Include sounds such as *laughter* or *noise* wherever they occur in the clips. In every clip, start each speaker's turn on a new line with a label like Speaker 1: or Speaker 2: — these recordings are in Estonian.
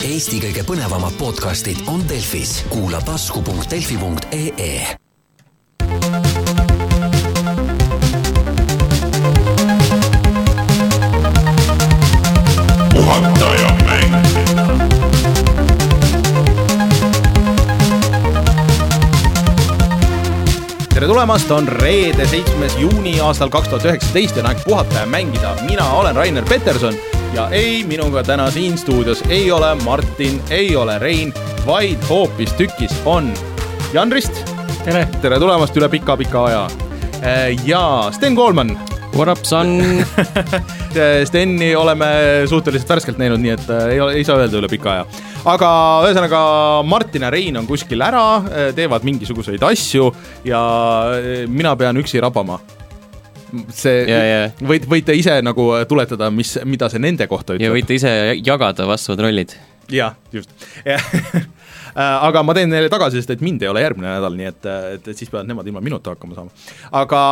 Speaker 1: Eesti kõige põnevamad podcastid on Delfis. kuula tasku.delfi.ee
Speaker 2: puhataja mäng ,
Speaker 3: tere tulemast , on reede , seitsmes juuni aastal kaks tuhat üheksateist ja on aeg puhata ja mängida . mina olen Rainer Peterson ja ei , minuga täna siin stuudios ei ole Martin , ei ole Rein , vaid hoopistükkis on Jan Rist . tere . tere tulemast üle pika-pika aja . ja Sten Koolman .
Speaker 4: What up , son ?
Speaker 3: *laughs* Steni oleme suhteliselt värskelt näinud , nii et äh, ei ole , ei saa öelda üle pika aja . aga ühesõnaga Martin ja Rein on kuskil ära , teevad mingisuguseid asju ja äh, mina pean üksi rabama . see
Speaker 4: Ja, ja.
Speaker 3: võid , võite ise nagu tuletada , mis , mida see nende kohta
Speaker 4: *laughs* ja
Speaker 3: ütleb .
Speaker 4: võite ise jagada vastavad rollid .
Speaker 3: jah , just *laughs* Äh, aga ma teen neile tagasisidet , et mind ei ole järgmine nädal , nii et , et , et siis peavad nemad ilma minuta hakkama saama . aga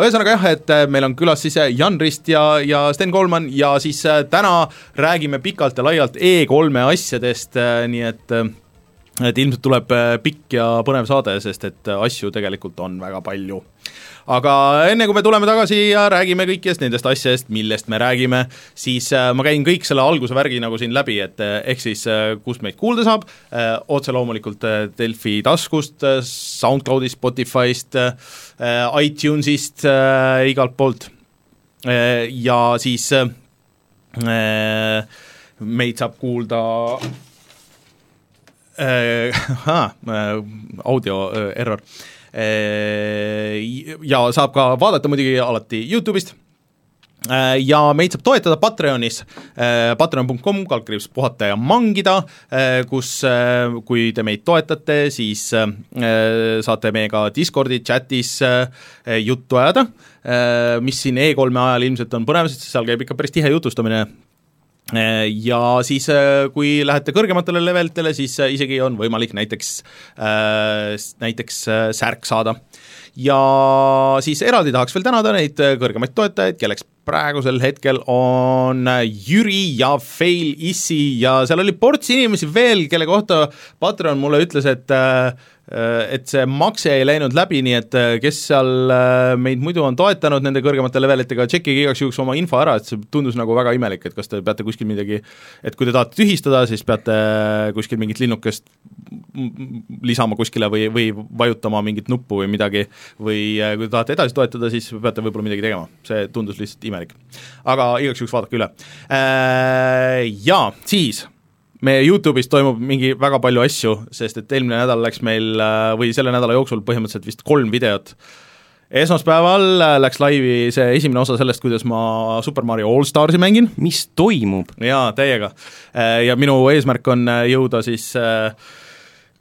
Speaker 3: ühesõnaga jah , et äh, meil on külas siis Jan Rist ja , ja Sten Kolman ja siis äh, täna räägime pikalt ja laialt E3-e asjadest , nii et äh, et ilmselt tuleb äh, pikk ja põnev saade , sest et äh, asju tegelikult on väga palju . aga enne kui me tuleme tagasi ja räägime kõikidest nendest asjadest , millest me räägime , siis äh, ma käin kõik selle alguse värgi nagu siin läbi , et äh, ehk siis äh, kus meid kuulda saab , otse loomulikult äh, Delfi taskust , SoundCloudist , Spotifyst , iTunesist , igalt poolt . ja siis äh, äh, meid saab kuulda äh, *laughs* ahaa, äh, audio äh, error äh, . ja saab ka vaadata muidugi alati Youtube'ist äh, ja meid saab toetada Patreonis äh,, patreon.com , kalkriips puhata ja mangida äh, , kus äh, kui te meid toetate , siis äh, saate meiega Discordi chatis äh, juttu ajada äh, , mis siin E3-e ajal ilmselt on põnev , sest seal käib ikka päris tihe jutustamine Äh, ja siis , kui lähete kõrgematele levelitele , siis äh, isegi on võimalik näiteks , näiteks äh, särk saada . ja siis eraldi tahaks veel tänada neid äh, kõrgemaid toetajaid , kelleks praegusel hetkel on äh, Jüri ja Fail Issi ja seal oli ports inimesi veel , kelle kohta Patreon mulle ütles , et äh, et see makse ei läinud läbi , nii et äh, kes seal äh, meid muidu on toetanud nende kõrgemate levelitega , tšekkige igaks juhuks oma info ära , et see tundus nagu väga imelik , et kas te peate kuskil midagi , et kui te tahate tühistada , siis peate äh, kuskil mingit linnukest m- m- lisama kuskile või , või vajutama mingit nuppu või midagi või äh, kui te tahate edasi toetada , siis peate võib-olla midagi tegema , see tundus lihtsalt imelik . aga igaks juhuks vaadake üle . Ja siis meie Youtube'is toimub mingi väga palju asju , sest et eelmine nädal läks meil äh, või selle nädala jooksul põhimõtteliselt vist kolm videot . esmaspäeval äh, läks laivi see esimene osa sellest , kuidas ma Super Mario All Starsi mängin
Speaker 4: mis toimub ?
Speaker 3: jaa , täiega . ja minu eesmärk on äh, jõuda siis äh,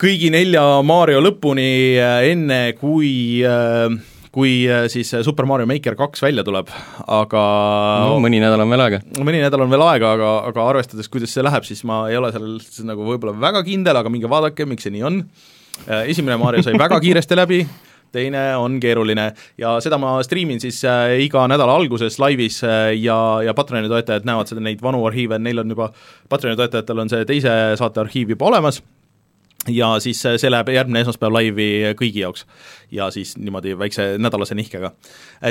Speaker 3: kõigi nelja Mario lõpuni äh, enne , kui äh, kui äh, siis äh, Super Mario Maker kaks välja tuleb , aga
Speaker 4: no, mõni nädal on veel aega .
Speaker 3: no mõni nädal on veel aega , aga , aga arvestades , kuidas see läheb , siis ma ei ole selles nagu võib-olla väga kindel , aga minge vaadake , miks see nii on . esimene Mario sai väga kiiresti läbi , teine on keeruline ja seda ma striimin siis äh, iga nädala alguses laivis äh, ja , ja Patreoni toetajad näevad seda , neid vanu arhiive , neil on juba , Patreoni toetajatel on see teise saate arhiiv juba olemas ja siis äh, see läheb järgmine esmaspäev laivi kõigi jaoks ja siis niimoodi väikse nädalase nihkega .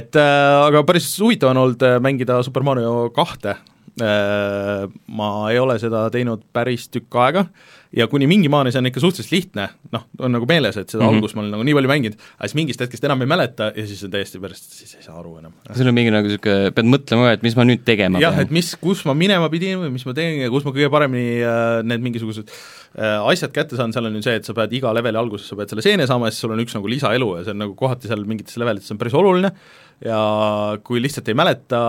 Speaker 3: et äh, aga päris huvitav on olnud äh, mängida Super Mario kahte äh, . ma ei ole seda teinud päris tükk aega ja kuni mingi maani see on ikka suhteliselt lihtne , noh , on nagu meeles , et seda mm
Speaker 4: Mhm.
Speaker 3: -hmm. algust ma olen nagu nii palju mänginud , aga siis mingist hetkest enam ei mäleta ja siis on täiesti pärast , siis ei saa aru enam .
Speaker 4: sul on mingi nagu niisugune , pead mõtlema ka , et mis ma nüüd tegema
Speaker 3: jah , et
Speaker 4: pean .
Speaker 3: mis , kus ma minema pidin või mis ma teen ja kus ma kõige paremini äh, need mingisugused äh, asjad kätte saan , seal on ju see , et sa pead iga leveli alguses , sa pead selle seene saama ja siis sul on üks nagu lisaelu ja see on nagu kohati seal mingites levelites on päris oluline ja kui lihtsalt ei mäleta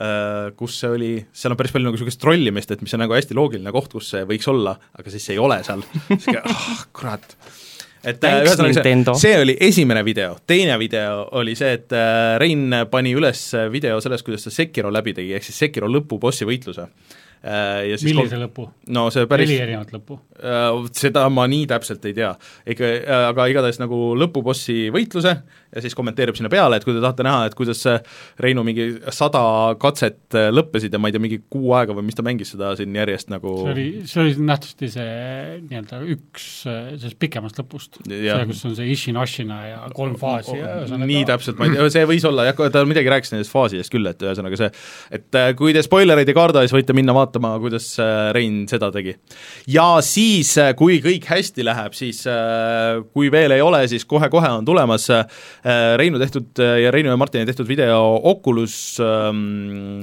Speaker 3: äh, kus see oli , seal on päris palju nagu niisugust trollimist , et mis on nagu hästi loogiline koht , kus see võiks olla , aga siis see ei ole seal , *laughs* siis ah kurat et äh,
Speaker 4: Thanks,
Speaker 3: ühesõnaga see
Speaker 4: Nintendo. ,
Speaker 3: see oli esimene video , teine video oli see , et äh, Rein pani üles video sellest , kuidas ta Sekiro läbi tegi , ehk siis Sekiro lõpubossi võitluse . ja siis
Speaker 2: millise lõpu ?
Speaker 3: no see päris Äh,
Speaker 2: neli , erinevat lõppu .
Speaker 3: seda ma nii täpselt ei tea. ikka , aga igatahes nagu lõpubossi võitluse ja siis kommenteerib sinna peale , et kui te tahate näha , et kuidas see Reinu mingi sada katset äh, lõppesid ja ma ei tea , mingi kuu aega või mis ta mängis seda siin järjest nagu
Speaker 2: see oli , see oli nähtavasti see nii-öelda üks äh, sellest pikemast lõpust ,
Speaker 3: Jah.
Speaker 2: see , kus on see Ishin-Ashina ja kolm faasi ja ühesõnaga-
Speaker 3: nii täpselt ma ei tea , see võis olla jah , ta midagi rääkis nendest faasidest küll , et ühesõnaga see , et äh, kui te spoilereid ei karda , siis võite minna vaatama , kuidas äh, Rein seda tegi . ja siis , kui kõik hästi läheb , siis äh, kui veel ei ole , siis kohe-kohe on tulemas äh, Reinu tehtud äh, ja Reinu ja Martini tehtud video Oculus ähm,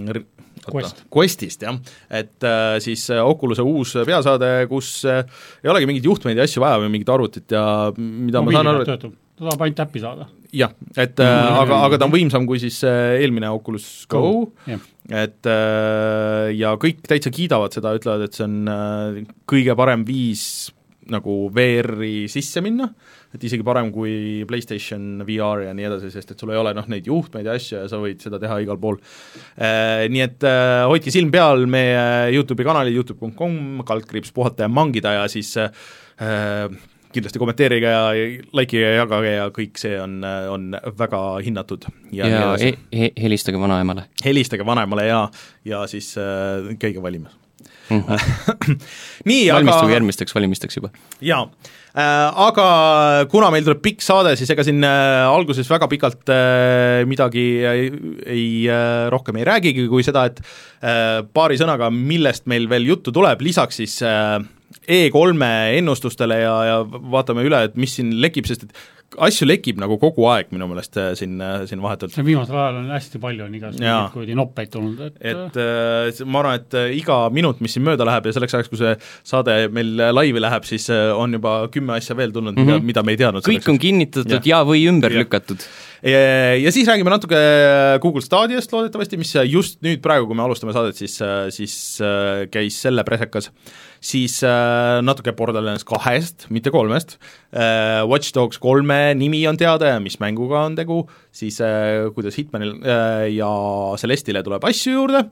Speaker 3: r- oota,
Speaker 2: Quest.
Speaker 3: Questist jah , et äh, siis äh, Oculus'e uus peasaade , kus äh, ei olegi mingeid juhtmeid ja asju vaja või mingit arvutit ja mida ma saan
Speaker 2: mobiiliga
Speaker 3: aru , et
Speaker 2: töötab , ta tahab ainult äppi saada .
Speaker 3: jah , et äh, aga , aga ta on võimsam kui siis äh, eelmine Oculus Go,
Speaker 2: jah ,
Speaker 3: et äh, ja kõik täitsa kiidavad seda , ütlevad , et see on äh, kõige parem viis nagu VR-i sisse minna , et isegi parem kui PlayStation VR ja nii edasi , sest et sul ei ole noh , neid juhtmeid ja asju ja sa võid seda teha igal pool äh, . Nii et äh, hoidke silm peal meie Youtube'i kanalil , Youtube.com , kaldkriips puhata ja mangida ja siis äh, kindlasti kommenteerige ja likeige ja jagage ja kõik see on , on väga hinnatud .
Speaker 4: ja, ja he, he, helistage vanaemale .
Speaker 3: helistage vanemale ja , ja siis äh, käige valimas
Speaker 4: Mhm.
Speaker 3: *laughs* nii , aga
Speaker 4: valmistuge järgmisteks valimisteks juba .
Speaker 3: jaa äh, , aga kuna meil tuleb pikk saade , siis ega siin äh, alguses väga pikalt äh, midagi ei, ei äh, , rohkem ei räägigi kui seda , et äh, paari sõnaga , millest meil veel juttu tuleb , lisaks siis äh, E3-e ennustustele ja , ja vaatame üle , et mis siin lekib , sest et asju lekib nagu kogu aeg minu meelest äh, siin , siin vahetult .
Speaker 2: see viimasel ajal on hästi palju on
Speaker 3: Jaa.
Speaker 2: igasuguseid kuradi noppeid tulnud , et, noh,
Speaker 3: et äh, see- ma arvan , et äh, iga minut , mis siin mööda läheb ja selleks ajaks , kui see saade meil äh, laivi läheb , siis äh, on juba kümme asja veel tulnud mm , -hmm.
Speaker 4: Mhm.
Speaker 3: mida me ei teadnud .
Speaker 4: kõik on kinnitatud ja, ja või ümber ja. lükatud .
Speaker 3: ja, ja siis räägime natuke Google Stadiost loodetavasti , mis just nüüd praegu , kui me alustame saadet , siis , siis äh, käis selle presekas , siis äh, natuke Borderlands kahest , mitte kolmest , Watch Dogs kolme nimi on teada ja mis mänguga on tegu , siis äh, kuidas Hitmanil äh, ja Celestile tuleb asju juurde ,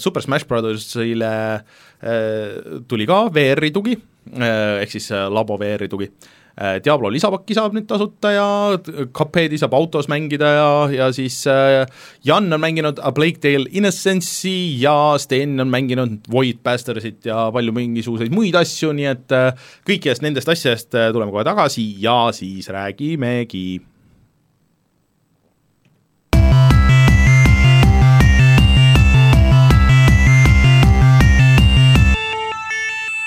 Speaker 3: Super Smash Brothersile äh, tuli ka VR-i tugi , ehk siis äh, labo VR-i tugi Äh, Diablo lisapakki saab nüüd tasuta ja t- Cupheadi saab autos mängida ja , ja siis äh, Jan on mänginud A Plague Tale Innocence'i ja Sten on mänginud Void Bastarsit ja palju mingisuguseid muid asju , nii et äh, kõikidest nendest asjadest äh, tuleme kohe tagasi ja siis räägimegi .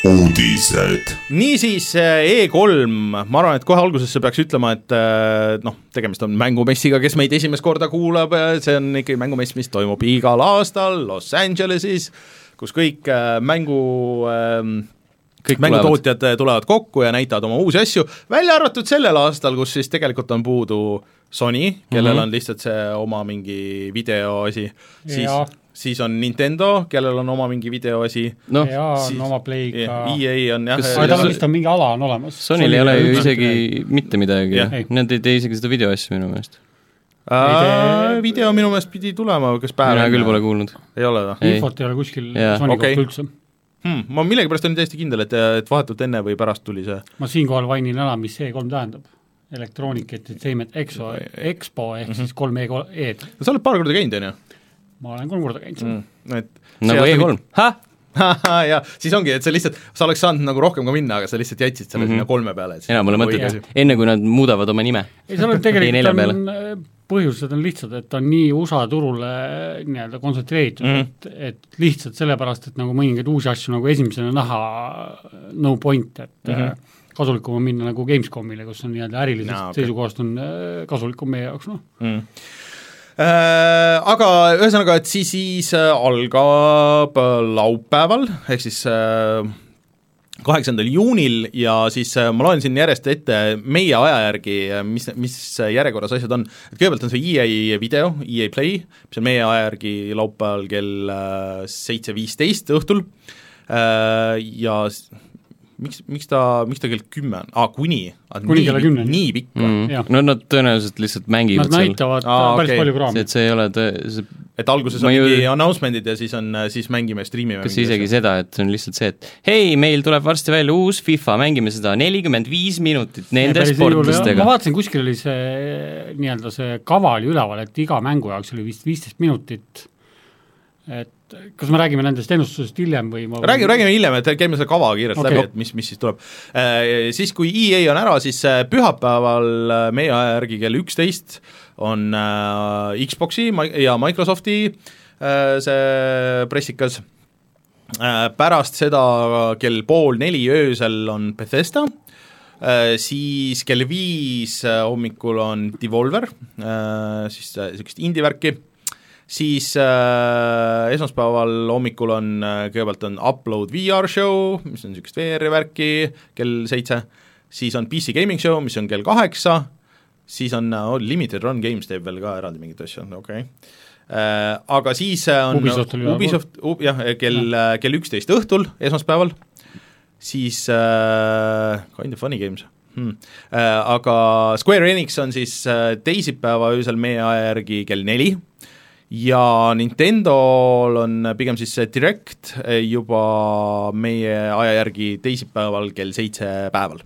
Speaker 5: uudised ,
Speaker 3: niisiis äh, E3 , ma arvan , et kohe algusesse peaks ütlema , et äh, noh , tegemist on mängumessiga , kes meid esimest korda kuulab , see on ikkagi mängumess , mis toimub igal aastal Los Angeleses , kus kõik äh, mängu ähm,
Speaker 4: kõik tulevad .
Speaker 3: mängutootjad tulevad. tulevad kokku ja näitavad oma uusi asju , välja arvatud sellel aastal , kus siis tegelikult on puudu Sony , kellel mm
Speaker 4: Mhm.
Speaker 3: -hmm. on lihtsalt see oma mingi videoasi , siis
Speaker 2: Jaa. ,
Speaker 3: siis on Nintendo , kellel on oma mingi videoasi ,
Speaker 4: noh ,
Speaker 2: EA
Speaker 3: siis- E
Speaker 2: on oma play'ga ,
Speaker 3: EA on jah
Speaker 4: Kas-
Speaker 2: aga tal
Speaker 4: Sony-
Speaker 2: on vist on mingi ala on olemas .
Speaker 4: Sonyl ei ole ju isegi mitte midagi
Speaker 3: Jah. ,
Speaker 4: nad ei tee isegi seda videoasja minu meelest .
Speaker 3: Äh,
Speaker 2: Ei tee-
Speaker 3: video minu meelest pidi tulema , kas päev
Speaker 4: mina küll pole kuulnud .
Speaker 3: ei ole või ?
Speaker 4: Ei.
Speaker 2: infot ei ole kuskil
Speaker 4: Jaa.
Speaker 2: Sony
Speaker 3: Okei.
Speaker 2: kohta üldse .
Speaker 3: Hmm, ma millegipärast olin täiesti kindel , et , et vahetult enne või pärast tuli see
Speaker 2: ma siinkohal mainin ära , mis E3 tähendab . Electronic Entertainment Exo , Expo ehk
Speaker 3: Mhm.
Speaker 2: siis kolm E3-d .
Speaker 3: no, , sa oled paar korda käinud , on ju
Speaker 2: ma olen kolm korda käinud seal
Speaker 3: mm. ? et
Speaker 4: nagu
Speaker 3: see-
Speaker 4: E3 .
Speaker 3: *laughs* ja siis ongi , et sa lihtsalt , sa oleks saanud nagu rohkem ka minna , aga sa lihtsalt jätsid selle mm -hmm.
Speaker 4: Mhm.
Speaker 3: sinna kolme peale .
Speaker 4: enam ei ole mõtet , enne kui nad muudavad oma nime .
Speaker 2: ei , seal on
Speaker 3: *laughs*
Speaker 4: Ei,
Speaker 2: tegelikult
Speaker 4: nelja
Speaker 2: on äh, põhjused on lihtsad , et ta on nii USA turule äh, nii-öelda kontsentreeritud
Speaker 3: Mhm.
Speaker 2: mm. , et , et lihtsalt sellepärast , et nagu mõningaid uusi asju nagu esimesena näha , no point , et mm -hmm. kasulikum on minna nagu Gamescomile , kus on nii-öelda ärilisest
Speaker 3: Jaa, Mhm. okei.
Speaker 2: no, okay. seisukohast on äh, kasulikum meie jaoks , noh .
Speaker 3: Mm. Äh, aga ühesõnaga , et siis , siis äh, algab äh, laupäeval , ehk siis äh, kaheksandal juunil ja siis äh, ma loen siin järjest ette meie aja järgi , mis , mis järjekorras asjad on . et kõigepealt on see EA video , EA Play , mis on meie aja järgi laupäeval kell äh, seitse viisteist õhtul Äh, ja s- miks , miks ta , miks ta kell kümme on , aa kuni ,
Speaker 2: Kuni kella kümneni.
Speaker 3: nii pikk või ?
Speaker 4: Mm.
Speaker 2: Jah.
Speaker 4: no nad tõenäoliselt lihtsalt mängivad
Speaker 2: Nad
Speaker 4: seal ,
Speaker 2: näitavad
Speaker 3: Aa,
Speaker 2: Aa, päris
Speaker 3: okei.
Speaker 2: okay. palju kraami
Speaker 4: et , see ei ole tõ- , see
Speaker 3: et alguses
Speaker 4: Ma
Speaker 3: on
Speaker 4: ju-
Speaker 3: mingi announcement'id ja siis on , siis mängime , striimime .
Speaker 4: kas isegi seda , et see on lihtsalt see , et hei , meil tuleb varsti välja uus FIFA , mängime seda nelikümmend viis minutit nende
Speaker 2: ma
Speaker 4: sportlastega .
Speaker 2: vaatasin , kuskil oli see nii-öelda see kava oli üleval , et iga mängu jaoks oli vist viisteist minutit , et kas me räägime nendest ennustusest hiljem või ma
Speaker 3: räägime , räägime hiljem , et käime selle kava kiirelt okay.
Speaker 2: Okei.
Speaker 3: läbi , et mis , mis siis tuleb . Siis , kui EA on ära , siis äh, pühapäeval äh, meie aja järgi kell üksteist on äh, Xboxi Mi- ja Microsofti äh, see pressikas , Äh, pärast seda kell pool neli öösel on Bethesda , siis kell viis äh, hommikul on Devolver , siis äh, niisugust indie-värki siis äh, esmaspäeval hommikul on äh, , kõigepealt on Upload VR show , mis on niisugust VR-i värki kell seitse , siis on PC Gaming show , mis on kell kaheksa , siis on äh, oh, Limited Run Games teeb veel ka eraldi mingeid asju , okei okay. . Aga siis äh, on
Speaker 2: Ubisoft oli üleval.
Speaker 3: Ubisoft , jah , kell , kell üksteist õhtul esmaspäeval , siis äh, Kind of Funny Games hmm. , aga Square Enix on siis äh, teisipäeva öösel meie aja järgi kell neli ja Nintendo'l on pigem siis see Direct eh, juba meie aja järgi teisipäeval kell seitse päeval .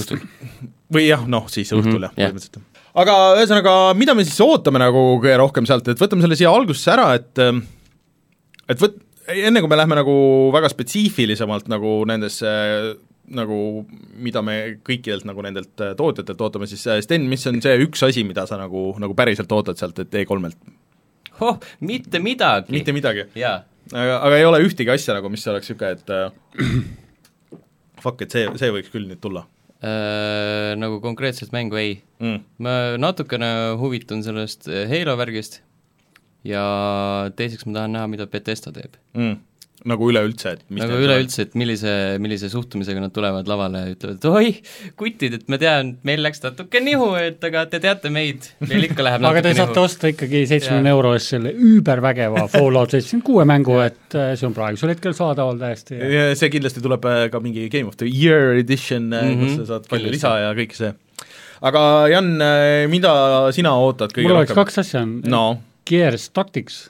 Speaker 4: õhtul .
Speaker 3: Või jah , noh siis õhtul
Speaker 4: Mhm,
Speaker 3: jah ,
Speaker 4: jah.
Speaker 3: põhimõtteliselt . aga ühesõnaga , mida me siis ootame nagu kõige rohkem sealt , et võtame selle siia algusesse ära , et ähm, et võt- , enne kui me lähme nagu väga spetsiifilisemalt nagu nendesse nagu mida me kõikidelt nagu nendelt äh, tootjatelt ootame , siis äh, Sten , mis on see üks asi , mida sa nagu , nagu päriselt ootad sealt , et E3-lt ?
Speaker 4: oh , mitte midagi .
Speaker 3: mitte midagi ,
Speaker 4: jaa .
Speaker 3: aga aga ei ole ühtegi asja nagu , mis oleks niisugune , et äh, *clears throat* fuck , et see , see võiks küll nüüd tulla
Speaker 4: nagu konkreetselt mängu ei .
Speaker 3: mm. .
Speaker 4: ma natukene huvitun sellest äh, Halo värgist ja teiseks ma tahan näha , mida Betesta teeb .
Speaker 3: Mm. nagu üleüldse , et mis
Speaker 4: nagu
Speaker 3: neil seal-
Speaker 4: üleüldse , et millise , millise suhtumisega nad tulevad lavale ja ütlevad , et oi , kutid , et ma tean , meil läks natuke nihu , et aga te teate meid , meil ikka läheb
Speaker 2: *laughs* aga
Speaker 4: natuke
Speaker 2: te
Speaker 4: nagu-
Speaker 2: saate
Speaker 4: nihu .
Speaker 2: osta ikkagi seitsmekümne
Speaker 4: Jaa.
Speaker 2: euro eest selle
Speaker 4: *laughs*
Speaker 2: üübervägeva Fallout seitsekümmend kuue mängu , et äh, see on praegusel hetkel saadaval täiesti ja
Speaker 3: Ja see kindlasti tuleb äh, ka mingi Game of the Year edition mm , -hmm.
Speaker 4: Mhm.
Speaker 3: kus sa saad palju
Speaker 4: Kindlasti.
Speaker 3: lisa ja kõik see . aga Jan , mida sina ootad kõige
Speaker 2: mul oleks
Speaker 3: rohkem ?
Speaker 2: kaks asja , on
Speaker 3: no ,
Speaker 2: Gears Tactics ,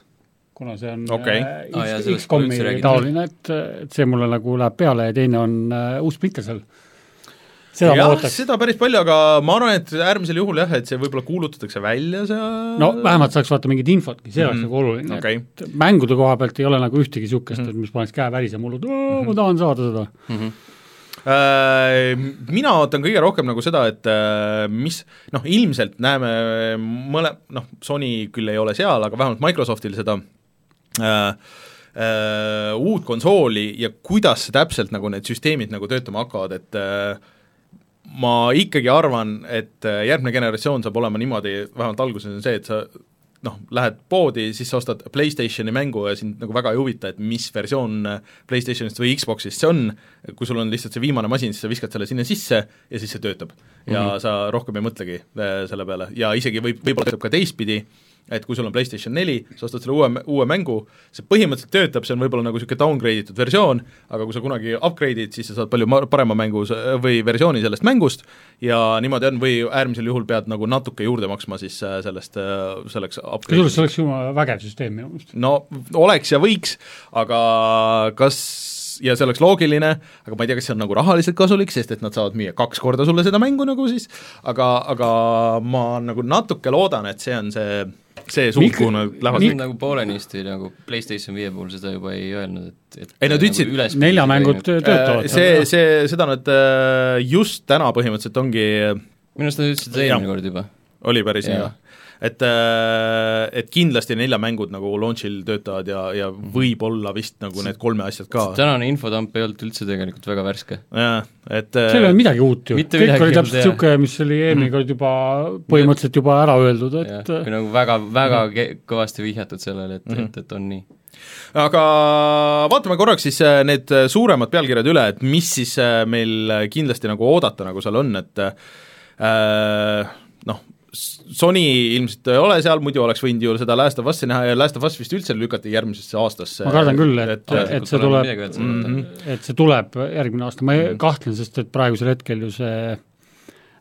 Speaker 2: kuna see on
Speaker 3: Okei.
Speaker 2: äh,
Speaker 4: Aa, Ah, jaa,
Speaker 2: X-
Speaker 4: sellest ma
Speaker 2: X-komi
Speaker 4: üldse ei räägi.
Speaker 2: taoline , et , et see mulle nagu läheb peale ja teine on äh, uus Splinter Cell . seda ma
Speaker 3: jah ,
Speaker 2: ootaks ,
Speaker 3: seda päris palju , aga ma arvan , et äärmisel juhul jah , et see võib-olla kuulutatakse välja seal
Speaker 2: no vähemalt saaks vaata mingit infotki , see oleks
Speaker 3: Mhm.
Speaker 2: mm -hmm. nagu oluline
Speaker 3: Okei. Mhm.
Speaker 2: okay. , et mängude koha pealt ei ole nagu ühtegi niisugust mm , -hmm. et mis paneks käe värise mullu , et "Oo, ma tahan saada seda .
Speaker 3: Äh, mina ootan kõige rohkem nagu seda , et äh, mis noh , ilmselt näeme mõle- , noh , Sony küll ei ole seal , aga vähemalt Microsoftil seda äh, äh, uut konsooli ja kuidas see täpselt nagu need süsteemid nagu töötama hakkavad , et äh, ma ikkagi arvan , et äh, järgmine generatsioon saab olema niimoodi , vähemalt alguses on see , et sa noh , lähed poodi , siis sa ostad PlayStationi mängu ja sind nagu väga ei huvita , et mis versioon äh, PlayStationist või Xboxist see on , kui sul on lihtsalt see viimane masin , siis sa viskad selle sinna sisse ja siis see töötab . ja mm -hmm. sa rohkem ei mõtlegi äh, selle peale ja isegi võib , võib-olla töötab ka teistpidi , et kui sul on PlayStation neli , sa ostad selle uue , uue mängu , see põhimõtteliselt töötab , see on võib-olla nagu niisugune downgrade itud versioon , aga kui sa kunagi upgrade'id , siis sa saad palju ma- parema mängu s- või versiooni sellest mängust ja niimoodi on , või äärmisel juhul pead nagu natuke juurde maksma siis äh, sellest , selleks
Speaker 2: kusjuures see
Speaker 3: upgrade'iks .
Speaker 2: oleks jumala vägev süsteem minu meelest .
Speaker 3: no oleks ja võiks , aga kas ja see oleks loogiline , aga ma ei tea , kas see on nagu rahaliselt kasulik , sest et nad saavad müüa kaks korda sulle seda mängu nagu siis , aga , aga ma nagu natuke loodan , et see on see , see suund ,
Speaker 2: Mikro-
Speaker 3: kuhu nad lähevad
Speaker 4: Mik... nagu poolenisti nagu PlayStation viie puhul seda juba ei öelnud , et , et
Speaker 3: Ei, nad
Speaker 4: nagu
Speaker 3: ütlesid-
Speaker 4: üles-
Speaker 2: nelja mängud töötavad .
Speaker 3: Äh, see , see , seda nad äh, just täna põhimõtteliselt ongi ,
Speaker 4: minu arust nad ütlesid seda
Speaker 3: Jah.
Speaker 4: eelmine kord juba .
Speaker 3: oli päris nii
Speaker 4: Jaa. ,
Speaker 3: et äh, et kindlasti nelja mängud nagu launch'il töötavad ja , ja võib-olla vist nagu need kolme asjad ka ,
Speaker 4: tänane infotamp ei olnud üldse tegelikult väga värske .
Speaker 3: et äh,
Speaker 2: seal ei olnud midagi uut ju ,
Speaker 4: Mitte
Speaker 2: kõik
Speaker 4: midagi
Speaker 2: oli
Speaker 4: uut,
Speaker 2: täpselt
Speaker 4: jah.
Speaker 2: niisugune , mis oli
Speaker 3: Mhm.
Speaker 2: eelmine kord juba põhimõtteliselt juba ära öeldud , et äh, Mhm.
Speaker 4: või nagu väga , väga ke- kõvasti vihjatud sellele , et , et , et on nii .
Speaker 3: aga vaatame korraks siis äh, need äh, suuremad pealkirjad üle , et mis siis äh, meil äh, kindlasti nagu oodata nagu seal on , et äh, noh , Sony ilmselt ei ole seal , muidu oleks võinud ju seda Last of Us'i näha ja Last of Us vist üldse lükati järgmisesse aastasse .
Speaker 2: ma kardan küll , et,
Speaker 3: et äh,
Speaker 2: et , et see tuleb , Mhm.
Speaker 4: Mm.
Speaker 2: et see tuleb järgmine aasta , ma ei- kahtlen , sest et praegusel hetkel ju see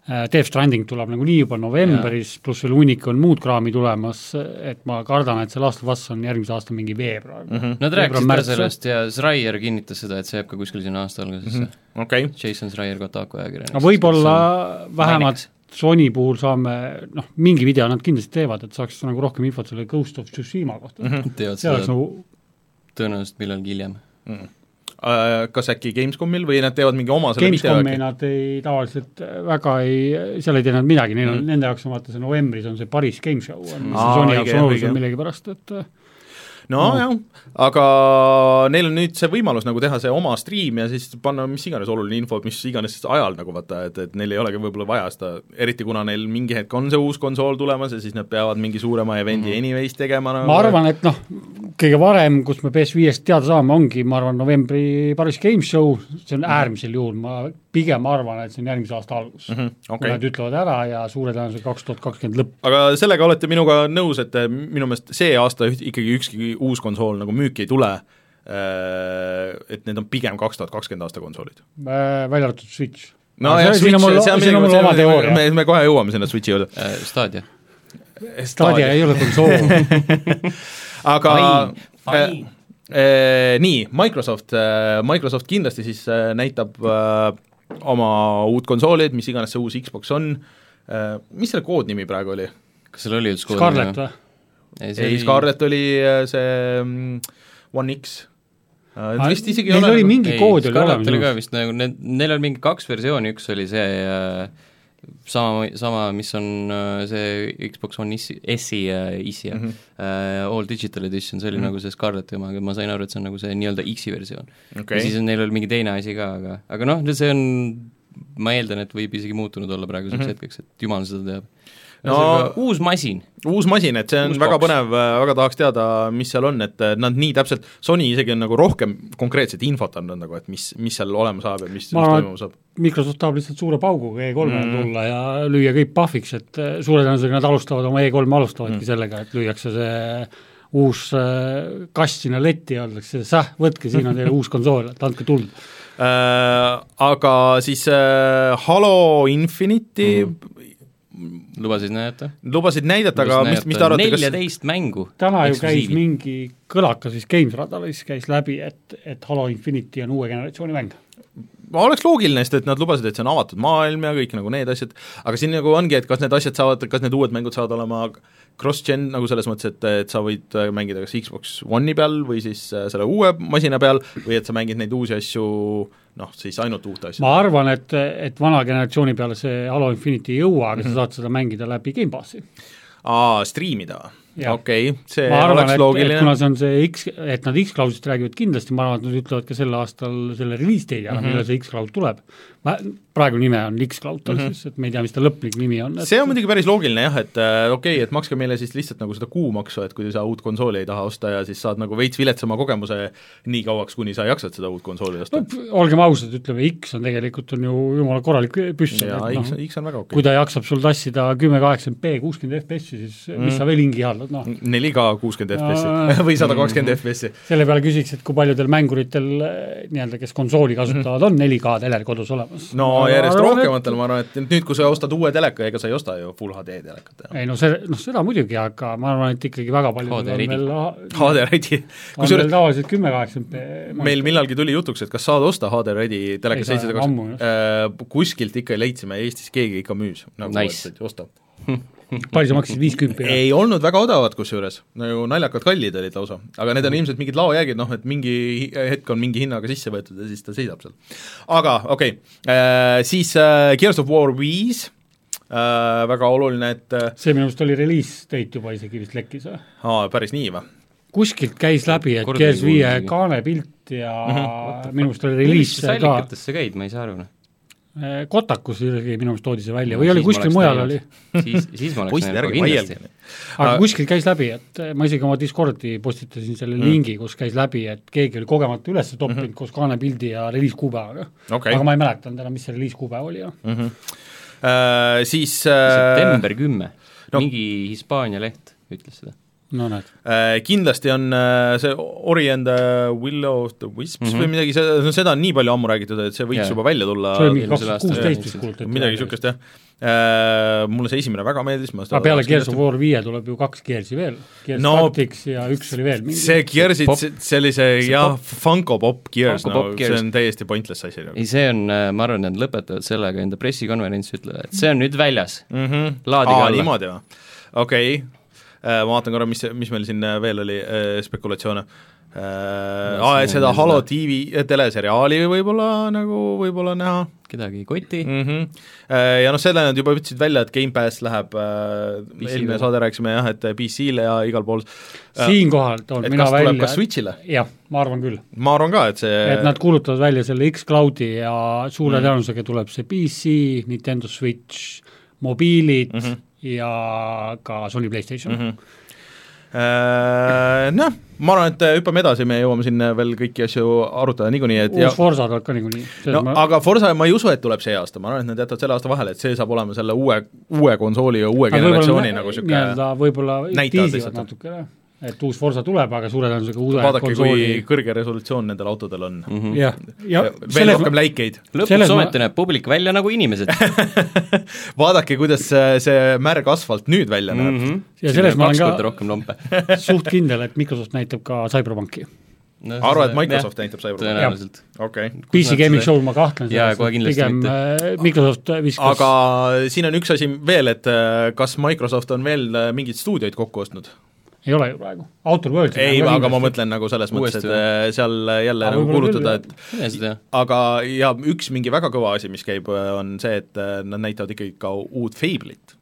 Speaker 2: Death Stranding tuleb nagunii juba novembris, pluss veel hunnik on muud kraami tulemas , et ma kardan , et see Last of Us on järgmise aasta mingi veebruar mm .
Speaker 4: Mhm. Nad rääkisid ka sellest ja Schreier kinnitas seda , et see jääb ka kuskil sinna aasta algusesse mm .
Speaker 3: okei okay. ,
Speaker 4: -hmm. Jason Schreier , Kotaku ajakirjanik .
Speaker 2: aga Mhm. võib-olla vähemalt Sony puhul saame , noh , mingi video nad kindlasti teevad , et saaks nagu rohkem infot selle Ghost of Tsushima kohta mm .
Speaker 4: teevad
Speaker 2: -hmm. see oleks
Speaker 4: seda
Speaker 2: nagu ,
Speaker 4: tõenäoliselt millalgi hiljem .
Speaker 3: äh, kas äkki Gamescomil või nad teevad mingi oma selle video
Speaker 2: Gamescomi
Speaker 3: äkki ?
Speaker 2: nad ei , tavaliselt väga ei , seal ei tee nad midagi , neil on mm , -hmm. nende jaoks on vaata see novembris on see Paris Game Show , on mis
Speaker 3: Mm. Aa,
Speaker 2: Sony
Speaker 3: õige,
Speaker 2: jaoks on
Speaker 3: õige.
Speaker 2: olulisem millegipärast , et äh,
Speaker 3: nojah , aga neil on nüüd see võimalus nagu teha see oma stream ja siis panna mis iganes oluline info , mis iganes ajal nagu vaata , et , et neil ei olegi võib-olla vaja seda , eriti kuna neil mingi hetk on see uus konsool tulemas ja siis nad peavad mingi suurema event'i mm. anyways tegema nagu,
Speaker 2: Mhm. ma arvan , et noh , kõige varem , kus me PS5-st teada saame , ongi , ma arvan , novembri Paris Game Show , see on
Speaker 3: Mhm.
Speaker 2: äärmisel juhul , ma pigem arvan , et see on järgmise aasta algus mm .
Speaker 3: Mhm, okei.
Speaker 2: kui nad ütlevad ära ja suure tõenäosusega kaks tuhat kakskümmend lõpp .
Speaker 3: aga sellega olete minuga nõus , et eh, minu meelest see aasta üht- ikkagi ükski uus konsool nagu müüki ei tule , et need on pigem kaks tuhat kakskümmend aasta konsoolid ?
Speaker 2: äh, välja arvatud Switch .
Speaker 3: nojah ,
Speaker 2: siin on mul , siin on mul oma teooria .
Speaker 3: me , me kohe jõuame sinna Switchi juurde .
Speaker 4: Äh, Stadia .
Speaker 2: Stadia ei ole konsool .
Speaker 3: aga
Speaker 4: Fine, fine.
Speaker 3: äh, nii , Microsoft äh, , Microsoft kindlasti siis äh, näitab äh, oma uut konsooli , et mis iganes see uus Xbox on äh, , mis selle koodnimi praegu oli ?
Speaker 4: kas seal oli üldse koodi
Speaker 2: Scarlett ? või ?
Speaker 4: ei , see
Speaker 3: ei ,
Speaker 4: oli ,
Speaker 3: Scarlett oli äh, see mm, One X äh, . vist isegi ei
Speaker 2: Neil
Speaker 3: ole
Speaker 2: oli
Speaker 3: nagu-
Speaker 2: mingi
Speaker 4: ei ,
Speaker 2: kood oli
Speaker 4: Scarlett oli ka
Speaker 2: olemas .
Speaker 4: vist nagu , need , neil on mingi kaks versiooni , üks oli see äh, sama , sama , mis on äh, see Xbox One S-i , S-i ja S-i jah , All Digital Edition , see oli nagu see Scarletti oma , aga ma sain aru , et see on nagu see nii-öelda X-i versioon okay. .
Speaker 3: Okei.
Speaker 4: ja siis on , neil oli mingi teine asi ka , aga , aga noh , see on , ma eeldan , et võib isegi muutunud olla praeguseks mm -hmm. hetkeks , et jumal seda teab .
Speaker 3: No-
Speaker 4: no uus masin ,
Speaker 3: uus masin , et see on
Speaker 4: Uus
Speaker 3: väga
Speaker 4: box.
Speaker 3: põnev , väga tahaks teada , mis seal on , et äh, nad nii täpselt , Sony isegi on nagu rohkem konkreetset infot andnud nagu , et mis , mis seal olema saab ja mis , mis
Speaker 2: Ma arvan,
Speaker 3: toimuma saab . Mhm.
Speaker 2: Microsoft tahab lihtsalt suure pauguga E3-le mm. tulla ja lüüa kõik pahviks , et eh, suure tõenäosusega nad alustavad oma E3-e alustavadki
Speaker 3: Mhm.
Speaker 2: mm. sellega , et lüüakse see uus eh, kass sinna letti ja öeldakse , säh , võtke , siin
Speaker 3: *laughs*
Speaker 2: on teil uus konsool , et andke tuld .
Speaker 3: Äh, Aga siis äh, Halo Infinity
Speaker 2: Mhm.
Speaker 3: mm.
Speaker 4: lubasid näidata .
Speaker 3: lubasid näidata , aga mis , mis te arvate , kas
Speaker 4: neljateist mängu .
Speaker 2: täna ju käis mingi kõlakas vist Games radaris käis läbi , et , et Halo Infinity on uue generatsiooni mäng .
Speaker 3: oleks loogiline , sest et nad lubasid , et see on avatud maailm ja kõik nagu need asjad , aga siin nagu ongi , et kas need asjad saavad , kas need uued mängud saavad olema cross-gen nagu selles mõttes , et , et sa võid äh, mängida kas Xbox One'i peal või siis äh, selle uue masina peal või et sa mängid neid uusi asju noh , siis ainult uute asjadega .
Speaker 2: ma arvan , et , et vana generatsiooni peale see Halo Infinity ei jõua , aga
Speaker 3: Mhm.
Speaker 2: mm -hmm. sa saad seda mängida läbi Gamepassi .
Speaker 3: aa , striimida ?
Speaker 2: Jah.
Speaker 3: okei okay, , see
Speaker 2: ma
Speaker 3: arvan,
Speaker 2: arvan ,
Speaker 3: oleks
Speaker 2: et , et kuna
Speaker 3: loogiline .
Speaker 2: see on see X , et nad X-Cloudist räägivad kindlasti , ma arvan , et nad ütlevad ka sel aastal selle release date'i
Speaker 3: Mhm.
Speaker 2: ära mm , -hmm. millal see X-Cloud tuleb . praegu nime on X-Cloud tal mm -hmm. siis , et me ei tea , mis ta lõplik nimi on .
Speaker 3: Mhm. see on muidugi päris loogiline jah , et äh, okei okay, , et makske meile siis lihtsalt nagu seda kuumaksu , et kui sa uut konsooli ei taha osta ja siis saad nagu veits viletsama kogemuse nii kauaks , kuni sa jaksad seda uut konsooli osta
Speaker 2: no, . p- olgem ausad , ütleme X on tegelikult on ju jumala korralik püss ,
Speaker 3: ja
Speaker 2: et
Speaker 3: X ,
Speaker 2: noh ,
Speaker 3: X on väga okei
Speaker 2: kui ta jaksab sul tassida kümme kaheksakümmend B kuuskümmend FPS-i , siis
Speaker 3: Mhm.
Speaker 2: mm. mis sa veel hingi haldad , noh .
Speaker 3: okay. . neli ka kuuskümmend
Speaker 2: Aa.
Speaker 3: FPS-i *laughs* või sada kakskümmend FPS-i .
Speaker 2: selle peale küsiks , et kui paljudel mänguritel eh, nii-öelda , kes konsooli kasutavad , on 4K teler kodus olemas ?
Speaker 3: Mhm. no järjest rohkematel ma arvan , et nüüd , kui sa ostad uue teleka , ega sa ei osta ju full HD telekat enam .
Speaker 2: ei no see , noh seda muidugi , aga ma arvan , et ikkagi väga paljudel
Speaker 4: HD
Speaker 2: on
Speaker 4: ready.
Speaker 2: veel ah-
Speaker 3: HD Ready ,
Speaker 2: on veel
Speaker 3: *laughs* kusjuures
Speaker 2: tavaliselt kümme kaheksakümmend p
Speaker 3: meil millalgi tuli jutuks , et kas saad osta HD Ready
Speaker 2: Ei
Speaker 3: telekas
Speaker 2: saa,
Speaker 3: seitsesada
Speaker 2: ammu
Speaker 3: kakskümmend , Äh, kuskilt ikka leidsime , Eestis keegi ikka müüs nagu
Speaker 4: Nice.
Speaker 3: et osta .
Speaker 2: palju sa maksid , viiskümmend p ?
Speaker 3: ei olnud väga odavad kusjuures , nagu naljakad kallid olid lausa , aga need
Speaker 4: Mhm.
Speaker 3: on ilmselt mingid laojäägid , noh et mingi hi- hetk on mingi hinnaga sisse võetud ja siis ta seisab seal . aga okei okay. , siis äh, Gears of War viis , väga oluline , et äh,
Speaker 2: see minu arust oli release date juba isegi vist lekkis või ?
Speaker 3: aa , päris nii või ?
Speaker 2: kuskilt käis läbi , et
Speaker 4: Kord ei
Speaker 2: Gears viie
Speaker 4: kuulnud isegi.
Speaker 2: kaane pilt ja
Speaker 3: Mhm.
Speaker 2: minu arust oli
Speaker 4: millistesse
Speaker 2: release ka ,
Speaker 4: allikatesse käid , ma ei saa aru , noh .
Speaker 2: Kotakus isegi minu arust toodi see välja või oli kuskil mujal oli ,.
Speaker 4: siis , siis ma oleks
Speaker 3: poisid ,
Speaker 4: näinud
Speaker 3: ärge
Speaker 4: kohe kindlasti
Speaker 3: vaielge ..
Speaker 2: aga
Speaker 3: Aga- Mhm.
Speaker 2: kuskilt käis läbi , et äh, ma isegi oma Discordi postitasin selle lingi , kus käis läbi , et keegi oli kogemata üles toppinud koos kaane pildi ja release kuupäevaga
Speaker 3: Okei.
Speaker 2: aga ma ei mäletanud enam , mis see release kuupäev oli , jah .
Speaker 3: Äh, siis äh,
Speaker 4: september kümme
Speaker 3: no-
Speaker 4: no. , mingi Hispaania leht ütles seda .
Speaker 2: no näed ,
Speaker 3: kindlasti on äh, see Ori and the Willow of the Wisps mm -hmm. või midagi , seda , seda on nii palju ammu räägitud , et see võiks yeah.
Speaker 4: Mhm. Jaa.
Speaker 3: juba välja tulla
Speaker 2: see oli mingi kaks
Speaker 4: eelmisel
Speaker 2: tuhat
Speaker 4: aastal,
Speaker 2: kuusteist
Speaker 4: jah,
Speaker 2: vist
Speaker 4: ilmselt.
Speaker 2: kuulutati .
Speaker 3: midagi niisugust , jah äh, . mulle see esimene väga meeldis , ma
Speaker 4: Ah,
Speaker 2: aga peale Gears of War viie tuleb ju kaks Gearsi veel , Gears
Speaker 3: No-
Speaker 2: no, Tactics ja üks oli veel mingi
Speaker 3: see
Speaker 2: see...
Speaker 3: Gearsid
Speaker 4: Pop- ,
Speaker 3: sellise
Speaker 4: see
Speaker 3: jah
Speaker 4: pop- ,
Speaker 3: Funko Pop Gears ,
Speaker 4: Funko
Speaker 3: no
Speaker 4: Pop
Speaker 3: see
Speaker 4: Gears.
Speaker 3: on täiesti pointless asi nagu .
Speaker 4: ei , see on , ma arvan , nad lõpetavad sellega enda pressikonverentsi , ütlevad , et see on nüüd väljas . Laadige
Speaker 3: aa ,
Speaker 4: alla.
Speaker 3: niimoodi või ? okei okay. , ma vaatan korra , mis , mis meil siin veel oli äh, spekulatsioone äh, . aa , et seda
Speaker 4: siin-
Speaker 3: Halo TV teleseriaali võib-olla nagu võib-olla näha
Speaker 4: kedagi ei koti mm. ,
Speaker 3: mm . -hmm. ja noh , selle nad juba ütlesid välja , et Gamepass läheb äh, ,
Speaker 4: PC-le.
Speaker 3: eelmine saade rääkisime jah , et PC-le ja igal pool . Äh, et
Speaker 2: Äh, siinkohal toon mina
Speaker 3: kas tuleb ka
Speaker 2: välja ,
Speaker 3: Switch'ile ? Äh,
Speaker 2: jah , ma arvan küll ,
Speaker 3: ma arvan ka , et see
Speaker 2: et nad kuulutavad välja selle X-Cloudi ja suure
Speaker 3: Mhm.
Speaker 2: tõenäosusega tuleb see PC , Nintendo Switch , mobiilid
Speaker 3: Mhm.
Speaker 2: mm -hmm. ja ka Sony Playstation mm . -hmm.
Speaker 3: Äh, Noh , ma arvan , et äh, hüppame edasi , me jõuame siin veel kõiki asju arutada niikuinii , et ja
Speaker 2: uus Forsa tuleb ka niikuinii ,
Speaker 3: no ma... aga Forsa ma ei usu , et tuleb see aasta , ma arvan , et nad jätavad selle aasta vahele , et see saab olema selle uue , uue konsooli ja uue generatsiooni nagu niisugune
Speaker 2: nii-öelda võib-olla
Speaker 3: näitavad
Speaker 2: tiisivad
Speaker 3: lihtsalt.
Speaker 2: natukene , et uus Forsa tuleb , aga suure tõenäosusega uue
Speaker 3: vaadake ,
Speaker 2: konsooli
Speaker 3: kui kõrge resolutsioon nendel autodel on mm .
Speaker 2: jah , ja
Speaker 3: -hmm. veel
Speaker 2: selles
Speaker 3: rohkem läikeid ,
Speaker 2: Selles
Speaker 4: lõpuks
Speaker 2: ma-
Speaker 4: ometi ma... näeb publik välja nagu *laughs* inimesed .
Speaker 3: vaadake , kuidas see, see märg asfalt nüüd välja näeb mm . -hmm.
Speaker 2: ja selles ma olen
Speaker 4: kaks korda
Speaker 2: ka
Speaker 4: rohkem lompe .
Speaker 2: *laughs* suht kindel , et Microsoft näitab ka Cyberpunki .
Speaker 4: *laughs* no,
Speaker 3: arvad , et Microsoft ? näitab Cyberpunki ?
Speaker 4: tõenäoliselt .
Speaker 3: okei okay.
Speaker 2: PC
Speaker 4: nad
Speaker 2: Gaming
Speaker 4: seda-
Speaker 2: Show ma kahtlen
Speaker 4: Jaa, kohe kindlasti
Speaker 2: pigem
Speaker 4: mitte.
Speaker 2: äh, Microsoft viskas
Speaker 3: aga siin on üks asi veel , et äh, kas Microsoft on veel äh, mingeid stuudioid kokku ostnud ?
Speaker 2: ei ole ju praegu , Outer Worlds
Speaker 3: ei , aga ma mõtlen nagu selles mõttes , et
Speaker 4: Uuesti või?
Speaker 3: äh, seal jälle
Speaker 2: Aga
Speaker 3: nagu
Speaker 2: võib-olla küll,
Speaker 3: kuulutada ,
Speaker 2: jah.
Speaker 3: et
Speaker 4: mine sa tea .
Speaker 3: aga ja üks mingi väga kõva asi , mis käib , on see , et äh, nad näitavad ikkagi ka uut Fable'it .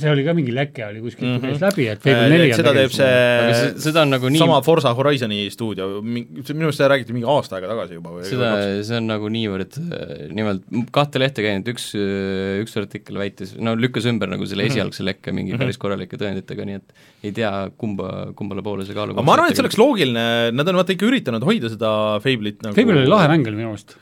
Speaker 2: see oli ka mingi leke oli kuskilt mm
Speaker 3: Mhm.
Speaker 2: -hmm. käis läbi , et Fable neli on
Speaker 3: seda teeb
Speaker 2: tegelikult-
Speaker 4: aga see ,
Speaker 3: see
Speaker 4: seda on nagu nii
Speaker 3: sama , Forsa Horizon'i stuudio , minu meelest seda räägiti mingi aasta aega tagasi juba või
Speaker 4: seda , see on nagu niivõrd , nimelt kahte lehte käinud , üks , üks artikkel väitis , no lükkas ümber nagu
Speaker 3: Mhm.
Speaker 4: selle esialgse lekke mingi päris korralike tõenditega , nii et ei tea , kumba , kumbale poole see kaalukoht
Speaker 3: aga ma arvan , et see oleks loogiline , nad on vaata ikka üritanud hoida seda Fable'it nagu
Speaker 2: Fable oli lahe mäng oli minu meelest ,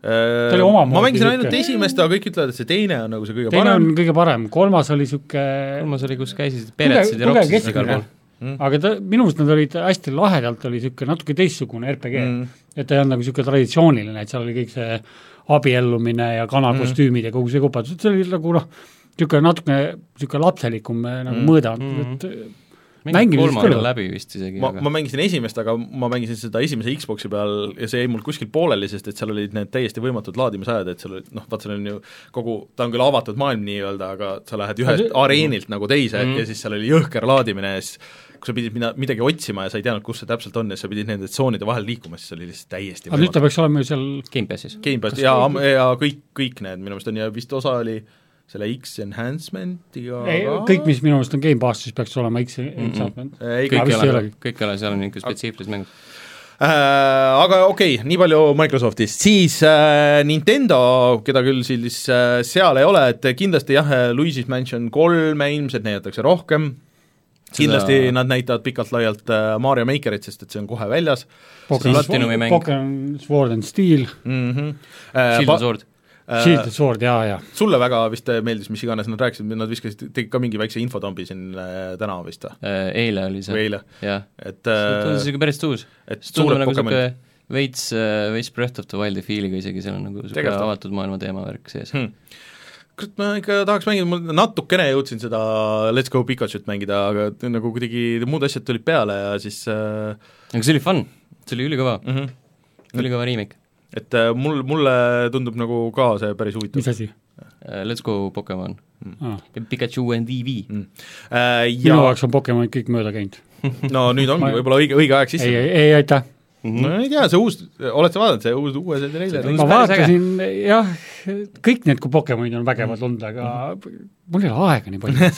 Speaker 3: ta
Speaker 2: oli omamoodi
Speaker 3: ma mängisin ainult
Speaker 2: niisugune-
Speaker 3: esimest , aga kõik ütlevad , et see teine on nagu see kõige
Speaker 2: teine
Speaker 3: parem
Speaker 2: on kõige parem , kolmas oli niisugune
Speaker 4: kolmas oli , kus käisid
Speaker 2: tugev ,
Speaker 4: peretsid ja
Speaker 2: tugev
Speaker 4: ropsisid igal
Speaker 2: keskmine
Speaker 4: pool .,
Speaker 2: aga ta , minu meelest nad olid hästi lahedalt , oli niisugune natuke teistsugune RPG mm. , et ta ei olnud nagu niisugune traditsiooniline , et seal oli kõik see abiellumine ja kanakostüümid mm. ja kogu see kupatus , et see oli nagu noh , niisugune natukene niisukene lapselikum eh, nagu mm. mõõde olnud , et
Speaker 4: mingi
Speaker 2: Mängimine siis
Speaker 4: kolmanda
Speaker 2: küll.
Speaker 4: läbi vist isegi ,
Speaker 3: ma ,
Speaker 4: aga
Speaker 3: ma mängisin esimest , aga ma mängisin seda esimese Xbox'i peal ja see jäi mul kuskil pooleli , sest et seal olid need täiesti võimatud laadimisajad , et seal olid noh , vaat seal on ju kogu , ta on küll avatud maailm nii-öelda , aga sa lähed ühest
Speaker 2: see- Mhm.
Speaker 3: areenilt nagu teise mm. ja siis seal oli jõhker laadimine ja siis kui sa pidid mida , midagi otsima ja sa ei teadnud , kus see täpselt on ja sa pidid nende tsoonide vahel liikuma , siis see oli lihtsalt täiesti
Speaker 2: aga nüüd ta
Speaker 3: võimatu .
Speaker 2: peaks olema ju seal
Speaker 4: Gamepassis .
Speaker 3: Gamepassi ja , ja kõik , kõik need minu meelest on ja vist osa oli selle X-enhancement'iga
Speaker 2: ei,
Speaker 3: ka.
Speaker 2: Eh, kõik , mis minu meelest on Gamepassis , peaks olema X , X-Advent .
Speaker 3: ei,
Speaker 4: kõik
Speaker 2: Aga
Speaker 4: ei
Speaker 2: vist ei
Speaker 4: ole
Speaker 2: olegi. ,
Speaker 4: kõik ei ole , seal on niisugune spetsiifilised mängud .
Speaker 3: Äh, aga okei okay, , nii palju Microsoftist , siis äh, Nintendo , keda küll siis äh, seal ei ole , et kindlasti jah , Luigi's Mansion kolme ilmselt näidatakse rohkem , kindlasti Seda... nad näitavad pikalt-laialt äh, Mario Makerit , sest et see on kohe väljas
Speaker 4: Platinumi mäng.
Speaker 2: Pokemon Sword and Steel ,
Speaker 3: mm . -hmm.
Speaker 4: Shield and Sword .
Speaker 2: Shield and Sword ja , ja
Speaker 3: sulle väga vist äh, meeldis , mis iganes nad rääkisid , nad viskasid , tegid ka mingi väikse infotombi siin äh, täna vist või ,
Speaker 4: eile oli see .
Speaker 3: või eile ,
Speaker 4: jah .
Speaker 3: et
Speaker 4: see tundus
Speaker 3: äh,
Speaker 4: isegi päris tuus .
Speaker 3: et
Speaker 4: see tundub
Speaker 3: suured
Speaker 4: nagu
Speaker 3: Pokemonid
Speaker 4: niisugune veits , veits Breath of the Wildi feel'iga isegi , seal on nagu niisugune
Speaker 3: Tegelikult on.
Speaker 4: avatud maailma teemavärk sees
Speaker 3: Hmm. . kurat , ma ikka tahaks mängida , ma natukene jõudsin seda Let's Go Pikachu't mängida , aga t- nagu kuidagi muud asjad tulid peale ja siis äh,
Speaker 4: aga see oli fun , see oli ülikõva ,
Speaker 3: mm -hmm.
Speaker 4: ülikõva riimik .
Speaker 3: et äh, mul , mulle tundub nagu ka see päris huvitav
Speaker 2: mis . asi
Speaker 4: Äh, Let's go Pokemon .
Speaker 2: ah. ?
Speaker 4: Pikachu and Eevee .
Speaker 3: Äh,
Speaker 2: minu
Speaker 3: ja
Speaker 2: jaoks on Pokemonid kõik mööda käinud .
Speaker 3: no nüüd
Speaker 2: Ma-
Speaker 3: ongi võib-olla õige , õige aeg
Speaker 2: ei ,
Speaker 3: sisse .
Speaker 2: ei , ei aitäh .
Speaker 3: no ei tea , see uus , oled sa vaadanud , see uus uue see treiler ?
Speaker 4: tundus
Speaker 2: ma
Speaker 4: päris äge.
Speaker 2: vaatasin jah , kõik need kui Pokemonid on vägevad olnud , aga mul ei ole aega nii palju .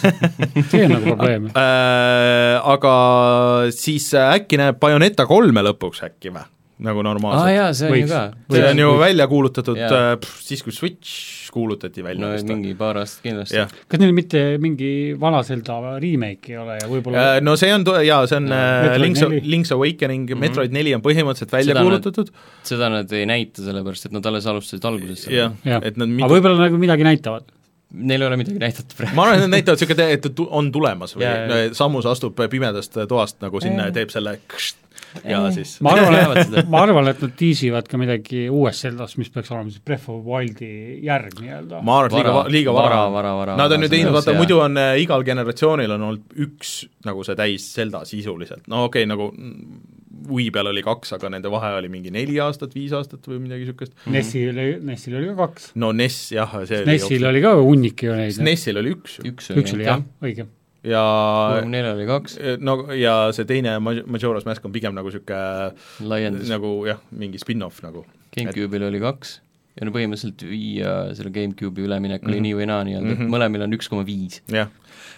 Speaker 2: see on nagu probleem .
Speaker 3: Äh, aga siis äh, äkki näeb Bayoneta kolme lõpuks äkki või ? nagu
Speaker 4: aa
Speaker 3: normaalselt ah, .
Speaker 4: jaa , see on ju
Speaker 2: Võiks.
Speaker 4: ka .
Speaker 3: see on ju
Speaker 2: Võiks.
Speaker 3: välja kuulutatud
Speaker 4: Jaa.
Speaker 3: äh, pff, siis , kui Switch kuulutati välja
Speaker 4: no
Speaker 3: vist või?
Speaker 4: mingi paar aastat kindlasti
Speaker 3: jah .
Speaker 2: kas neil mitte mingi vana Zelda remake ei ole ja võib-olla
Speaker 3: Äh, no see on , jaa , see on äh,
Speaker 2: Metroid
Speaker 3: Link's,
Speaker 2: neli.
Speaker 3: Link's Awakening mm ,
Speaker 4: Mhm.
Speaker 3: -hmm. Metroid neli on põhimõtteliselt välja
Speaker 4: Seda nad-
Speaker 3: kuulutatud ,
Speaker 4: seda nad ei näita , sellepärast et nad alles alustasid alguses .
Speaker 3: jah ,
Speaker 2: jah ,
Speaker 3: et nad
Speaker 2: aga
Speaker 3: mitu ,
Speaker 2: võib-olla nagu midagi näitavad .
Speaker 4: neil ei ole midagi näidata praegu .
Speaker 3: ma arvan , et nad näitavad niisugune , et tu- on tulemas või
Speaker 4: Jaa, jaa.
Speaker 3: yeah. Samus astub pimedast toast nagu sinna ja teeb selle kšt ja siis
Speaker 2: ma arvan ,
Speaker 4: teavad seda.
Speaker 2: et , ma arvan , et nad tiisivad ka midagi uues Zeldas , mis peaks olema siis Breath of the Wildi järg nii-öelda .
Speaker 3: ma arvan , et liiga
Speaker 4: Vara- ,
Speaker 3: liiga vara,
Speaker 4: vara- vara- vara-
Speaker 3: Nad on ju
Speaker 4: vara-
Speaker 3: teinud ,
Speaker 4: see-
Speaker 3: vaata
Speaker 4: jaa.
Speaker 3: muidu on äh, igal generatsioonil on olnud üks nagu see täis Zelda sisuliselt , no okei okay, , nagu mm, Wii peal oli kaks , aga nende vahe oli mingi neli aastat , viis aastat või midagi niisugust .
Speaker 2: Nessil , Nessil oli ka kaks .
Speaker 3: no NES jah , see
Speaker 2: Nessil
Speaker 3: oli,
Speaker 2: oli ka hunnik ju neid .
Speaker 3: NES-il oli üks ju
Speaker 4: üks oli ,
Speaker 2: üks oli jah , õige .
Speaker 3: ja e,
Speaker 4: neil oli kaks ,
Speaker 3: no ja see teine Maj- Majora's Mask on pigem nagu niisugune
Speaker 4: laiendus ,
Speaker 3: nagu jah , mingi spin-off nagu .
Speaker 4: GameCube'il oli kaks ja no põhimõtteliselt viia selle GameCube'i üleminek oli
Speaker 3: Mhm.
Speaker 4: nii või naa nii-öelda ,
Speaker 3: Mhm.
Speaker 4: et mõlemil on üks koma viis .
Speaker 3: jah ,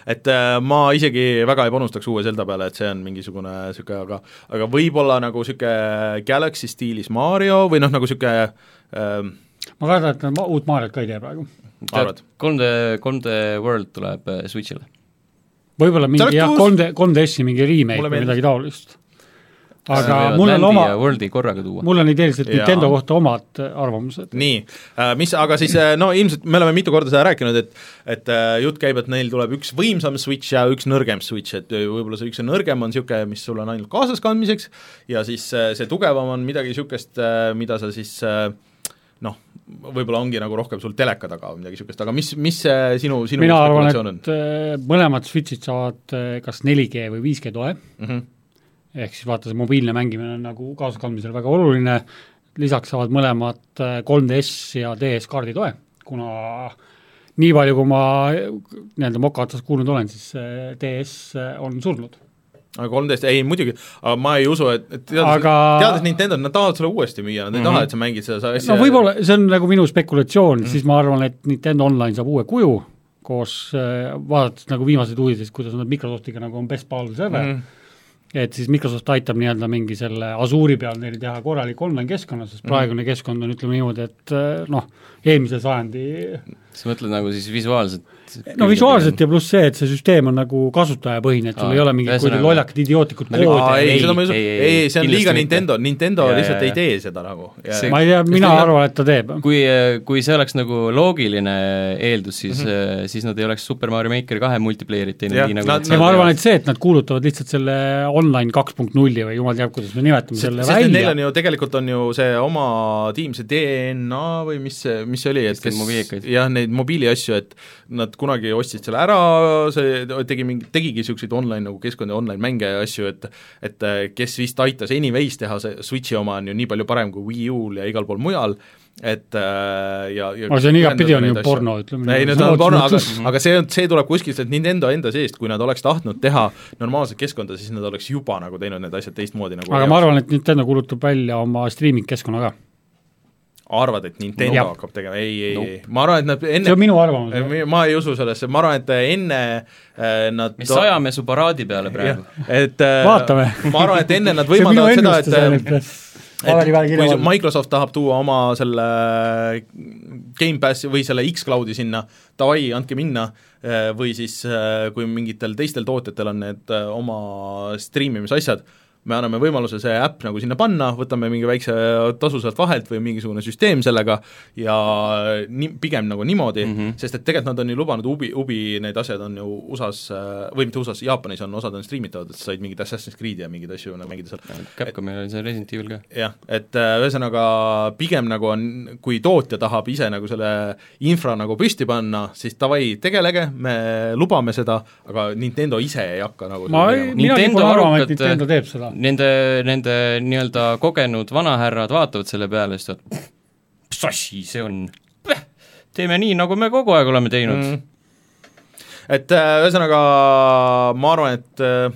Speaker 3: et äh, ma isegi väga ei panustaks uue Zelda peale , et see on mingisugune niisugune , aga aga võib-olla nagu niisugune Galaxy stiilis Mario või noh , nagu niisugune ähm,
Speaker 2: ma kardan , et nad ma- uut Mariot ka ei tee praegu .
Speaker 3: arvad ?
Speaker 4: 3D , 3D World tuleb äh, Switch'ile .
Speaker 2: võib-olla
Speaker 3: oleks
Speaker 2: mingi jah ,
Speaker 3: tõus-
Speaker 2: 3D , 3DS-i mingi remake
Speaker 3: Mulle
Speaker 2: või
Speaker 3: meeldis.
Speaker 2: midagi taolist . aga mul on oma ,
Speaker 4: Worldi korraga tuua .
Speaker 2: mul on ideeliselt
Speaker 3: Jaa.
Speaker 2: Nintendo kohta omad äh, arvamused .
Speaker 3: nii , mis , aga siis äh, no ilmselt me oleme mitu korda seda rääkinud , et et äh, jutt käib , et neil tuleb üks võimsam Switch ja üks nõrgem Switch , et äh, võib-olla see üks nõrgem on niisugune , mis sul on ainult kaasas kandmiseks ja siis äh, see tugevam on midagi niisugust , mida sa siis äh, noh , võib-olla ongi nagu rohkem sul teleka taga või midagi niisugust , aga mis , mis see sinu , sinu
Speaker 2: mina arvan ,
Speaker 3: spekulatsioon
Speaker 2: et äh, mõlemad Switch'id saavad äh, kas 4G või 5G toe ,
Speaker 3: on mm ? -hmm.
Speaker 2: ehk siis vaata , see mobiilne mängimine on nagu kaasaskandmisel väga oluline , lisaks saavad mõlemad äh, 3DS ja DS kaardi toe , kuna nii palju , kui ma äh, nii-öelda moka otsas kuulnud olen , siis äh, DS on surnud .
Speaker 3: aga kolmteist , ei muidugi , aga ma ei usu , et , et teades aga... ,
Speaker 2: Aga- Mhm.
Speaker 3: teades Nintendo't , nad tahavad sulle uuesti müüa , nad ei mm -hmm. taha , et sa mängid seda sa-
Speaker 2: no võib-olla , see on nagu minu spekulatsioon mm. , siis ma arvan , et Nintendo Online saab uue kuju , koos äh, vaadates nagu viimaseid uudiseid , kuidas nad Microsoftiga nagu on best ball ever mm. ,
Speaker 3: mm .
Speaker 2: et siis Microsoft aitab nii-öelda mingi selle Azure'i peal neil teha korralik online-keskkonna , sest praegune keskkond on , ütleme niimoodi , et äh, noh , eelmise sajandi
Speaker 4: sa mõtled nagu siis visuaalselt ?
Speaker 2: no visuaalselt ja pluss see , et see süsteem on nagu kasutajapõhine , et sul
Speaker 4: Aa,
Speaker 2: ei ole mingit kuidagi
Speaker 4: ühesõnaga-
Speaker 2: lollakat idiootlikut
Speaker 4: Me lükkame-
Speaker 2: koodi
Speaker 3: Aa, ei ,
Speaker 4: Ei,
Speaker 3: seda ma ei usu ,
Speaker 4: ei, ei,
Speaker 3: ei , see on
Speaker 4: kindlasti
Speaker 3: liiga
Speaker 4: mitte.
Speaker 3: Nintendo , Nintendo ja,
Speaker 4: Jaa,
Speaker 3: lihtsalt
Speaker 4: jaa,
Speaker 3: ja, ei
Speaker 4: jaa.
Speaker 3: tee seda nagu .
Speaker 4: See-
Speaker 2: ma ei tea , mina arvan , et ta teeb .
Speaker 4: kui , kui see oleks nagu loogiline eeldus , siis
Speaker 2: Mhm.
Speaker 4: mm , -hmm. siis nad ei oleks Super Mario Maker kahe multiplayerit teinud
Speaker 3: Jah,
Speaker 4: nii nagu
Speaker 3: nad-
Speaker 4: nad
Speaker 2: ja
Speaker 3: nad-
Speaker 2: ma
Speaker 4: teevad.
Speaker 2: arvan , et see , et nad kuulutavad lihtsalt selle online kaks punkt nulli või jumal teab , kuidas me nimetame
Speaker 3: sest
Speaker 2: selle
Speaker 3: sest neil
Speaker 2: välja
Speaker 3: on , ju , tegelikult on ju see oma tiim , see DNA või mis see , mis see oli , et
Speaker 4: Kes teeb mobiilikaid.
Speaker 3: jah , neid mobiiliasju , et nad kunagi ostsid selle ära , see tegi mingi , tegigi niisuguseid online nagu keskkondi , online-mänge ja asju , et et äh, kes vist aitas Anyways teha , see Switchi oma on ju nii palju parem kui Wii U-l ja igal pool mujal , et äh, ja, ja
Speaker 2: aga see on igatpidi on ju
Speaker 3: neid asju.
Speaker 2: porno , ütleme
Speaker 3: ei , no
Speaker 2: nii.
Speaker 3: ta on
Speaker 2: Sõna
Speaker 3: porno , aga
Speaker 2: otseses , mõttes.
Speaker 3: aga see on , see tuleb kuskilt sealt Nintendo enda seest , kui nad oleks tahtnud teha normaalset keskkonda , siis nad oleks juba nagu teinud need asjad teistmoodi nagu
Speaker 2: aga ma arvan , et Nintendo kuulutab välja oma striiming-keskkonna ka .
Speaker 3: arvad , et Nintendo
Speaker 2: Nope.
Speaker 3: nope. hakkab tegema , ei , ei nope. ,
Speaker 4: Nope.
Speaker 3: ei , ma arvan , et nad
Speaker 2: see on
Speaker 3: enne
Speaker 2: minu arvamus .
Speaker 3: ma ei usu sellesse , ma arvan , et enne äh, nad
Speaker 4: mis ajame su paraadi peale praegu ?
Speaker 3: *laughs* Jah, et äh,
Speaker 2: Vaatame.
Speaker 3: ma arvan , et enne nad
Speaker 2: *laughs* see on minu
Speaker 3: võimaldavad seda ,
Speaker 2: ennustus ainult
Speaker 3: et , äh, et
Speaker 2: paberi peal
Speaker 3: kui
Speaker 2: kirja
Speaker 3: see
Speaker 2: panna .
Speaker 3: Microsoft tahab tuua oma selle Gamepassi või selle X-Cloudi sinna , davai , andke minna , või siis äh, kui mingitel teistel tootjatel on need äh, oma striimimise asjad , me anname võimaluse see äpp nagu sinna panna , võtame mingi väikse tasu sealt vahelt või mingisugune süsteem sellega ja nii , pigem nagu niimoodi
Speaker 2: Mhm.
Speaker 3: mm , -hmm. sest et tegelikult nad on ju lubanud , Ubi , Ubi need asjad on ju USA-s äh, või mitte USA-s , Jaapanis on , osad on striimitavad , et sa said mingeid Assassin's Creed'i ja mingeid asju nagu mängida seal .
Speaker 4: Capcomil oli see Resident Evil ka .
Speaker 3: jah , et äh, ühesõnaga pigem nagu on , kui tootja tahab ise nagu selle infra nagu püsti panna , siis davai , tegelege , me lubame seda , aga Nintendo ise ei hakka nagu
Speaker 2: ma
Speaker 3: seda
Speaker 2: ei ,
Speaker 3: tegema.
Speaker 2: mina
Speaker 4: Nintendo
Speaker 2: kipun arvama , et
Speaker 4: arukad-
Speaker 2: Nintendo teeb seda .
Speaker 4: Nende , nende nii-öelda kogenud vanahärrad vaatavad selle peale , siis ütlevad , mis asi see on ? teeme nii , nagu me kogu aeg oleme teinud mm. .
Speaker 3: et äh, ühesõnaga ma arvan , et äh,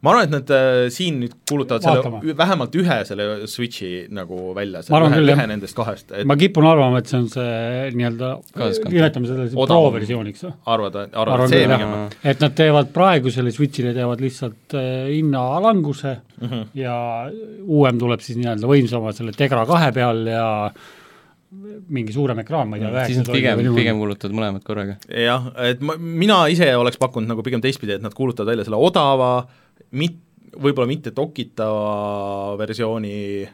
Speaker 3: ma arvan , et nad äh, siin nüüd kuulutavad
Speaker 2: Vaatame.
Speaker 3: selle , vähemalt ühe selle Switchi nagu välja ,
Speaker 2: Ma
Speaker 3: selle
Speaker 2: arvan
Speaker 3: ühe,
Speaker 2: küll, jah.
Speaker 3: ühe nendest kahest , et
Speaker 2: ma kipun arvama , et see on see nii-öelda ,
Speaker 4: Kaasaskant.
Speaker 2: nimetame seda siis
Speaker 3: Odavam.
Speaker 2: pro-versiooniks või ?
Speaker 3: arvad , arvad ,
Speaker 2: arvan
Speaker 3: et see
Speaker 2: küll
Speaker 3: pigem
Speaker 2: jah , et nad teevad praegusele Switchile teevad lihtsalt äh, hinnalanguse mm -hmm. ja uuem tuleb siis nii-öelda võimsama selle Tegra kahe peal ja mingi suurem ekraan , ma ei tea ,
Speaker 4: Mhm. siis nad
Speaker 2: nagu
Speaker 4: pigem , pigem kuulutavad mõlemad korraga .
Speaker 3: jah , et ma , mina ise oleks pakkunud nagu pigem teistpidi , et nad kuulutavad välja selle odava , mit- , võib-olla mitte dokitava versiooni ,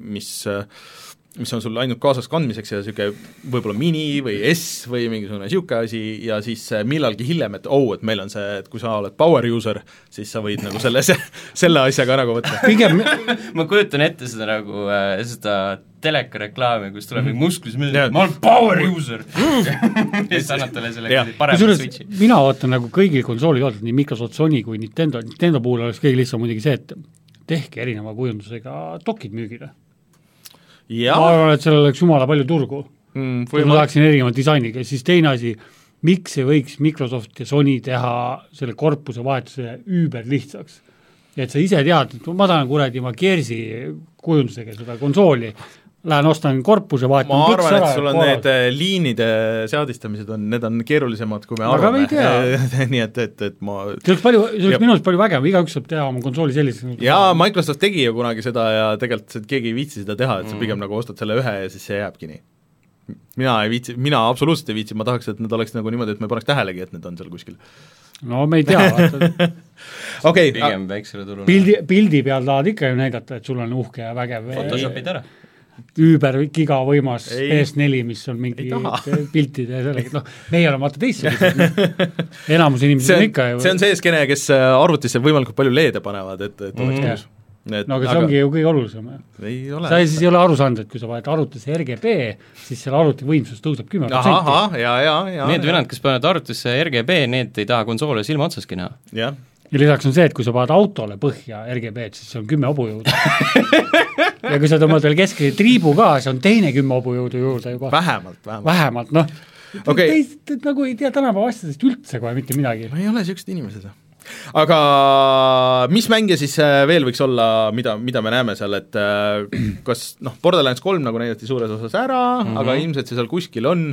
Speaker 3: mis äh, eh, mis on sul ainult kaasas kandmiseks ja niisugune võib-olla mini või S või mingisugune niisugune asi ja siis millalgi hiljem, et oh, et meil on see, et kui sa oled power user, siis sa võid nagu selle, *laughs* selle asjaga nagu võtta .
Speaker 2: pigem
Speaker 4: *laughs* ma kujutan ette seda nagu äh, seda telekareklaami , kus tuleb
Speaker 3: Mhm.
Speaker 4: mingi musklis mees
Speaker 3: Jah. ,
Speaker 4: ma olen power
Speaker 3: *laughs*
Speaker 4: user . ja siis annad talle selle
Speaker 3: Jah.
Speaker 4: kuradi parema
Speaker 2: kusjuures
Speaker 4: switch'i .
Speaker 2: mina vaatan nagu kõigil konsoolil vaadates , nii Microsoft , Sony kui Nintendo , Nintendo puhul oleks kõige lihtsam muidugi see , et tehke erineva kujundusega dokid müügile . ma
Speaker 3: jah , Mm,
Speaker 2: arvan , et sellel oleks jumala palju turgu , kui ma
Speaker 3: võimalik ,
Speaker 2: tahaksin erineva disainiga , siis teine asi , miks ei võiks Microsoft ja Sony teha selle korpuse vahetuse üüberlihtsaks ? et sa ise tead , et ma tahan kuradi oma Gearsi kujundusega seda konsooli , lähen ostan korpuse ,
Speaker 3: ma
Speaker 2: vahetan
Speaker 3: arvan , et sul on need eh, liinide seadistamised on , need on keerulisemad , kui me
Speaker 2: Aga me
Speaker 3: arvame
Speaker 2: ei .
Speaker 3: *laughs* nii et , et , et ma
Speaker 2: see oleks palju , see
Speaker 3: Jah.
Speaker 2: oleks minu arust palju vägevam , igaüks saab teha oma konsooli nagu selliseks .
Speaker 3: jaa , Microsoft tegi ju kunagi seda ja tegelikult see- keegi ei viitsi seda teha , et sa
Speaker 2: Mm.
Speaker 3: pigem nagu ostad selle ühe ja siis see jääbki nii . mina ei viitsi , mina absoluutselt ei viitsi , ma tahaks , et need oleks nagu niimoodi , et me paneks tähelegi , et need on seal kuskil .
Speaker 2: no me ei tea , vaata
Speaker 3: okei okay, ,
Speaker 4: pigem väiksele turule .
Speaker 2: pildi , pildi peal tahad ikka ju näidata , et sul on uhke ja vägev
Speaker 4: Photoshopid ära .
Speaker 2: üüber giga võimas
Speaker 3: Ei.
Speaker 2: PS4 , mis on mingi
Speaker 3: Ei taha.
Speaker 2: *laughs* piltide ja sellega , noh , meie oleme vaata teistsugused , enamus inimesi
Speaker 3: see
Speaker 2: on
Speaker 3: on ,
Speaker 2: ikka
Speaker 3: see
Speaker 2: ju
Speaker 3: on , see skeene , kes äh, arvutisse võimalikult palju LED-e panevad , et , et oleks
Speaker 2: Mhm.
Speaker 3: mõnus .
Speaker 2: no aga see ongi ju kõige olulisem .
Speaker 3: ei Mm. ole .
Speaker 2: sa ei- siis ei ole aru saanud , et kui sa paned arvutisse RGB , siis selle arvuti võimsus tõuseb kümme protsenti .
Speaker 3: ahah , jaa , jaa , jaa .
Speaker 4: Need vennad , kes panevad arvutisse RGB , need ei taha konsoole silma otsaski näha .
Speaker 3: jah ,
Speaker 2: ja lisaks on see , et kui sa paned autole põhja RGB-d , siis see on kümme
Speaker 3: *laughs*
Speaker 2: hobujõudu . ja kui sa tõmbad veel keskele triibu ka , see on teine kümme hobujõudu juurde juba .
Speaker 3: vähemalt , vähemalt .
Speaker 2: vähemalt noh
Speaker 3: Okei.
Speaker 2: okay. , teist et nagu ei tea tänapäeva asjadest üldse kohe mitte midagi .
Speaker 3: ma ei ole niisugused inimesed . aga mis mänge siis äh, veel võiks olla , mida , mida me näeme seal , et äh, kas noh , Borderlands kolm nagu näidati suures osas ära
Speaker 2: Mhm.
Speaker 3: mm , -hmm. aga ilmselt see seal kuskil on ,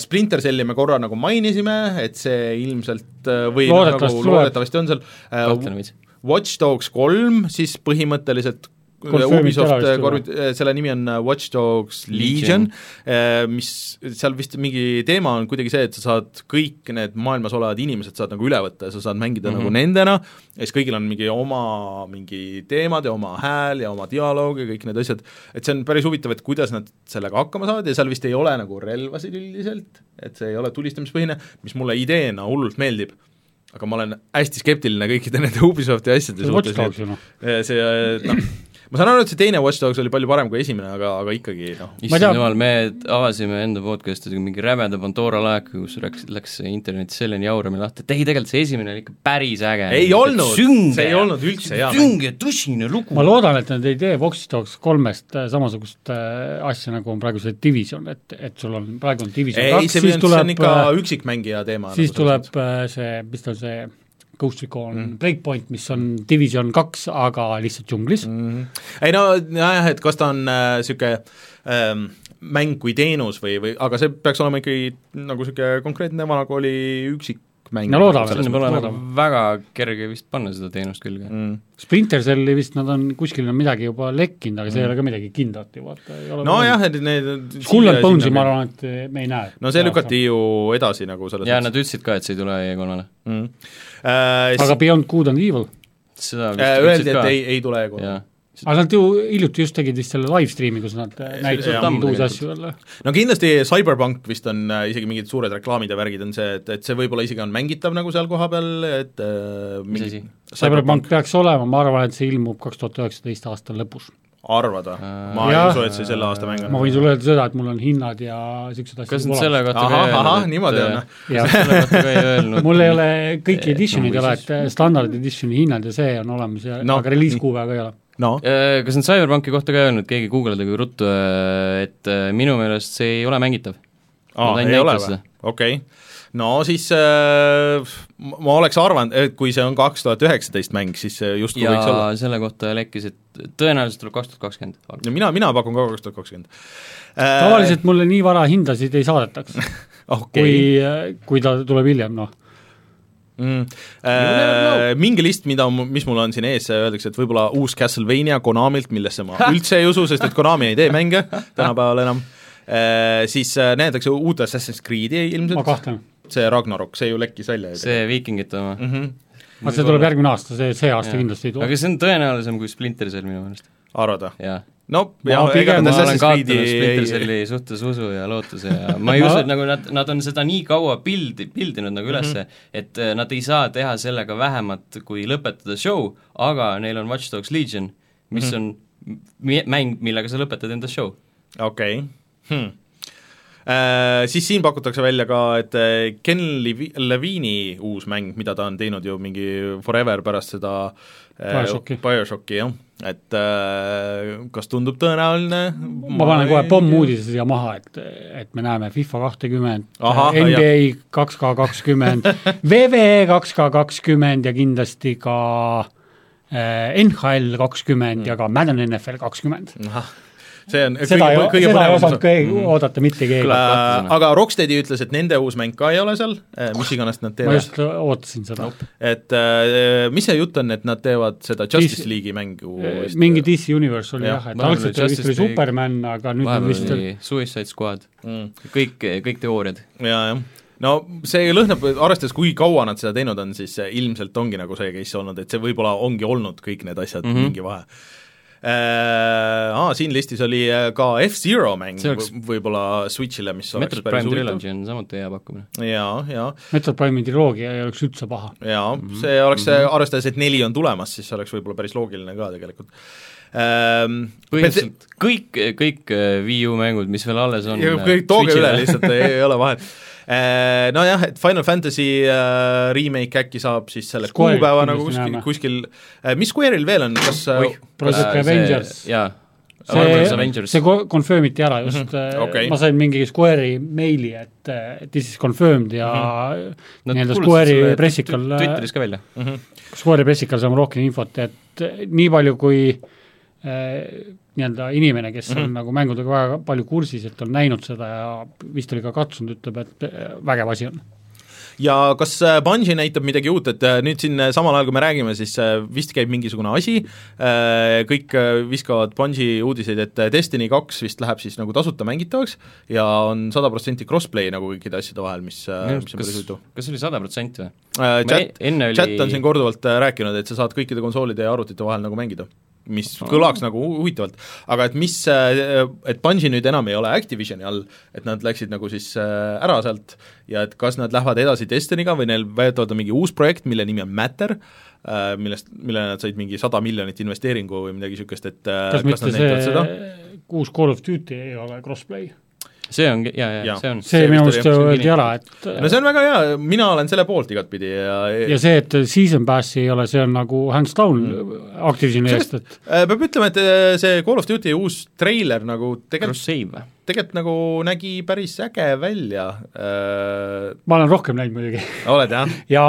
Speaker 3: Splinter Celli me korra nagu mainisime , et see ilmselt äh, või noh,
Speaker 2: Loodetavasti
Speaker 3: nagu
Speaker 2: tuleb.
Speaker 3: loodetavasti on seal
Speaker 4: kahtlen
Speaker 3: äh, ,
Speaker 4: veits .
Speaker 3: Watch Dogs kolm siis põhimõtteliselt äh,
Speaker 2: Confirmid ära
Speaker 3: Ubisoft
Speaker 2: vist juba.
Speaker 3: korv- , äh, selle nimi on Watch Dogs Legion,
Speaker 4: Legion.
Speaker 3: Legion , mis seal vist mingi teema on kuidagi see , et sa saad kõik need maailmas olevad inimesed saad nagu üle võtta ja sa saad mängida mm
Speaker 2: Mhm.
Speaker 3: -hmm. nagu nendena, ja siis kõigil on mingi oma mingi teemad ja oma hääl ja oma dialoog ja kõik need asjad , et see on päris huvitav , et kuidas nad sellega hakkama saavad ja seal vist ei ole nagu relvasid üldiselt , et see ei ole tulistamispõhine , mis mulle ideena hullult meeldib aga ma olen hästi skeptiline kõikide nende Ubisofti asjade
Speaker 2: see on Watch Dogs
Speaker 3: nii
Speaker 2: ju noh .
Speaker 3: et see noh , ma saan aru , et see teine Watch Dogs oli palju parem kui esimene , aga , aga ikkagi noh ,
Speaker 2: Ma ei tea-
Speaker 4: issand jumal , me avasime enda podcast'i mingi rämeda Pandora laeka , kus läks , läks internet selleni jaurami lahti , et ei , tegelikult see esimene oli ikka päris äge .
Speaker 3: Ei olnud, see ei olnud üldse hea mäng.
Speaker 4: sünge , tõsine lugu
Speaker 2: ma . loodan , et nad ei tee Vox Dogs kolmest äh, samasugust äh, asja , nagu on praegu see Division , et , et sul on , praegu on Division
Speaker 3: ei ,
Speaker 2: kaks ,
Speaker 3: see
Speaker 2: siis
Speaker 3: on , see on
Speaker 2: tuleb äh,
Speaker 3: ikka , üksikmängija teema . nagu
Speaker 2: siis tuleb äh, see , mis ta on see , Ghost Recon mm. Breakpoint , mis on Division kaks , aga lihtsalt džunglis mm. .
Speaker 3: ei no jah , et kas ta on niisugune äh, ähm, mäng kui teenus või , või aga see peaks olema ikkagi nagu niisugune konkreetne vanakooli üksikmäng .
Speaker 2: No loodame.
Speaker 4: sinna
Speaker 2: mõttes
Speaker 4: pole nagu
Speaker 2: loodame.
Speaker 4: väga kerge vist panna seda teenust külge mm. .
Speaker 2: Splinter Celli vist nad on kuskil on midagi juba lekkinud , aga see ei ole ka midagi kindlat ju vaata , ei ole
Speaker 3: Mm. nojah , et need
Speaker 2: Skull and Bones'i ma arvan , et eh, me ei näe .
Speaker 3: no see lükati ju edasi nagu selles
Speaker 4: ja nad ütlesid ka , et see ei tule E3-le .
Speaker 3: mm. . Äh,
Speaker 2: aga Beyond Good and Evil
Speaker 4: seda vist
Speaker 3: äh, öeldi ,
Speaker 4: ütlesid
Speaker 3: et
Speaker 4: ka .
Speaker 3: ei , ei tule kohe .
Speaker 4: jaa ,
Speaker 2: aga nad ju hiljuti just tegid vist selle live stream'i , kus nad äh, näitasid
Speaker 4: jaa,
Speaker 2: mingeid
Speaker 4: tegelikult.
Speaker 2: uusi asju jälle .
Speaker 3: no kindlasti Cyberpunk vist on äh, isegi mingid suured reklaamid ja värgid on see , et , et see võib-olla isegi on mängitav nagu seal kohapeal , et äh,
Speaker 4: mis
Speaker 3: mingi-
Speaker 4: asi ?
Speaker 2: Cyberpunk peaks olema , ma arvan , et see ilmub kaks tuhat üheksateist aasta lõpus .
Speaker 3: arvad või ?
Speaker 4: Äh,
Speaker 3: ma ei
Speaker 2: Jah.
Speaker 3: usu , et see selle aasta mäng
Speaker 2: ma
Speaker 3: on .
Speaker 2: võin sulle öelda seda , et mul on hinnad ja niisugused asjad
Speaker 4: kas nad selle kohta ka
Speaker 3: ahah ,
Speaker 4: ei öelnud,
Speaker 3: ahah ,
Speaker 4: et,
Speaker 3: niimoodi on
Speaker 4: äh,
Speaker 3: jah .
Speaker 2: kohta
Speaker 4: selle kohta
Speaker 3: *laughs*
Speaker 4: ka ei öelnud .
Speaker 2: mul ei ole kõiki edition'id ei ole ,
Speaker 4: või
Speaker 2: et standard edition'i hinnad ja see on olemas ja
Speaker 3: No.
Speaker 2: no. aga reliiskuupäeva ei ole .
Speaker 3: no
Speaker 4: Äh, kas nad Cyberpunki kohta ka ei öelnud , keegi guugeldage ruttu , et äh, minu meelest see ei ole mängitav .
Speaker 3: aa , ei ole või ? okei okay. . no siis äh, ma ma oleks arvanud , et kui see on kaks tuhat üheksateist mäng , siis see justkui võiks olla
Speaker 4: ja . selle kohta lekkis , et tõenäoliselt tuleb kaks tuhat kakskümmend .
Speaker 3: no mina , mina pakun ka kaks tuhat kakskümmend .
Speaker 2: tavaliselt mulle nii vara hindasid ei saadetaks , kui
Speaker 3: okei ,
Speaker 2: kui ta tuleb hiljem , noh .
Speaker 3: mm. .
Speaker 4: never
Speaker 3: Äh, mingi list , mida , mis mul on siin ees , öeldakse , et võib-olla uus Castlevania Konamilt , millesse ma üldse ei usu , sest et Konami ei tee mänge tänapäeval enam äh, , siis äh, näidatakse uut Assassin's Creed'i
Speaker 2: ma
Speaker 3: ilmselt ,
Speaker 2: kahtlen .
Speaker 3: see Ragnarok , see ju lekkis välja ju
Speaker 4: see viikingite oma
Speaker 3: tegelikult. mhm.
Speaker 2: aga see tuleb järgmine aasta , see , see aasta kindlasti ei tule
Speaker 4: aga . see on tõenäolisem kui Splinter Cell minu meelest ,
Speaker 3: arvad või ?
Speaker 4: jaa .
Speaker 3: no
Speaker 2: Ma
Speaker 3: jah ,
Speaker 2: pigem
Speaker 3: ega
Speaker 2: ma
Speaker 3: nad
Speaker 4: ma olen
Speaker 3: Assassin's
Speaker 4: kaotanud Splinter
Speaker 3: Creed'i ei ,
Speaker 4: Celli suhtes usu ja lootuse ja
Speaker 3: *laughs*
Speaker 4: ma ei usu , et nagu nad , nad on seda nii kaua pildi , pildinud nagu ülesse
Speaker 3: Mhm.
Speaker 4: mm , -hmm. et eh, nad ei saa teha sellega vähemat kui lõpetada show , aga neil on Watch Dogs Legion ,
Speaker 3: Mhm.
Speaker 4: mis mm -hmm. on mi- mäng , millega sa lõpetad enda show .
Speaker 3: okei hmm. . Siis siin pakutakse välja ka , et eh, Ken Levi- , Levine'i uus mäng , mida ta on teinud ju mingi forever pärast seda eh,
Speaker 2: BioShocki.
Speaker 3: BioShocki jah , et eh, kas tundub tõenäoline ?
Speaker 2: ma panen kohe pommuudise siia maha , et , et me näeme FIFA kahtekümmend ,
Speaker 3: Ahah,
Speaker 2: NBA kaks K
Speaker 3: *laughs*
Speaker 2: kakskümmend , VVE kaks K kakskümmend ja kindlasti ka eh, NHL kakskümmend ja ka Madden NFL kakskümmend .
Speaker 3: see on
Speaker 2: seda ei ,
Speaker 3: Mm. kõige
Speaker 2: seda ei
Speaker 3: põnevam
Speaker 2: osanud
Speaker 3: osa . Mm.
Speaker 2: keegi oodata mitte keegi .
Speaker 3: Äh, aga Rocksteadi ütles , et nende uus mäng ka ei ole seal , mis iganes nad
Speaker 2: ma
Speaker 3: teevad ,
Speaker 2: just ootasin seda .
Speaker 3: et äh, mis see jutt on , et nad teevad seda Justice
Speaker 2: Siis- Äh,
Speaker 3: League'i mängu vist-
Speaker 2: Eh, mingi DC Universe oli
Speaker 3: Jah,
Speaker 2: jah , et
Speaker 4: vahepeal
Speaker 2: algselt
Speaker 4: oli
Speaker 2: vist oli
Speaker 4: Justice League.
Speaker 2: Superman , aga nüüd on
Speaker 4: vahepeal
Speaker 2: vist
Speaker 4: oli Suicide Squad ,
Speaker 3: Mhm. mm.
Speaker 4: kõik , kõik teooriad .
Speaker 3: ja , jah . no see lõhnab , arvestades , kui kaua nad seda teinud on , siis ilmselt ongi nagu see case olnud , et see võib-olla ongi olnud kõik need asjad mm ,
Speaker 4: Mhm.
Speaker 3: -hmm. mingi vahe . Aa, siin listis oli äh, ka F-Zero mäng
Speaker 4: See oleks-
Speaker 3: võ- võib-olla Switch'ile , mis oleks
Speaker 4: Metroid
Speaker 3: päris
Speaker 4: Prime
Speaker 3: huvitav .
Speaker 4: Trilogy on samuti hea pakkumine .
Speaker 3: jaa , jaa ,
Speaker 2: Metal Prime'i triloogia ei oleks üldse paha .
Speaker 3: jaa ,
Speaker 4: Mhm.
Speaker 3: see oleks , arvestades , et neli on tulemas , siis see oleks võib-olla päris loogiline ka tegelikult . Äh,
Speaker 4: põhimõtteliselt kõik , kõik eh, Wii U mängud , mis veel alles on . äh,
Speaker 3: ja kõik tooge üle
Speaker 4: *laughs*
Speaker 3: lihtsalt , ei ole vahet . Nojah , et Final Fantasy äh, remake äkki saab siis selle
Speaker 2: Square'il
Speaker 3: kuupäeva nagu
Speaker 2: kindlasti
Speaker 3: kuskil
Speaker 2: näeme. ,
Speaker 3: kuskil , mis Square'il veel on , kas äh,
Speaker 2: Project Avengers.
Speaker 4: jaa , Marvel's
Speaker 2: see ,
Speaker 4: Avengers
Speaker 2: see . ko- confirm iti ära just mm ,
Speaker 3: okei.
Speaker 2: -hmm. okay. ma sain mingi Square'i meili , et eh, this is confirmed ja mm -hmm.
Speaker 4: Nad
Speaker 2: nii-öelda
Speaker 4: kuulutasid
Speaker 2: Square'i
Speaker 4: selle
Speaker 2: pressikal , äh,
Speaker 4: Twi- Twitteris ka välja .
Speaker 3: Äh,
Speaker 2: Square'i pressikal saame rohkem infot , et eh, nii palju , kui eh, nii-öelda inimene , kes mm -hmm. on nagu mängudega väga palju kursis , et on näinud seda ja vist oli ka katsunud , ütleb , et eh, vägev asi on .
Speaker 3: ja kas äh, Bungie näitab midagi uut , et äh, nüüd siin äh, samal ajal , kui me räägime , siis äh, vist käib mingisugune asi , kõik äh, viskavad Bungie uudiseid , et äh, Destiny kaks vist läheb siis nagu tasuta mängitavaks ja on sada protsenti crossplay nagu kõikide asjade vahel , mis , mis on päris
Speaker 4: kas
Speaker 3: huvitav .
Speaker 4: Mhm. kas see oli sada protsenti või ?
Speaker 3: Äh, Chat ,
Speaker 4: enne
Speaker 3: chat on siin
Speaker 4: oli ,
Speaker 3: korduvalt äh, rääkinud , et sa saad kõikide konsoolide ja arvutite vahel nagu mängida , mis kõlaks nagu hu- huvitavalt , aga et mis , et Bungie nüüd enam ei ole Activisioni all , et nad läksid nagu siis äh, ära sealt ja et kas nad lähevad edasi Destiniga või neil võetud on mingi uus projekt , mille nimi on Matter , millest , millele nad said mingi sada miljonit investeeringu või midagi niisugust , et äh,
Speaker 2: kas mitte
Speaker 3: nad näitavad
Speaker 2: see uus Call of Duty ei ole crossplay ?
Speaker 4: see on , jaa ,
Speaker 3: Jaa.
Speaker 4: jaa , see on .
Speaker 2: see,
Speaker 3: See
Speaker 2: see minu
Speaker 3: vist
Speaker 2: meelest
Speaker 3: oli-
Speaker 2: öeldi ära , et
Speaker 3: no see on väga hea , mina olen selle poolt igatpidi ja,
Speaker 2: ja see , et season pass'i ei ole , see on nagu hands down mm. Activisioni eest , et
Speaker 3: Äh, peab ütlema , et äh, see Call of Duty uus treiler nagu tegelikult
Speaker 4: Crusade või ?
Speaker 3: tegelikult nagu nägi päris äge välja äh, .
Speaker 2: ma olen rohkem näinud muidugi *laughs*
Speaker 3: oled jah ?
Speaker 4: *laughs*
Speaker 2: ja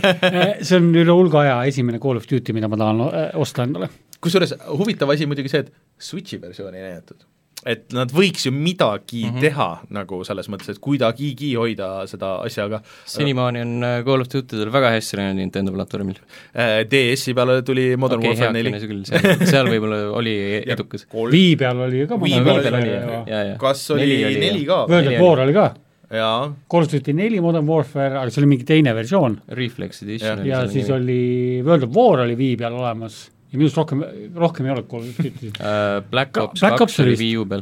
Speaker 2: see on üle hulga aja esimene Call of Duty , mida ma tahan äh, osta endale .
Speaker 3: kusjuures huvitav asi muidugi see , et Switchi versiooni ei näidatud . et nad võiks ju midagi mm -hmm. teha nagu selles mõttes , et kuidagigi hoida seda asja ka .
Speaker 4: senimaani on äh, Call of Duty tal väga hästi läinud Nintendo platvormil .
Speaker 3: DS-i äh, peale tuli Modern okay, Warfare neli .
Speaker 4: küll , seal ,
Speaker 3: *laughs*
Speaker 4: seal võib-olla oli e- edukas .
Speaker 2: Wii peal oli ka .
Speaker 3: Wii
Speaker 4: peal oli jah ,
Speaker 2: World
Speaker 4: jaa , jaa .
Speaker 3: kas oli neli ka ?
Speaker 2: at
Speaker 4: Neli
Speaker 2: War oli ka ,
Speaker 3: jaa ,
Speaker 2: Call of Duty neli Modern Warfare , aga see oli mingi teine versioon
Speaker 4: Reflex Edition
Speaker 2: ja siis . oli World of War oli Wii peal olemas ja minu arust rohkem , rohkem ei olnud Call of Duty't .
Speaker 4: Äh, Black Ops
Speaker 2: Black Ops
Speaker 4: kaks oli
Speaker 2: oli
Speaker 4: Wii U peal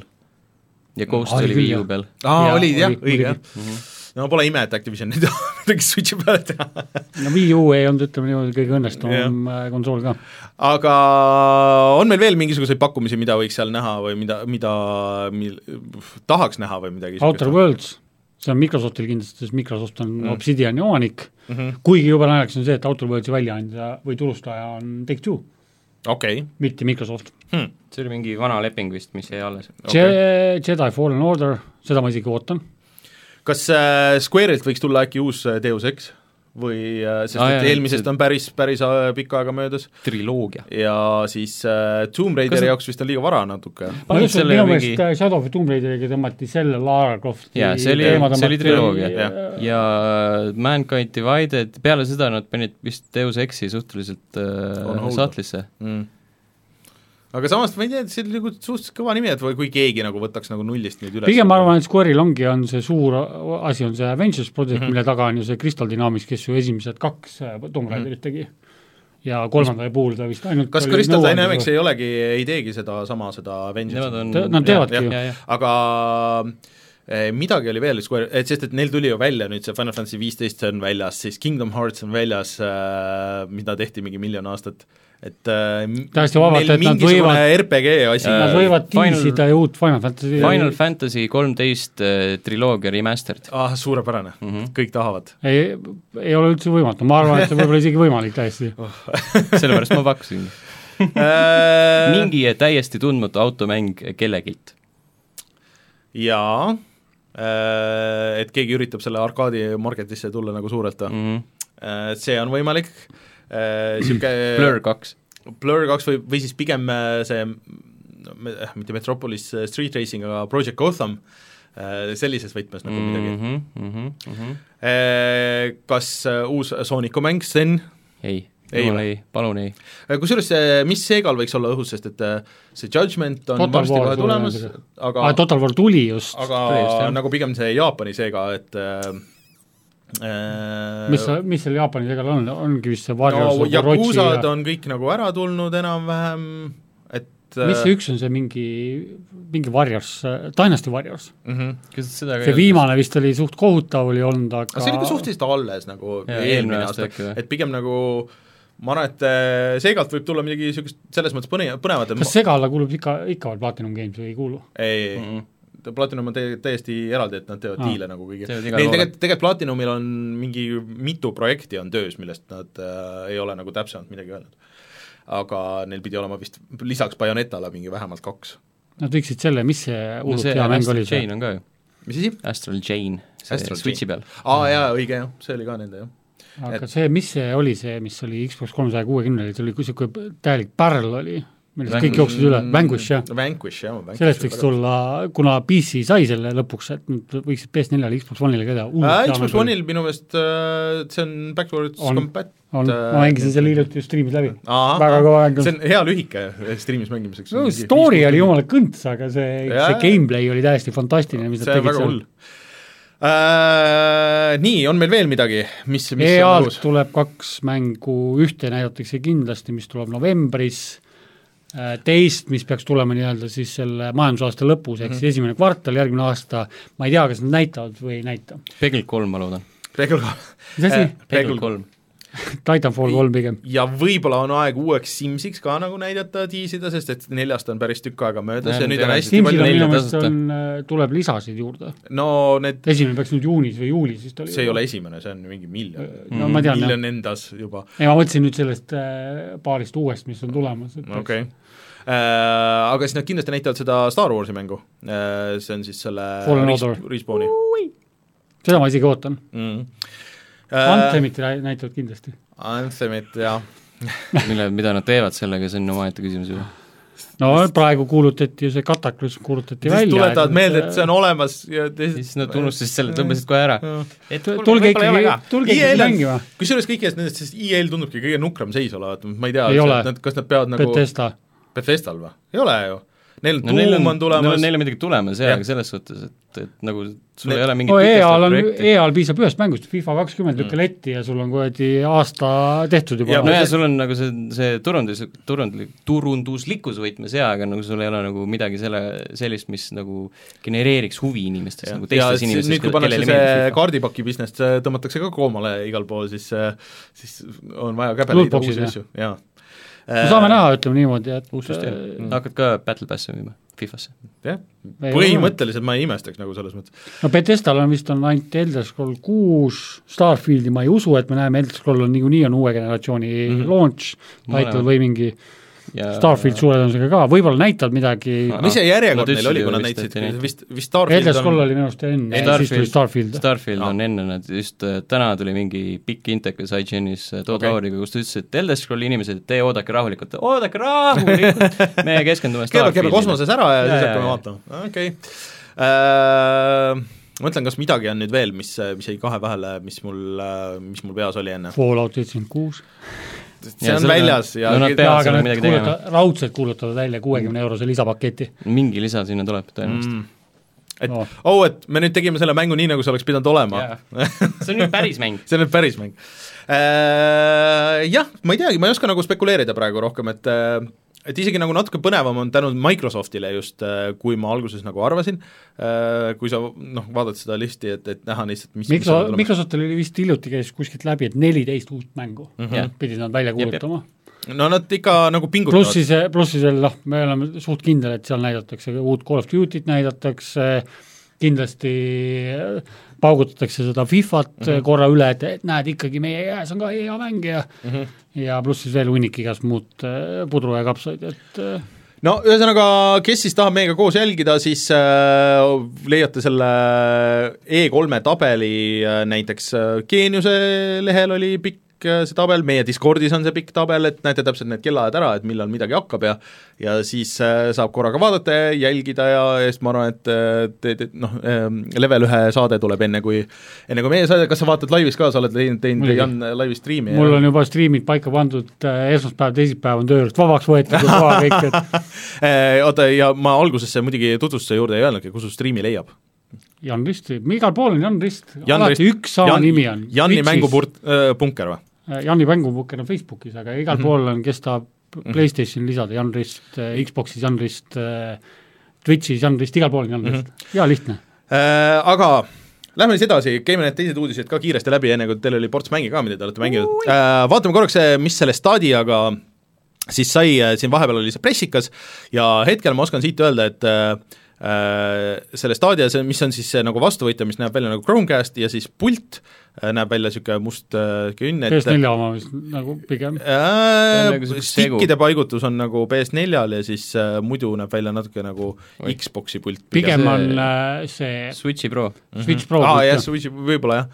Speaker 4: ja Ghost
Speaker 2: Oli
Speaker 4: oli
Speaker 2: küll,
Speaker 4: Wii U
Speaker 2: jah.
Speaker 4: peal .
Speaker 3: aa ,
Speaker 2: Jaa,
Speaker 3: olid jah ,
Speaker 2: oli-
Speaker 3: õige jah
Speaker 2: oligi.
Speaker 3: no pole ime , et Activision ei taha *laughs* midagi Switchi peale teha .
Speaker 2: no Wii U ei olnud , ütleme niimoodi , kõige õnnestunum äh, konsool ka .
Speaker 3: aga on meil veel mingisuguseid pakkumisi , mida võiks seal näha või mida , mida mil, tahaks näha või midagi
Speaker 2: Outer ? Worlds , see on Microsoftil kindlasti , sest Microsoft on mm. Obsidiani omanik mm ,
Speaker 4: Mhm.
Speaker 2: -hmm. kuigi jube naljakas on see , et Outer Worldsi väljaandja või turustaja on Take-Two ,
Speaker 3: okei okay. ,
Speaker 2: mitte Microsoft
Speaker 4: see oli mingi vana leping vist , mis jäi alles .
Speaker 2: okay. . Je- , Jedi Fallen Order , seda ma isegi ootan ,
Speaker 3: kas äh, Square'ilt võiks tulla äkki uus äh, Deus Ex või äh, sest
Speaker 4: Aa,
Speaker 3: ah,
Speaker 4: jaa,
Speaker 3: et
Speaker 4: et
Speaker 3: eelmisest
Speaker 4: see-
Speaker 3: on päris , päris äh, pikka aega möödas
Speaker 4: triloogia .
Speaker 3: ja siis äh, Tomb Raideri jaoks vist on liiga vara natuke .
Speaker 2: ma
Speaker 4: Panid
Speaker 2: just ,
Speaker 4: selle
Speaker 2: minu
Speaker 4: mingi-
Speaker 2: meelest mingi... Shadow of the Tomb Raideriga tõmmati selle Lara Crofti
Speaker 4: Jaa, see oli-
Speaker 2: teema
Speaker 4: see oli
Speaker 2: tõmmati-
Speaker 4: triloogia.
Speaker 3: Jah.
Speaker 4: ja Mankind Divided , peale seda nad panid vist Deus Exi suhteliselt
Speaker 3: On
Speaker 4: äh,
Speaker 3: hold.
Speaker 4: sahtlisse .
Speaker 3: Mm. aga samas ma ei tea , see on nagu suhteliselt kõva nimi , et või kui keegi nagu võtaks nagu nullist nüüd üles .
Speaker 2: pigem ma arvan , et Square'il ongi , on see suur asi , on
Speaker 4: Mhm.
Speaker 2: see
Speaker 4: Mhm.
Speaker 2: Avengers Project mm , -hmm. mille taga on ju see Crystal Dynamics , kes ju esimesed kaks äh, Tomb Raiderit tegi . ja kolmanda puhul ta vist ainult
Speaker 3: kas
Speaker 2: oli
Speaker 3: Crystal
Speaker 2: nõuandev-
Speaker 3: Dynamics ei olegi , ei teegi sedasama , seda
Speaker 4: Nemad
Speaker 3: Vengeance'i ?
Speaker 4: on
Speaker 2: Te- nad teevadki ju.
Speaker 3: aga eh, midagi oli veel , Square , et sest , et neil tuli ju välja nüüd see Final Fantasy viisteist on väljas , siis Kingdom Hearts on väljas , mida tehti mingi miljon aastat , et eh, m-
Speaker 2: Täiesti vabalt,
Speaker 3: neil
Speaker 2: et nad
Speaker 3: mingisugune
Speaker 2: võivad-
Speaker 3: RPG asi Äh,
Speaker 2: Nad võivad
Speaker 4: Final-
Speaker 2: tiisida ju uut Final Fantasy
Speaker 4: Final Fantasy kolmteist äh, triloogia remastered .
Speaker 3: ah , suurepärane mm , -hmm. kõik tahavad .
Speaker 2: ei , ei ole üldse võimatu , ma arvan , et see võib olla isegi võimalik täiesti .
Speaker 4: sellepärast ma
Speaker 2: *laughs*
Speaker 4: pakkusin .
Speaker 3: Äh,
Speaker 2: Äh.
Speaker 4: mingi täiesti tundmatu automäng kellegilt .
Speaker 3: jaa , äh, et keegi üritab selle arkaadi marketisse tulla nagu suurelt või mm. ? see on võimalik , Äh, niisugune
Speaker 4: Blur kaks .
Speaker 3: Blur kaks või , või siis pigem äh, see no, me- äh, mitte Metropolis äh, Street Racing , aga Project Gotham , sellises võtmes nagu mm -hmm.
Speaker 2: Mhm.
Speaker 3: midagi .
Speaker 4: Mhm,
Speaker 3: Kas äh, uus Sooniku mäng , Sten ,
Speaker 4: ei ,
Speaker 3: Ei
Speaker 4: jumal
Speaker 3: või?
Speaker 4: ei , palun ei .
Speaker 3: kusjuures see , mis Segal võiks olla õhus , sest et äh, see Judgment on
Speaker 2: Total
Speaker 3: varsti
Speaker 2: War
Speaker 3: kohe
Speaker 2: suure
Speaker 3: tulemas ,
Speaker 2: tõenäosusega.
Speaker 3: aga
Speaker 2: aa , Total War tuli just ,
Speaker 3: aga
Speaker 4: Tõesti, jah.
Speaker 3: nagu pigem see Jaapani seega , et äh,
Speaker 2: mis , mis seal Jaapani tegal on , ongi vist see Warriors
Speaker 3: no
Speaker 2: of Orochi ja
Speaker 3: Yakuusad on kõik nagu ära tulnud enam-vähem , et äh,
Speaker 2: mis see üks on , see mingi , mingi Warriors , Dynasty Warriors .
Speaker 3: mm -hmm.
Speaker 4: kas seda
Speaker 2: see viimane vist oli suht kohutav oli olnud , aga
Speaker 3: aga see oli ka suhteliselt alles nagu
Speaker 4: Jaa,
Speaker 3: eelmine aasta ,
Speaker 4: äkki või?
Speaker 3: et pigem nagu ma arvan , et äh, seegalt võib tulla midagi niisugust selles mõttes põne- , põnevat , et
Speaker 2: kas
Speaker 3: ma...
Speaker 2: sega alla kuulub ikka , ikka veel Platinum Games või ei kuulu ?
Speaker 3: ei , ei mm , -hmm. Platinum on täie- täiesti eraldi , et nad teevad
Speaker 2: Aa.
Speaker 3: diile nagu kõige ,
Speaker 4: Teevad
Speaker 3: neil
Speaker 4: igal pool.
Speaker 3: tegelikult , tegelikult Platinumil on mingi mitu projekti on töös , millest nad äh, ei ole nagu täpsemalt midagi öelnud . aga neil pidi olema vist lisaks Bayonettale mingi vähemalt kaks .
Speaker 2: Nad võiksid selle , mis see
Speaker 4: no
Speaker 2: hullult
Speaker 4: see
Speaker 2: hea mäng
Speaker 4: Astral
Speaker 2: oli see
Speaker 4: Chain , on ka ju ,
Speaker 3: mis asi ?
Speaker 4: Astral Chain ,
Speaker 3: Astral
Speaker 4: see Switchi peal .
Speaker 3: aa jaa , õige jah , see oli ka nende jah .
Speaker 2: aga see , mis see oli see , mis oli Xbox kolmesaja kuuekümnel , see oli niisugune täielik pärl oli , millest kõik
Speaker 4: Vanquish.
Speaker 2: jooksid üle , Vanquish jah .
Speaker 3: Vanquish jah , Vanquish .
Speaker 2: sellest võiks tulla , kuna PC sai selle lõpuks , et nüüd võiksid PS4-le , Xbox One'ile ka teha
Speaker 3: Äh, . Xbox One'il minu meelest äh, see on backwards
Speaker 2: On.
Speaker 3: on. compat- .
Speaker 2: on , ma mängisin selle hiljuti just stream'is läbi . väga
Speaker 3: väga
Speaker 2: kõva mäng
Speaker 3: Äh, see
Speaker 2: on .
Speaker 3: on hea lühike stream'is mängimiseks .
Speaker 2: no story oli jumala kõnts , aga see ,
Speaker 3: Jaa.
Speaker 2: see gameplay oli täiesti fantastiline , mis nad
Speaker 3: see on
Speaker 2: tegid
Speaker 3: väga
Speaker 2: seal
Speaker 3: hull . nii , on meil veel midagi , mis , mis on
Speaker 2: EA-lt
Speaker 3: uus ?
Speaker 2: E tuleb kaks mängu , ühte näidatakse kindlasti , mis tuleb novembris , teist , mis peaks tulema nii-öelda siis selle majandusaasta lõpus ,
Speaker 3: Mhm.
Speaker 2: ehk siis esimene kvartal , järgmine aasta , ma ei tea , kas nad näitavad või ei näita .
Speaker 4: Pegel kolm , ma loodan .
Speaker 3: Reegel
Speaker 2: mis asi ?
Speaker 3: Äh,
Speaker 4: Pegel
Speaker 3: kolm .
Speaker 4: kolm .
Speaker 2: Titanfall kolm pigem .
Speaker 3: ja võib-olla on aeg uueks Simsiks ka nagu näidata , diisida , sest et neljast on päris tükk aega möödas
Speaker 4: Jah,
Speaker 3: ja nüüd on
Speaker 4: jah.
Speaker 3: hästi
Speaker 2: Steamsil on
Speaker 3: palju ,
Speaker 4: neile
Speaker 2: minu meelest
Speaker 4: tasuta.
Speaker 2: on , tuleb lisasid juurde ,
Speaker 3: no need ,
Speaker 2: esimene peaks nüüd juunis või juulis vist oli .
Speaker 3: see ei ole esimene , see on mingi miljon .
Speaker 2: no ma tean jah ,
Speaker 3: miljon endas juba
Speaker 2: ei ma mõtlesin nüüd sellest äh, paarist uuest , mis on tulemas , et
Speaker 3: okei okay. . Aga siis nad kindlasti näitavad seda Star Warsi mängu , see on siis selle
Speaker 2: Fallen
Speaker 3: Res-
Speaker 2: Order.
Speaker 3: Respawni
Speaker 2: seda ma isegi ootan ,
Speaker 3: mm. .
Speaker 2: Anthemit nä- näitavad kindlasti .
Speaker 3: Anthemit , jah .
Speaker 4: mille , mida nad teevad sellega , see on omaette küsimus juba .
Speaker 2: no praegu kuulutati ju see Kataklysm kuulutati
Speaker 3: siis
Speaker 2: välja .
Speaker 3: tuletavad meelde , et see on olemas ja teised
Speaker 4: siis nad unustasid selle , tõmbasid kohe ära .
Speaker 2: tulge ikkagi , tulge ikkagi
Speaker 3: EA-l on ,
Speaker 2: mängima ,
Speaker 3: E kusjuures kõikidest nendest , sest EA-l tundubki kõige nukram seis olevat , ma ei tea
Speaker 2: Ei , ole.
Speaker 3: nad , kas nad peavad nagu
Speaker 2: Bethesda .
Speaker 3: Bethestal või ? ei ole ju . Neil
Speaker 4: no
Speaker 3: no,
Speaker 4: neil
Speaker 3: Doom
Speaker 4: on
Speaker 3: on , tulemas
Speaker 4: neil on midagi tulemas jaa ,
Speaker 3: Jah.
Speaker 4: aga selles suhtes , et , et nagu sul
Speaker 3: Need-
Speaker 4: ei ole mingit
Speaker 2: no
Speaker 4: tõkestavat
Speaker 2: EA-l Oh, E on ,
Speaker 4: projekti.
Speaker 2: EA-l piisab ühest mängust , FIFA kakskümmend lükka letti ja sul on kuradi aasta tehtud juba
Speaker 3: Ja- .
Speaker 4: no Mm. ja sul on nagu see , see turundus , turundlik , turunduslikus võtmes jaa , aga nagu sul ei ole nagu midagi selle , sellist , mis nagu genereeriks huvi inimestes , nagu
Speaker 3: ja
Speaker 4: teistes
Speaker 3: siis
Speaker 4: inimestes ,
Speaker 3: nüüd , kui pannakse
Speaker 4: kellele
Speaker 3: see
Speaker 4: meeldib FIFA .
Speaker 3: kaardipaki business , tõmmatakse ka koomale igal pool , siis , siis on vaja käbe leida
Speaker 2: Lootbox'is,
Speaker 3: uusi
Speaker 2: jah.
Speaker 3: asju , jaa .
Speaker 2: no saame näha , ütleme niimoodi , et
Speaker 4: äh,
Speaker 2: äh,
Speaker 4: uus süsteem , hakkad ka Battle Passi müüma FIFA-sse .
Speaker 3: jah ,
Speaker 2: Ei
Speaker 3: põhimõtteliselt ma ei imestaks nagu selles mõttes .
Speaker 2: no Bethesdal on vist , on ainult Elder Scroll kuus , Starfieldi ma ei usu , et me näeme , Elder Scroll on niikuinii on uue generatsiooni mm -hmm. launch , title
Speaker 4: Mõlemad.
Speaker 2: või mingi
Speaker 4: Mhm. ja
Speaker 2: Starfield suure tõenäosusega ka , võib-olla näitavad midagi
Speaker 4: Aga
Speaker 3: aga mis see
Speaker 4: nad
Speaker 3: järjekord neil
Speaker 4: ütlesid
Speaker 3: oli ,
Speaker 4: ju
Speaker 3: kui nad
Speaker 4: vist, et
Speaker 3: näitasid
Speaker 4: ei , näita.
Speaker 3: vist , vist
Speaker 2: Elder
Speaker 3: Starfield
Speaker 2: Scroll
Speaker 3: on
Speaker 2: oli minu arust enne , siis tuli
Speaker 4: Starfield ,
Speaker 2: Starfield .
Speaker 4: Starfield
Speaker 3: Aa.
Speaker 4: on enne , nad just äh, täna tuli mingi pikk intekas IGN-is äh, Todd
Speaker 3: Okei.
Speaker 4: Howard'iga , kus ta ütles , et Elder Scrolli inimesed , et te oodake rahulikult , oodake rahulikult , me
Speaker 2: *laughs*
Speaker 3: keelame ,
Speaker 4: keskendume
Speaker 3: keelame
Speaker 4: Starfieldile .
Speaker 3: kosmoses ära ja, ja
Speaker 4: Jaa,
Speaker 3: siis
Speaker 4: jaa,
Speaker 3: hakkame
Speaker 4: jaa.
Speaker 3: vaatama , okei okay. . mõtlen , kas midagi on nüüd veel , mis , mis jäi kahe vahele , mis mul , mis mul peas oli enne .
Speaker 2: Fallout seitsekümmend kuus .
Speaker 3: see
Speaker 4: Ja
Speaker 3: on
Speaker 4: selle-
Speaker 3: väljas ja
Speaker 4: no nad
Speaker 3: no,
Speaker 4: peavad- seal
Speaker 2: jaa , aga
Speaker 4: on
Speaker 2: nad
Speaker 4: midagi
Speaker 2: kuuluta- , raudselt kuulutavad välja kuuekümne eurose lisapaketi .
Speaker 4: mingi lisa sinna tuleb tõenäoliselt mm. .
Speaker 3: et
Speaker 2: No.
Speaker 3: no. oh , et me nüüd tegime selle mängu nii , nagu see oleks pidanud olema *laughs*
Speaker 2: *laughs* Mm.
Speaker 4: see on nüüd päris mäng .
Speaker 3: see on nüüd päris mäng . Jah , ma ei teagi , ma ei oska nagu spekuleerida praegu rohkem , et äh, et isegi nagu natuke põnevam on tänu Microsoftile just , kui ma alguses nagu arvasin , kui sa noh , vaatad seda listi , et , et näha lihtsalt , mis
Speaker 2: Mikro , Microsoftil oli vist hiljuti käis kuskilt läbi , et neliteist uut mängu
Speaker 4: Jah.
Speaker 2: mm -hmm. pidid nad välja
Speaker 4: Jep, jep.
Speaker 2: kuulutama .
Speaker 3: no nad ikka nagu
Speaker 2: pluss
Speaker 3: pingutavad .
Speaker 2: siis , pluss siis veel noh , me oleme suht kindel , et seal näidatakse uut Call of Duty't näidatakse , kindlasti äh, paugutatakse seda Fifat mm
Speaker 4: Mhm.
Speaker 2: -hmm. korra üle , et , et näed , ikkagi meie käes on ka hea mäng ja mm
Speaker 4: Mhm.
Speaker 2: -hmm. ja pluss siis veel hunnik igast muud eh, pudru ja kapsaid , et eh,
Speaker 3: no ühesõnaga , kes siis tahab meiega koos jälgida , siis äh, leiate selle E3-e tabeli äh, näiteks äh, Geeniuse lehel oli pikk äh, see tabel , meie Discordis on see pikk tabel , et näete täpselt need kellaajad ära , et millal midagi hakkab ja ja siis äh, saab korraga vaadata ja jälgida ja ja siis ma arvan , et äh, te , te noh , level ühe saade tuleb enne , kui enne kui meie saade , kas sa vaatad laivis ka , sa oled teinud , teinud
Speaker 2: Muidugi.
Speaker 3: Jan äh, laivi striimi ?
Speaker 2: mul
Speaker 3: *laughs*
Speaker 2: on juba striimid paika pandud , esmaspäev , teisipäev on töö juurest vabaks võetud ja kohe kõik , et
Speaker 3: Eh, oota , ja ma algusesse muidugi tutvustuse juurde ei öelnudki , kus su striimi leiab .
Speaker 2: Jan Rist , igal pool on Jan Rist ,
Speaker 3: Jan
Speaker 2: alati
Speaker 3: Rist-
Speaker 2: üks sama
Speaker 3: Jan-
Speaker 2: nimi on .
Speaker 3: Janni mängupurt- , punker või ?
Speaker 2: Jani mängupukker on Facebookis , aga
Speaker 3: Mhm.
Speaker 2: igal mm -hmm. pool on , kes tahab PlayStationi lisada , Jan Rist , Xbox'is Jan Rist , Twitch'is Jan Rist , igal pool on
Speaker 3: Mhm.
Speaker 2: Jan Rist mm , -hmm. hea lihtne .
Speaker 3: Äh, Aga lähme siis edasi , käime need teised uudised ka kiiresti läbi , enne kui teil oli ports mänge ka , mida te olete mänginud . Vaatame korraks , mis selle Stadiaga siis sai , siin vahepeal oli see pressikas ja hetkel ma oskan siit öelda , et äh, selle Stadia , see , mis on siis see nagu vastuvõtja , mis näeb välja nagu Chromecast ja siis pult äh, näeb välja niisugune must äh, künn , et
Speaker 2: PS4 oma vist nagu pigem ,
Speaker 4: on
Speaker 3: Äh,
Speaker 4: nagu siukene segu.
Speaker 3: stikkide paigutus on nagu PS4-l ja siis äh, muidu näeb välja natuke nagu Oi. Xboxi pult .
Speaker 2: pigem
Speaker 4: see-
Speaker 2: on äh, see
Speaker 4: Switchi Pro .
Speaker 2: Switch Pro
Speaker 3: aa Mhm. jah ,
Speaker 2: ah, ,
Speaker 3: võib-olla jah .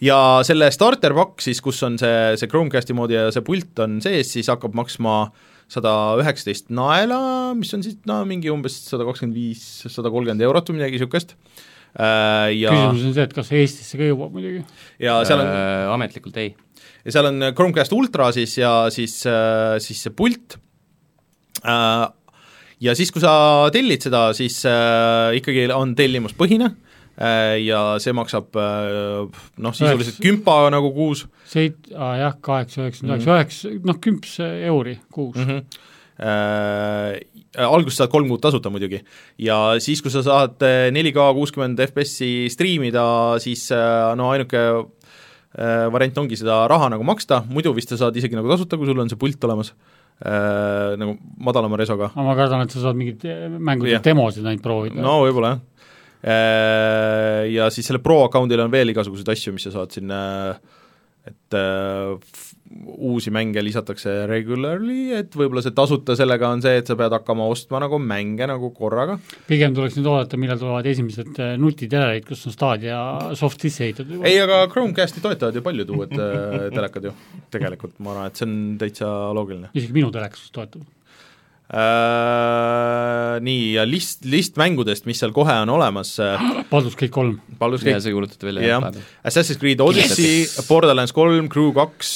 Speaker 3: ja selle starter pakk siis , kus on see , see Chromecasti moodi ja see pult on sees , siis hakkab maksma sada üheksateist naela , mis on siis no mingi umbes sada kakskümmend viis , sada kolmkümmend eurot või midagi niisugust äh, ja ,
Speaker 2: küsimus on see , et kas Eestisse ka jõuab muidugi .
Speaker 3: ja seal
Speaker 4: Äh,
Speaker 3: on
Speaker 4: ametlikult ei .
Speaker 3: ja seal on äh, Chromecast Ultra siis ja siis , siis see pult Äh, ja siis , kui sa tellid seda , siis äh, ikkagi on tellimuspõhine äh, ja see maksab äh, noh , sisuliselt
Speaker 2: Üheksa-
Speaker 3: kümpa nagu kuus
Speaker 2: Seit- , aa jah , kaheksa ,
Speaker 3: Mhm.
Speaker 2: üheksakümmend üheksa , üheksa , noh kümps euri kuus mm .
Speaker 3: mm . -hmm. Äh, alguses saad kolm kuud tasuta muidugi ja siis , kui sa saad äh, 4K kuuskümmend FPS-i striimida , siis äh, no ainuke äh, variant ongi seda raha nagu maksta , muidu vist sa saad isegi nagu tasuta , kui sul on see pult olemas äh, , nagu madalama resoga .
Speaker 2: aga ma kardan , et sa saad mingeid eh, mängude
Speaker 3: Jah.
Speaker 2: yeah. demosid ainult proovida
Speaker 3: no võib-olla jah . Ja siis selle pro account'il on veel igasuguseid asju , mis sa saad sinna , et äh, f- uusi mänge lisatakse regularly , et võib-olla see tasuta sellega on see , et sa pead hakkama ostma nagu mänge nagu korraga .
Speaker 2: pigem tuleks nüüd oodata , millal tulevad esimesed eh, nutitelerid , kus on staadia soft sisse ehitatud juba .
Speaker 3: ei , aga Chromecasti toetavad ju paljud uued äh, telekad ju , tegelikult ma arvan , et see on täitsa loogiline .
Speaker 2: isegi minu telekas toetub .
Speaker 3: Äh, Nii , ja list , list mängudest , mis seal kohe on olemas , äh,
Speaker 2: Paldus kõik kolm .
Speaker 3: Paldus
Speaker 4: ja
Speaker 3: Gate
Speaker 4: see kuulutati välja
Speaker 3: jah , Assassin's Creed Odyssey , Borderlands kolm , Crew kaks ,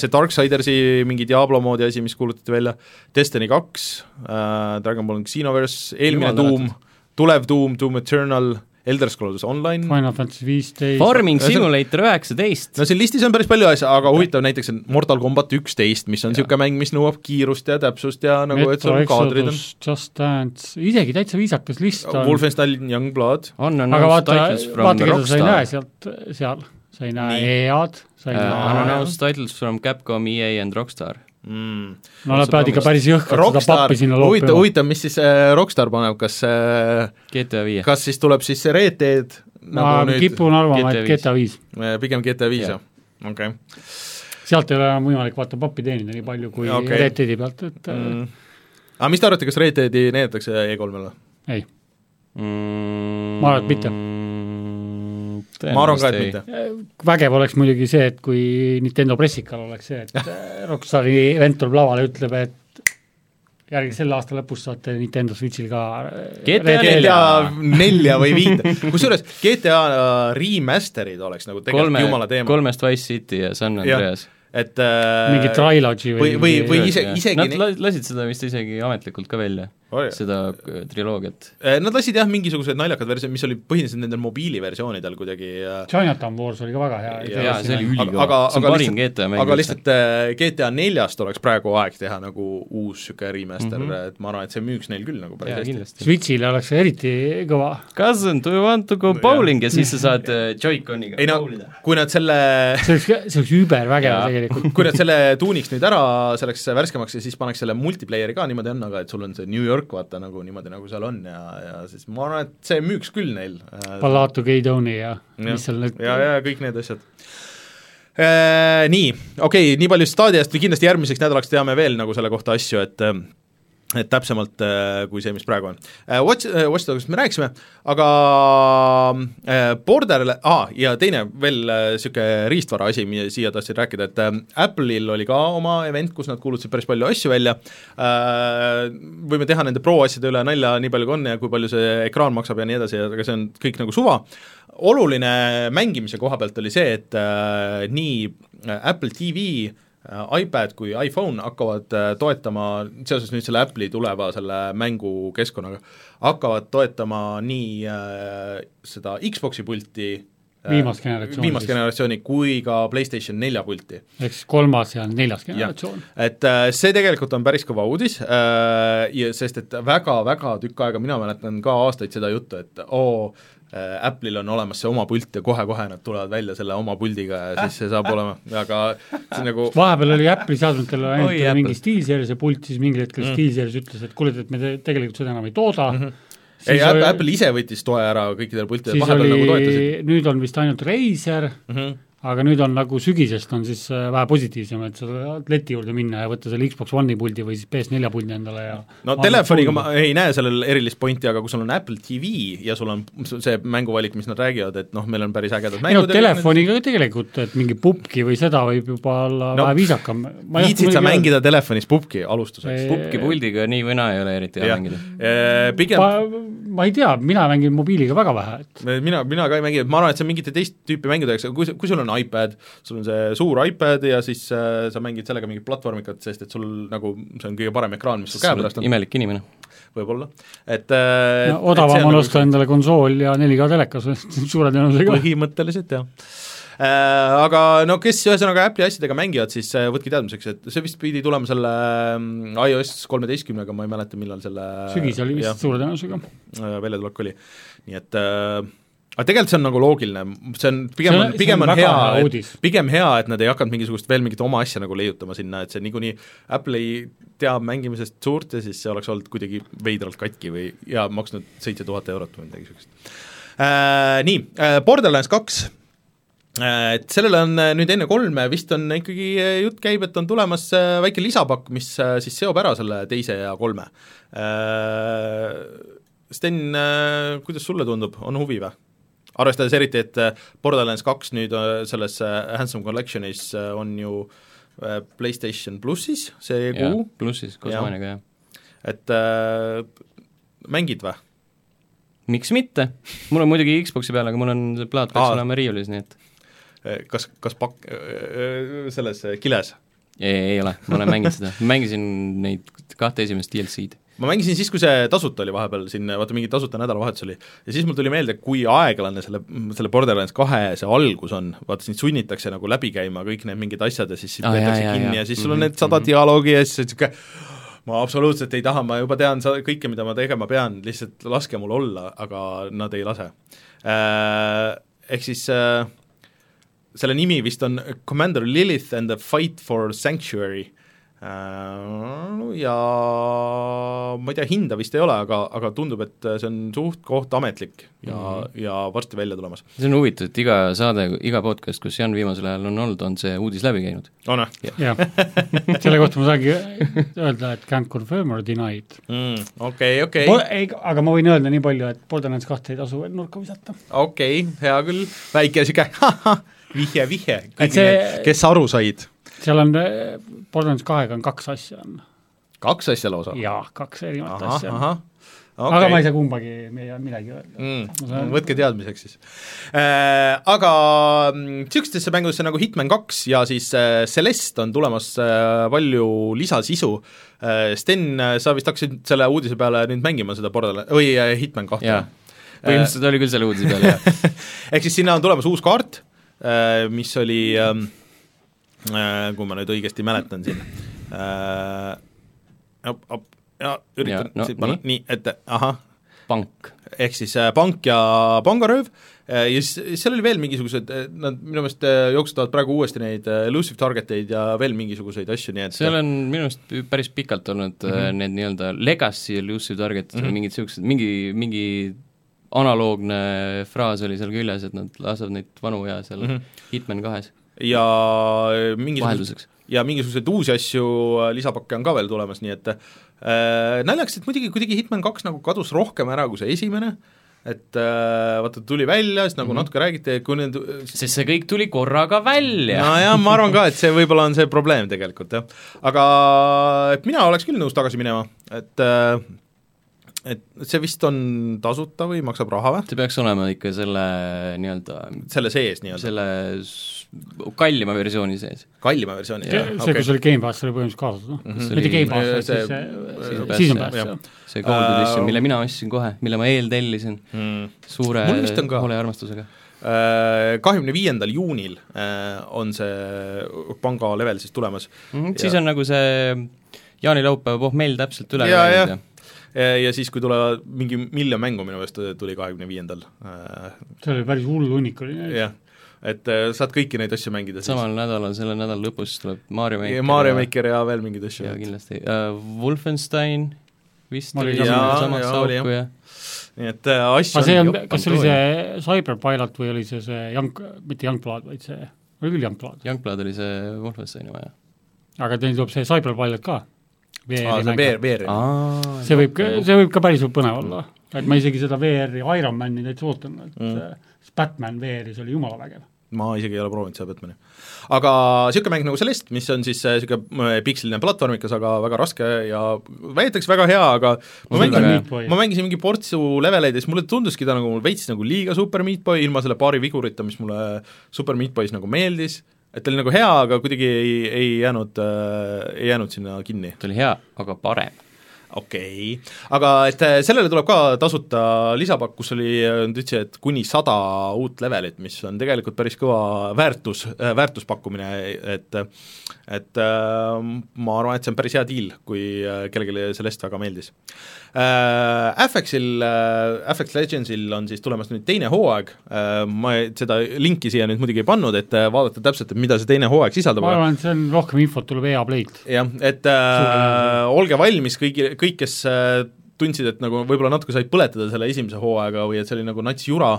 Speaker 3: see Darksidersi mingi Diablo moodi asi , mis kuulutati välja , Destiny kaks , Dragon Ball Xenoverse , eelmine
Speaker 4: Jumal
Speaker 3: Doom , tulev Doom , Doom Eternal , Elder Scrolls Online ,
Speaker 2: Final Fantasy viisteist .
Speaker 4: Farming
Speaker 3: Ja see-
Speaker 4: Simulator üheksateist
Speaker 3: no . siin listis on päris palju asju , aga huvitav näiteks on Mortal Combat üksteist , mis on niisugune mäng , mis nõuab kiirust ja täpsust ja nagu , et
Speaker 2: Metro
Speaker 3: sul kaadrid on
Speaker 2: Exodus , Just Dance , isegi täitsa viisakas list on .
Speaker 3: Wolfenstein Youngblood ,
Speaker 4: on , on
Speaker 2: aga vaata ,
Speaker 4: titles from
Speaker 2: vaata , keda sa ei näe
Speaker 4: Rockstar .
Speaker 2: sealt , seal . sa ei näe
Speaker 3: Nii. Äh,
Speaker 2: EA-d , sa ei
Speaker 4: on
Speaker 2: näe
Speaker 4: announced titles from Capcom , EA and Rockstar .
Speaker 2: no nad peavad ikka päris jõhkralt seda
Speaker 3: Mm. Rockstar ,
Speaker 2: pappi sinna
Speaker 3: huvitav ,
Speaker 2: loopima .
Speaker 3: huvitav , mis siis äh, Rockstar paneb , kas äh,
Speaker 4: GTA viie .
Speaker 3: kas siis tuleb siis see Red Dead
Speaker 2: ma
Speaker 3: nagu nüüd
Speaker 2: kipun arvama , et
Speaker 4: GTA
Speaker 2: GTA viis .
Speaker 3: Eh, pigem GTA viis
Speaker 4: Jah.
Speaker 3: jah ? okei .
Speaker 2: sealt ei ole enam võimalik vaata pappi teenida nii palju kui
Speaker 3: Okei.
Speaker 2: Red Deadi pealt , et mm.
Speaker 3: aga mis te arvate , kas Red Deadi näidatakse E3-l või ?
Speaker 2: ei .
Speaker 4: ma Mm.
Speaker 2: Ma arvan, et mitte.
Speaker 3: Mm. ma arvan ka , et . mitte .
Speaker 2: vägev oleks muidugi see , et kui Nintendo pressikal oleks see , et äh, Rockstari vend tuleb lavale , ütleb , et järgi selle aasta lõpus saate Nintendo Switchil ka äh,
Speaker 4: GTA
Speaker 2: Red Deadi-
Speaker 3: GTA
Speaker 4: Nelja.
Speaker 3: nelja või viite , kusjuures GTA äh, remaster'id oleks nagu
Speaker 4: kolme
Speaker 3: tegelikult , jumala teema ,
Speaker 4: kolmest Wise City ja San
Speaker 3: Jah.
Speaker 4: Andreas .
Speaker 3: et äh,
Speaker 2: mingi trilogy või,
Speaker 3: või , või , või
Speaker 2: mingi-
Speaker 3: ise , isegi
Speaker 4: Nad
Speaker 3: ne-
Speaker 4: la- lasid seda vist isegi ametlikult ka välja .
Speaker 3: Oh, jah.
Speaker 4: seda k- triloogiat .
Speaker 3: Äh, Nad lasid jah, mingisugused naljakad versioonid , mis olid , põhinesid nendel mobiiliversioonidel kuidagi äh,
Speaker 2: Chinatown Wars oli ka väga hea .
Speaker 3: Jaa,
Speaker 4: jaa , see oli
Speaker 3: aga ,
Speaker 4: ülikõva
Speaker 3: aga ,
Speaker 4: see on
Speaker 3: aga
Speaker 4: parim
Speaker 3: lihtsalt
Speaker 4: GTA , mäng
Speaker 3: aga lihtsalt äh, GTA neljast oleks praegu aeg teha nagu uus niisugune remaster mm , -hmm. et ma arvan , et see müüks neil küll nagu päris
Speaker 4: Mhm.
Speaker 3: hästi .
Speaker 4: jaa , kindlasti .
Speaker 2: Switch'ile oleks see eriti kõva .
Speaker 4: Cousin , do you want to go bowling ja siis sa
Speaker 3: *laughs*
Speaker 4: saad äh, Joy-Coniga
Speaker 3: ei no
Speaker 4: bowlida .,
Speaker 3: kui nad selle
Speaker 2: see oleks , see oleks übervägev
Speaker 4: Jaa.
Speaker 2: tegelikult .
Speaker 3: *laughs* kui nad selle tuuniks nüüd ära , selleks värskemaks ja siis paneks selle multiplayer'i ka niimoodi on , aga et sul on see New York vaata nagu niimoodi , nagu seal on ja , ja siis ma arvan , et see müüks küll neil . äh,
Speaker 2: Palato Keidoni ja mis seal need
Speaker 3: ja , ja kõik need asjad . Äh, Nii , okei okay, , nii palju staadiast või kindlasti järgmiseks nädalaks teame veel nagu selle kohta asju , et äh, et täpsemalt äh, kui see , mis praegu on . Watch , Watch Dogist me rääkisime , aga äh, Borderl- , aa , ja teine veel niisugune riistvara asi , mida siia tahtsin rääkida , et äh, Apple'il oli ka oma event , kus nad kuulutasid päris palju asju välja äh, , võime teha nende pro asjade üle nalja nii palju kui on ja kui palju see ekraan maksab ja nii edasi , aga see on kõik nagu suva , oluline mängimise koha pealt oli see , et äh, nii Apple TV äh, iPad kui iPhone hakkavad äh, toetama seoses nüüd selle Apple'i tuleva selle mängukeskkonnaga , hakkavad toetama nii äh, seda Xbox'i pulti äh,
Speaker 2: Viimast generatsiooni
Speaker 3: viimast
Speaker 2: siis.
Speaker 3: generatsiooni kui ka PlayStation nelja pulti
Speaker 2: ehk siis kolmas ja neljas
Speaker 3: jah
Speaker 2: generatsioon .,
Speaker 3: et äh, see tegelikult on päris kõva uudis äh, ja sest et väga-väga tükk aega mina mäletan ka aastaid seda juttu , et oo äh, Apple'il on olemas see oma pult ja kohe-kohe nad tulevad välja selle oma puldiga ja siis see saab olema , aga see on nagu
Speaker 2: vahepeal oli Apple'i seadmetel ainult
Speaker 4: Oi,
Speaker 2: oli
Speaker 4: Apple.
Speaker 2: mingi SteelSeries ja pult , siis mingil hetkel mm. SteelSeries ütles , et kuule , et me te tegelikult seda enam ei tooda mm , -hmm.
Speaker 3: Mhm. ei , Apple , Apple ise võttis toe ära kõikidel pultidel ,
Speaker 2: siis
Speaker 3: vahepeal
Speaker 2: oli
Speaker 3: oli... nagu toetasid , Mhm.
Speaker 2: nüüd on vist ainult Razer mm , -hmm. aga nüüd on nagu sügisest on siis äh, vähe positiivsem , et sa saad leti juurde minna ja võtta selle Xbox One'i puldi või siis PS4 puldi endale ja
Speaker 3: no telefoniga ma ei näe sellel erilist pointi , aga kui sul on Apple TV ja sul on see mänguvalik , mis nad räägivad , et noh , meil on päris ägedad
Speaker 2: ei no
Speaker 3: mängud
Speaker 2: telefoniga ka tegelikult , et mingi pubki või seda võib juba olla
Speaker 3: No,
Speaker 2: no, vähe viisakam .
Speaker 3: viitsid sa ? mängida telefonis pubki alustuseks ?
Speaker 4: pubki puldiga nii või naa ei ole eriti hea
Speaker 3: jah Äh,
Speaker 4: mängida .,
Speaker 3: pigem
Speaker 2: ma , ma ei tea , mina mängin mobiiliga väga vähe , et
Speaker 3: mina , mina ka ei mängi , ma arvan , et see on mingite teist tüüpi mängude jaoks , aga kui , kui sul on iPad , sul on see suur iPad ja siis äh, sa mängid sellega mingit platvormikat , sest et sul nagu see on kõige parem ekraan , mis sul käe pärast on ,
Speaker 4: imelik inimene .
Speaker 3: võib-olla , et äh, et- et see
Speaker 2: no, odavam on
Speaker 3: nagu
Speaker 2: osta
Speaker 3: see-
Speaker 2: endale konsool ja 4K telekas suure tõenäosusega .
Speaker 3: *laughs* põhimõtteliselt jah . Aga no kes ühesõnaga Apple'i asjadega mängivad , siis äh, võtke teadmiseks , et see vist pidi tulema selle mm, iOS kolmeteistkümnega , ma ei mäleta , millal selle
Speaker 2: sügis oli
Speaker 3: jah.
Speaker 2: vist suure tõenäosusega .
Speaker 3: äh, väljatulek oli , nii et äh, aga tegelikult see on nagu loogiline , see on pigem
Speaker 2: See
Speaker 3: on,
Speaker 2: on-
Speaker 3: on , pigem
Speaker 2: see on
Speaker 3: on
Speaker 2: väga
Speaker 3: hea
Speaker 2: hea ,
Speaker 3: et
Speaker 2: uudis.
Speaker 3: pigem hea , et nad ei hakanud mingisugust veel mingit oma asja nagu leiutama sinna , et see niikuinii Apple ei tea mängimisest suurt ja siis see oleks olnud kuidagi veidralt katki või ja maksnud seitse tuhat eurot või midagi niisugust äh, . Nii äh, , Borderlands kaks äh, et sellele on äh, nüüd enne kolme vist on ikkagi äh, jutt käib , et on tulemas äh, väike lisapakk , mis äh, siis seob ära selle teise ja kolme äh, . Sten , kuidas sulle tundub , on huvi või ? arvestades eriti , et äh, Borderlands kaks nüüd äh, selles äh, Handsome Collectionis äh, on ju äh, PlayStation plussis see kuu ,
Speaker 4: plussis koos
Speaker 3: Jah.
Speaker 4: Maaniaga , jah .
Speaker 3: et äh, mängid või ?
Speaker 4: miks mitte , mul on muidugi Xbox'i peal , aga mul on see plaat peaks
Speaker 3: Aa.
Speaker 4: olema riiulis , nii et
Speaker 3: Äh, kas , kas pakk , selles äh, kiles ?
Speaker 4: ei , ei ole , ma olen mänginud seda , mängisin neid kahte esimest DLC-d .
Speaker 3: ma mängisin siis , kui see tasuta oli vahepeal siin , vaata mingi tasuta nädalavahetus oli , ja siis mul tuli meelde , kui aeglane selle , selle Borderlands kahe see algus on , vaata sind sunnitakse nagu läbi käima kõik need mingid asjad ja siis sind
Speaker 4: Aa,
Speaker 3: peetakse
Speaker 4: Ah, jaa, jaa,
Speaker 3: kinni ja,
Speaker 4: jaa. Mhm,
Speaker 3: ja siis sul on need sada dialoogi ja siis niisugune ma absoluutselt ei taha , ma juba tean sa- kõike , mida ma tegema pean , lihtsalt laske mul olla , aga nad ei lase . Ehk siis äh, selle nimi vist on Commander Lilith and the Fight for Sanctuary Äh, ja ma ei tea , hinda vist ei ole , aga , aga tundub , et see on suht-koht ametlik ja mm ,
Speaker 2: Mhm.
Speaker 3: -hmm. ja varsti välja tulemas .
Speaker 4: see on huvitav , et iga saade , iga podcast , kus Jan viimasel ajal on olnud , on see uudis läbi käinud .
Speaker 3: on või ?
Speaker 2: jah , selle kohta ma saangi öelda , et can't confirm or deny it .
Speaker 3: Mm, okei , okei ,
Speaker 2: ei , aga ma võin öelda nii palju , et Borderlands kahte ei tasu veel nurka visata .
Speaker 3: okei , hea küll , väike niisugune *laughs* vihje , vihje , kõik see...
Speaker 2: see-
Speaker 3: need , kes aru said .
Speaker 2: seal on , Borderlands kahega on kaks asja on
Speaker 3: kaks asja lausa ?
Speaker 2: jaa , kaks erinevat
Speaker 3: ahah ,
Speaker 2: asja on .
Speaker 3: ahah ,
Speaker 2: okay. aga ma ei saa kumbagi, me ei saa midagi öelda
Speaker 3: mm, . võtke teadmiseks siis äh, . Aga mm, niisugustesse mängudesse nagu Hitman kaks ja siis äh, Celeste on tulemas äh, palju lisasisu äh, . Sten , sa vist hakkasid selle uudise peale nüüd mängima seda Borderla- , või äh, Hitman kahte
Speaker 4: jaa ,? põhimõtteliselt oli küll selle uudise peal , jah .
Speaker 3: ehk siis sinna on tulemas uus kaart , mis oli , kui ma nüüd õigesti mäletan siin , Äh, ja üritan
Speaker 4: Ja, no,
Speaker 3: siit panna
Speaker 4: nii.
Speaker 3: nii ette , ahah ,
Speaker 4: *laughs* pank .
Speaker 3: ehk siis äh, pank ja pangarööv äh, ja siis seal oli veel mingisugused , nad minu meelest äh, jooksutavad praegu uuesti neid äh, elusive target eid ja veel mingisuguseid asju , nii et
Speaker 4: seal on minu arust pü- päris pikalt olnud mm -hmm. need nii-öelda legacy elusive target'id mm -hmm. , mingid niisugused , mingi , mingi analoogne fraas oli seal küljes , et nad lasevad neid vanu ja seal mm -hmm. Hitman kahes
Speaker 3: ja mingisugused
Speaker 4: vahelduseks .
Speaker 3: ja mingisuguseid uusi asju , lisapakke on ka veel tulemas , nii et äh, naljakas , et muidugi kuidagi Hitman kaks nagu kadus rohkem ära kui see esimene , et äh, vaata , tuli välja , siis nagu mm -hmm. natuke räägiti , kui need
Speaker 4: sest see kõik tuli korraga välja no, .
Speaker 3: nojah , ma arvan ka , et see võib-olla on see probleem tegelikult jah , aga et mina oleks küll nõus tagasi minema , et äh, et see vist on tasuta või maksab raha või ?
Speaker 4: see peaks olema ikka selle nii-öelda ,
Speaker 3: selle sees nii-öelda ,
Speaker 4: selle s- kallima versiooni sees .
Speaker 3: kallima versiooni
Speaker 2: see , see , kus oli Gamepass , oli põhimõtteliselt kaasas , noh .
Speaker 3: Mhm.
Speaker 2: mitte Gamepass , vaid
Speaker 3: See-
Speaker 2: siis see
Speaker 4: see-
Speaker 2: Season Pass ,
Speaker 3: jah.
Speaker 2: jah .
Speaker 4: see Gold Edition
Speaker 3: Äh, ,
Speaker 4: mille mina ostsin kohe , mille ma eeltellisin
Speaker 3: mm.
Speaker 4: suure
Speaker 3: Mul vist on ka.
Speaker 4: hoolearmastusega .
Speaker 3: Äh, kahekümne viiendal juunil äh, on see panga level siis tulemas
Speaker 4: mm, .
Speaker 3: Ja-
Speaker 4: siis on nagu see jaanilaupäeva pohmell täpselt üle
Speaker 3: Jaa,
Speaker 4: läinud
Speaker 3: jah.
Speaker 4: ja
Speaker 3: ja, Äh, ja siis , kui tulevad mingi miljon mängu minu meelest tuli kahekümne viiendal äh, ,
Speaker 2: see oli päris hull hunnik oli .
Speaker 3: jah , et äh, saad kõiki neid asju mängida siis .
Speaker 4: samal nädalal , selle nädala lõpus tuleb Mario Maker .
Speaker 3: Ja Mario . Maker ja veel mingeid asju
Speaker 4: ja , kindlasti uh, Wolfenstein vist
Speaker 2: Ma
Speaker 4: oli
Speaker 2: olin ka
Speaker 4: sama-
Speaker 3: mingi-
Speaker 4: samast
Speaker 3: jaa, jaa, oli,
Speaker 4: auku ja
Speaker 3: nii et äh, asju
Speaker 2: aga see on , kas see oli see Cyberpilot või oli see see Young , mitte Youngblood , vaid see , oli küll Youngblood ,
Speaker 4: Youngblood oli see Wolfensteini vaja .
Speaker 2: aga teil tuleb see Cyberpilot ka .
Speaker 3: aa , see VR , VR .
Speaker 2: see võib , see võib ka päris põnev olla , et ma isegi seda VR-i Ironmani täitsa ootan , et
Speaker 3: Mm.
Speaker 2: mm. Batman VR-is oli jumala vägev .
Speaker 3: ma isegi ei ole proovinud seda Batmani . aga niisugune mäng nagu Celeste , mis on siis äh, niisugune pikseline platvormikas , aga väga raske ja väidetakse väga hea , aga ma
Speaker 4: On väga hea.
Speaker 3: mängisin , ma mängisin mingi portsu leveleid ja siis mulle tunduski ta nagu veits nagu liiga Super Meat Boy , ilma selle paari vigurita , mis mulle Super Meat Boy's nagu meeldis , et ta oli nagu hea , aga kuidagi ei , ei jäänud äh, , ei jäänud sinna kinni .
Speaker 4: ta oli hea , aga parem .
Speaker 3: okei okay. , aga et äh, sellele tuleb ka tasuta lisapakk , kus oli , nad ütlesid , et kuni sada uut levelit , mis on tegelikult päris kõva väärtus , väärtuspakkumine , et et äh, ma arvan , et see on päris hea deal , kui äh, kellelegi sellest väga meeldis . Eh, FX-il , FX Legendsil on siis tulemas nüüd teine hooaeg , ma ei- seda linki siia nüüd muidugi ei pannud , et äh, vaadata täpselt , et mida see teine hooaeg sisaldab ,
Speaker 2: ma
Speaker 3: aga
Speaker 2: arvan , et see on , rohkem infot tuleb E EA Playlt .
Speaker 3: jah , et äh, olge valmis kõigi , kõik , kes äh, tundsid , et nagu võib-olla natuke said põletada selle esimese hooaega või et see oli nagu nats jura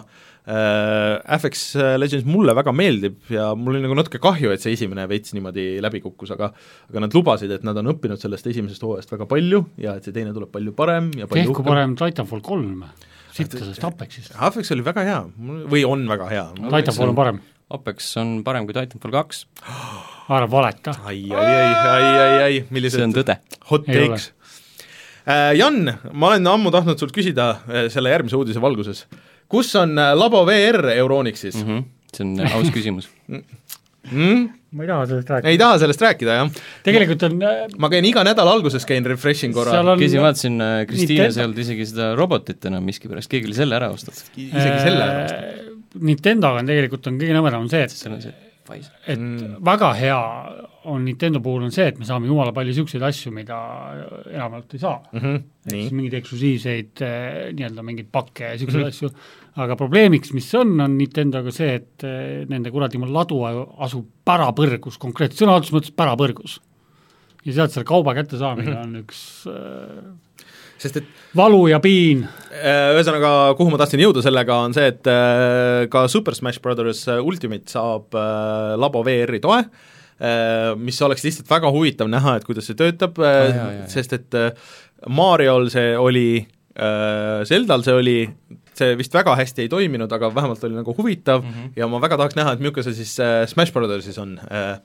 Speaker 3: äh, , FX Legends mulle väga meeldib ja mul oli nagu natuke kahju , et see esimene veits niimoodi läbi kukkus , aga aga nad lubasid , et nad on õppinud sellest esimesest hooajast väga palju ja et see teine tuleb palju parem ja palju
Speaker 2: tehku . parem Titanfall kolm , sittasest Apexist .
Speaker 3: FX oli väga hea , või on väga hea .
Speaker 2: Titanfall on parem ,
Speaker 4: Apex on parem kui Titanfall kaks ,
Speaker 2: ära valeta .
Speaker 3: ai , ai , ai , ai , ai , ai , millised
Speaker 4: see on tõde .
Speaker 3: hot
Speaker 2: Ei
Speaker 3: takes . Jan , ma olen ammu tahtnud sult küsida äh, selle järgmise uudise valguses , kus on äh, Labo VR Euronixis
Speaker 2: Mhm.
Speaker 3: mm ?
Speaker 4: Mhm, see on aus küsimus .
Speaker 3: -hmm. Mm?
Speaker 2: ma ei taha sellest rääkida .
Speaker 3: ei taha sellest rääkida , jah ?
Speaker 2: tegelikult on , äh,
Speaker 3: ma käin iga nädala alguses , käin refresh in korra
Speaker 2: seal , on
Speaker 4: käisin , vaatasin , Kristiines
Speaker 2: Nintendo-
Speaker 4: ei olnud äh, isegi seda robotit enam miskipärast , keegi oli selle ära ostnud .
Speaker 3: isegi
Speaker 2: äh,
Speaker 3: selle pärast .
Speaker 2: Nintendoga on tegelikult on kõige nõmedam see , et
Speaker 4: seal on see Pfizer .
Speaker 2: et mm. väga hea on Nintendo puhul on see , et me saame jumala palju niisuguseid asju , mida enamjaolt ei saa mm . ehk
Speaker 3: Mhm, nii Mhm.
Speaker 2: siis , mingeid eksklusiivseid eh, nii-öelda mingeid pakke ja niisuguseid mm -hmm. asju , aga probleemiks , mis on , on Nintendoga see , et eh, nende kuradi mu ladu a- asub pärapõrgus , konkreetselt sõna otseses mõttes pärapõrgus . ja sealt selle kauba kättesaamine mm
Speaker 3: Mhm.
Speaker 2: -hmm. on üks äh,
Speaker 3: sest et
Speaker 2: valu ja piin ,
Speaker 3: äh, ühesõnaga , kuhu ma tahtsin jõuda sellega , on see , et äh, ka Super Smash Brothers Ultimate saab äh, Labo VR-i toe äh, , mis oleks lihtsalt väga huvitav näha , et kuidas see töötab
Speaker 4: Ah, jaa, jaa,
Speaker 3: äh,
Speaker 4: jaa. ,
Speaker 3: sest et äh, Mariol see oli äh, , Zeldal see oli , see vist väga hästi ei toiminud ,
Speaker 4: Mhm.
Speaker 3: aga vähemalt oli nagu huvitav mm -hmm. ja ma väga tahaks näha , et milline see siis äh, Smash Brothersis on äh,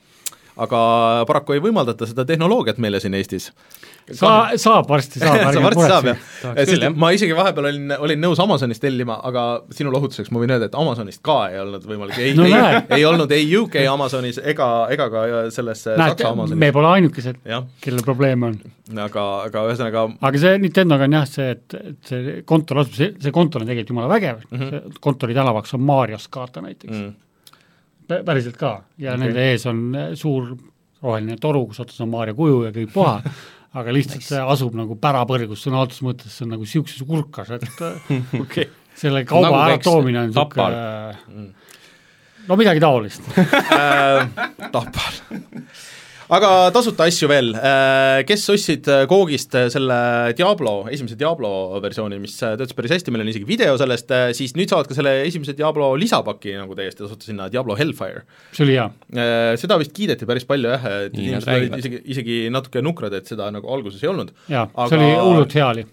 Speaker 3: aga paraku ei võimaldata seda tehnoloogiat meile siin Eestis .
Speaker 2: saa , saab varsti , saab ,
Speaker 3: sa
Speaker 2: ärge
Speaker 3: varsti *laughs* saab jah
Speaker 2: muretsege .,
Speaker 4: Tahaks küll,
Speaker 3: sest
Speaker 4: jah.
Speaker 3: et ma isegi vahepeal olin , olin nõus Amazonis tellima , aga sinu lohutuseks ma võin öelda , et Amazonist ka ei olnud võimalik , ei
Speaker 2: No
Speaker 3: ei,
Speaker 2: näed.
Speaker 3: ei olnud ei UK Amazonis ega , ega ka selles
Speaker 2: näed
Speaker 3: Saksa ,
Speaker 2: me
Speaker 3: Amazonis ,
Speaker 2: pole ainukesed ,
Speaker 3: jah ,
Speaker 2: kellel probleeme on .
Speaker 3: aga , aga ühesõnaga
Speaker 2: aga see Nintendoga on jah see , et , et see kontor asub , see , see kontor on tegelikult jumala vägev mm , -hmm. see kontori tänavaks on Mario Skata näiteks mm. ,
Speaker 3: mm,
Speaker 2: päriselt ka , ja
Speaker 3: Okei.
Speaker 2: okay. nende ees on äh, suur roheline toru , kus otsas on Mario kuju ja kõik puha , aga lihtsalt nice. see asub nagu pärapõrgus sõna otseses mõttes , see on nagu niisuguses hulkas , et äh,
Speaker 3: okay.
Speaker 2: selle kauba
Speaker 4: Nagu
Speaker 2: nagu
Speaker 4: väikse
Speaker 2: äratoomine on
Speaker 4: tapal.
Speaker 2: niisugune no midagi taolist .
Speaker 3: äh, Tapal . aga tasuta asju veel , kes ostsid äh, Koogist äh, selle Diablo , esimese Diablo versiooni , mis äh, töötas päris hästi , meil on isegi video sellest , siis nüüd saavad ka selle esimese Diablo lisapaki nagu täiesti tasuta sinna , Diablo Hellfire .
Speaker 2: see oli hea ,
Speaker 3: Äh, seda vist kiideti päris palju jah , et
Speaker 4: Nii nad
Speaker 3: inimesed
Speaker 4: räägivad.
Speaker 3: olid isegi , isegi natuke nukrad , et seda nagu alguses ei olnud ,
Speaker 2: jaa ,
Speaker 3: Aga- Äh.
Speaker 2: see oli hullult hea oli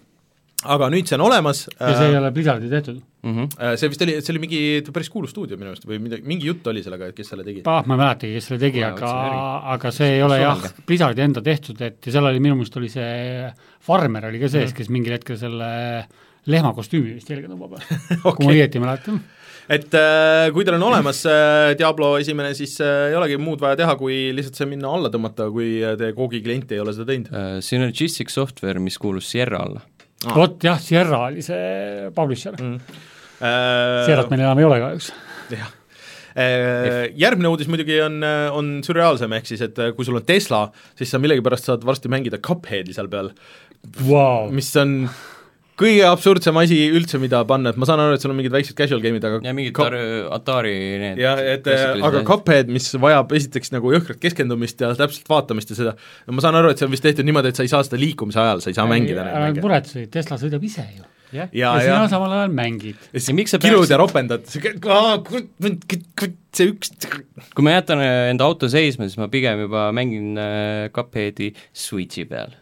Speaker 3: aga nüüd see on olemas ,
Speaker 2: ja see ei
Speaker 3: see,
Speaker 2: ole Blizzardi tehtud .
Speaker 4: mhmh ,
Speaker 3: see vist oli , see oli mingi päris kuulus stuudio minu meelest või midagi , mingi jutt oli sellega , et kes selle tegi .
Speaker 2: ah , ma ei mäletagi , kes selle tegi ,
Speaker 4: Kuule,
Speaker 2: aga
Speaker 4: otsime ,
Speaker 2: aga see ei ole jah
Speaker 4: Suvalge. ,
Speaker 2: Blizzardi enda tehtud , et ja seal oli minu meelest oli see farmer oli ka sees ,
Speaker 3: Mhm.
Speaker 2: kes mingil hetkel selle lehma kostüümi vist selga
Speaker 3: *laughs*
Speaker 2: tõmbab okay. , kui ma õieti mäletan .
Speaker 3: et äh, kui teil on olemas äh, Diablo esimene , siis äh, ei olegi muud vaja teha , kui lihtsalt see minna alla tõmmata , kui äh, teie Googi klient ei ole seda teinud .
Speaker 4: Äh, Synergistic Software , mis kuulus Sierra alla .
Speaker 3: Ah.
Speaker 2: vot jah , Sierra oli see publisher mm. , Sierrat
Speaker 3: Äh,
Speaker 2: meil enam ei ole kahjuks .
Speaker 3: jah. Äh, järgmine uudis muidugi on , on sürreaalsem , ehk siis et äh, kui sul on Tesla , siis sa millegipärast saad varsti mängida Cupheadi seal peal ,
Speaker 2: Vau ,
Speaker 3: mis on kõige absurdsem asi üldse , mida panna , et ma saan aru , et sul on mingid väiksed casual game'id , aga
Speaker 4: ja mingid
Speaker 3: Cup-
Speaker 4: Cup... Atari need
Speaker 3: jah , et äh, aga Cuphead , mis vajab esiteks nagu jõhkrat keskendumist ja täpselt vaatamist ja seda , ma saan aru , et see on vist tehtud niimoodi , et sa ei saa seda liikumise ajal , sa ei saa mängida neid
Speaker 2: ära nüüd
Speaker 3: mänge .
Speaker 2: muretse , Äh, Tesla sõidab ise ju . ja,
Speaker 3: Jaa,
Speaker 2: ja sina
Speaker 3: jah.
Speaker 2: samal ajal mängid .
Speaker 3: ja
Speaker 4: Ja
Speaker 3: siis
Speaker 4: miks sa
Speaker 3: kirud
Speaker 4: peaks-
Speaker 3: ja ropendad , see üks
Speaker 4: kui ma jätan äh, enda auto seisma , siis ma pigem juba mängin äh, Cupheadi Switchi peal .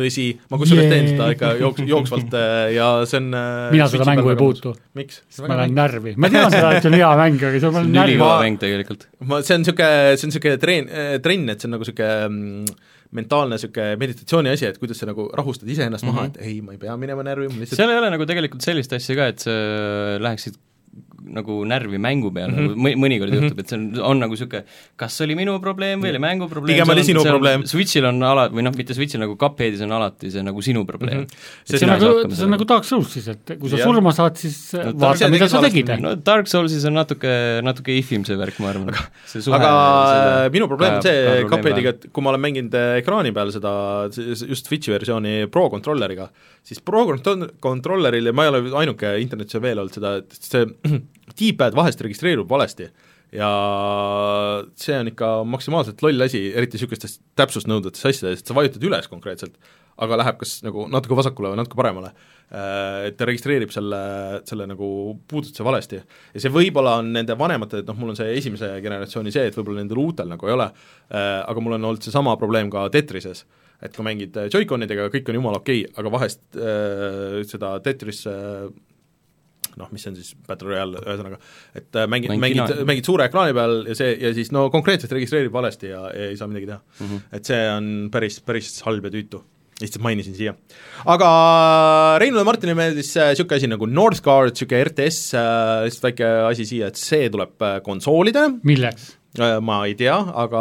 Speaker 3: tõsi , ma kusjuures
Speaker 2: Jee.
Speaker 3: teen seda ikka jooks- , jooksvalt äh, ja see on äh,
Speaker 2: Mina seda
Speaker 3: Switchi
Speaker 2: mängu
Speaker 3: peal
Speaker 2: ei
Speaker 3: väga mõnus.
Speaker 2: puutu.
Speaker 3: miks ?
Speaker 2: ma lähen närvi , ma tean seda , et see on hea mäng , aga see on
Speaker 4: see
Speaker 2: mul
Speaker 4: on
Speaker 2: närvi
Speaker 4: ülikõva mäng tegelikult .
Speaker 3: ma , see on niisugune , see on niisugune treen- , trenn , et see on nagu niisugune mentaalne niisugune meditatsiooni asi , et kuidas sa nagu rahustad iseennast maha ,
Speaker 2: Mhm.
Speaker 3: et ei , ma ei pea minema närvi , ma lihtsalt
Speaker 4: seal ei ole nagu tegelikult sellist asja ka , et sa läheksid nagu närvi mängu peale mm ,
Speaker 3: Mhm.
Speaker 4: -hmm. mõnikord juhtub , et see on , on nagu niisugune kas oli minu probleem või oli mängu probleem
Speaker 3: Pigem
Speaker 4: seal
Speaker 3: oli
Speaker 4: on-
Speaker 3: sinu
Speaker 4: seal on-
Speaker 3: probleem.
Speaker 4: Switchil on ala- , või noh , mitte Switchil , nagu Cupheadis on alati see nagu sinu probleem mm .
Speaker 3: Mhm.
Speaker 4: -hmm.
Speaker 2: see on nagu , see on nagu Dark Souls siis , et kui sa
Speaker 3: Jah.
Speaker 2: surma saad , siis
Speaker 4: No
Speaker 2: no,
Speaker 4: Dark
Speaker 2: vaata ,
Speaker 3: Souls
Speaker 2: mida
Speaker 3: tegid
Speaker 2: sa
Speaker 3: valesti
Speaker 2: tegid .
Speaker 4: no Dark Soulsis on natuke , natuke if-im see värk , ma arvan .
Speaker 3: aga minu probleem on see Cupheadiga , et kui ma olen mänginud äh, ekraani peal seda s- just Switchi versiooni Pro kontrolleriga , siis Pro kontro- kontrolleril ja ma ei ole ainuke internetis on veel olnud seda , et see *clears throat* D-pad vahest registreerub valesti ja see on ikka maksimaalselt loll asi , eriti niisugustes täpsusnõudvates asjades , et sa vajutad üles konkreetselt , aga läheb kas nagu natuke vasakule või natuke paremale . Et ta registreerib selle , selle nagu puudutuse valesti ja see võib-olla on nende vanemate , et noh , mul on see esimese generatsiooni see , et võib-olla nendel uutel nagu ei ole , aga mul on olnud seesama probleem ka Tetrises , et kui mängid Joy-Conidega , kõik on jumala okei okay, , aga vahest äh, seda Tetris äh, noh , mis see on siis Battle Royale , ühesõnaga , et äh, mängid ,
Speaker 4: Mäng
Speaker 3: mängid
Speaker 4: kina- ,
Speaker 3: mängid suure ekraani peal ja see , ja siis no konkreetselt registreerib valesti ja, ja ei saa midagi teha mm . -hmm. et see on päris , päris halb ja tüütu lihtsalt mainisin siia . aga Reinule ja Martinile meeldis äh, niisugune asi nagu Northgard , niisugune RTS äh, , lihtsalt väike asi siia , et see tuleb äh, konsoolidele ,
Speaker 2: milleks ?
Speaker 3: ma ei tea , aga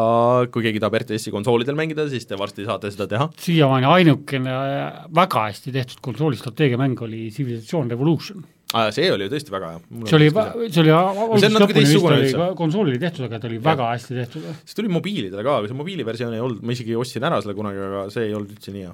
Speaker 3: kui keegi tahab RTS-i konsoolidel mängida , siis te varsti saate seda teha .
Speaker 2: siiamaani ainukene äh, väga hästi tehtud konsoolistrateegiamäng oli Civilization Revolution .
Speaker 3: Äh, see oli ju tõesti väga hea .
Speaker 2: see oli , see oli algusest
Speaker 3: natuke
Speaker 2: lõpuni vist
Speaker 3: teistsugune
Speaker 2: oli
Speaker 3: üldse.
Speaker 2: ka konsoolil tehtud , aga ta oli väga hästi tehtud .
Speaker 3: see tuli mobiilidele ka , aga see mobiiliversioon ei olnud , ma isegi ostsin ära selle kunagi , aga see ei olnud üldse nii hea .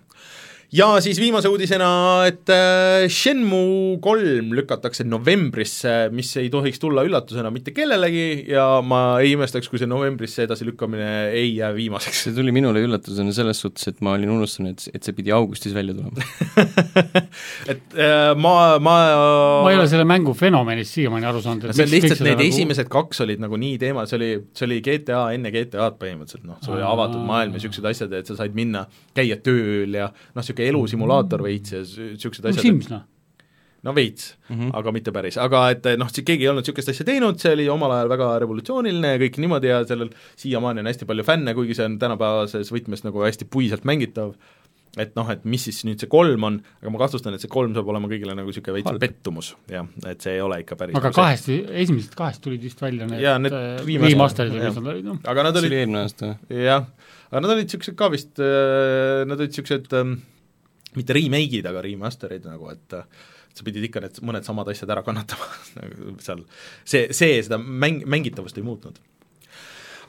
Speaker 3: ja siis viimase uudisena , et äh, Shenmue kolm lükatakse novembrisse , mis ei tohiks tulla üllatusena mitte kellelegi ja ma ei imestaks , kui see novembrisse edasilükkamine ei jää viimaseks . *laughs*
Speaker 4: see tuli minule üllatusena selles suhtes , et ma olin unustanud , et , et see pidi augustis välja
Speaker 3: *laughs*
Speaker 4: tulema .
Speaker 3: et äh, ma , ma
Speaker 2: ma ei ole selle mängu fenomenist siiamaani aru saanud , et
Speaker 3: see on
Speaker 2: miks kõik
Speaker 3: lihtsalt
Speaker 2: seda
Speaker 3: need
Speaker 2: nagu-
Speaker 3: esimesed kaks olid nagu nii teema , see oli , see oli GTA enne GTA-d põhimõtteliselt , noh , see oli
Speaker 2: Aa.
Speaker 3: avatud maailm ja niisugused asjad , et sa said minna , käia tööl ja noh , niisugune elusimulaator veits ja s- niisugused
Speaker 2: nagu
Speaker 3: asjad .
Speaker 2: Mm. Sims , noh .
Speaker 3: no veits mm , -hmm. aga mitte päris, aga et noh, keegi ei olnud niisugust asja teinud, see oli omal ajal väga revolutsiooniline ja kõik niimoodi ja sellel siiamaani on hästi palju fänne, kuigi see on tänapäevases võtmes nagu hästi puiselt mängitav, et noh, et mis siis nüüd see kolm on, aga ma kahtlustan, et see kolm saab olema kõigile nagu niisugune veits
Speaker 4: Halb.
Speaker 3: pettumus, jah, et see ei ole ikka päris
Speaker 2: aga
Speaker 3: nagu see.
Speaker 2: kahest , esimesest kahest tulid vist välja need,
Speaker 3: Jaa, need
Speaker 2: äh,
Speaker 3: viimased-
Speaker 2: remaster'id
Speaker 3: jah.
Speaker 2: ja mis nad olid , noh .
Speaker 3: aga nad
Speaker 4: see
Speaker 3: olid
Speaker 4: oli eelmine aasta või ?
Speaker 3: jah , aga nad olid niisugused ka vist , nad olid niisugused ähm, mitte remake'id , aga remaster'id nagu , et äh, sa pidid ikka need mõned samad asjad ära kannatama *laughs* nagu seal , see , see seda mäng , mängitavust ei muutnud .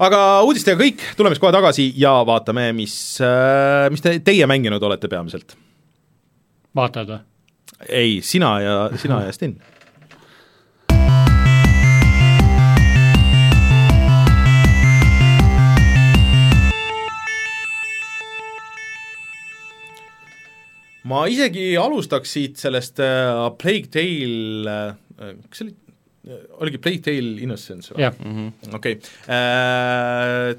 Speaker 3: aga uudistega kõik , tuleme siis kohe tagasi ja vaatame , mis , mis te , teie mänginud olete peamiselt .
Speaker 2: vaatajad või ?
Speaker 3: ei , sina ja , sina ja Sten . ma isegi alustaks siit sellest äh, Plague Tale äh, , kas see oli , oligi Plague Tale Innocence või ?
Speaker 2: jah ,
Speaker 3: okei okay. ,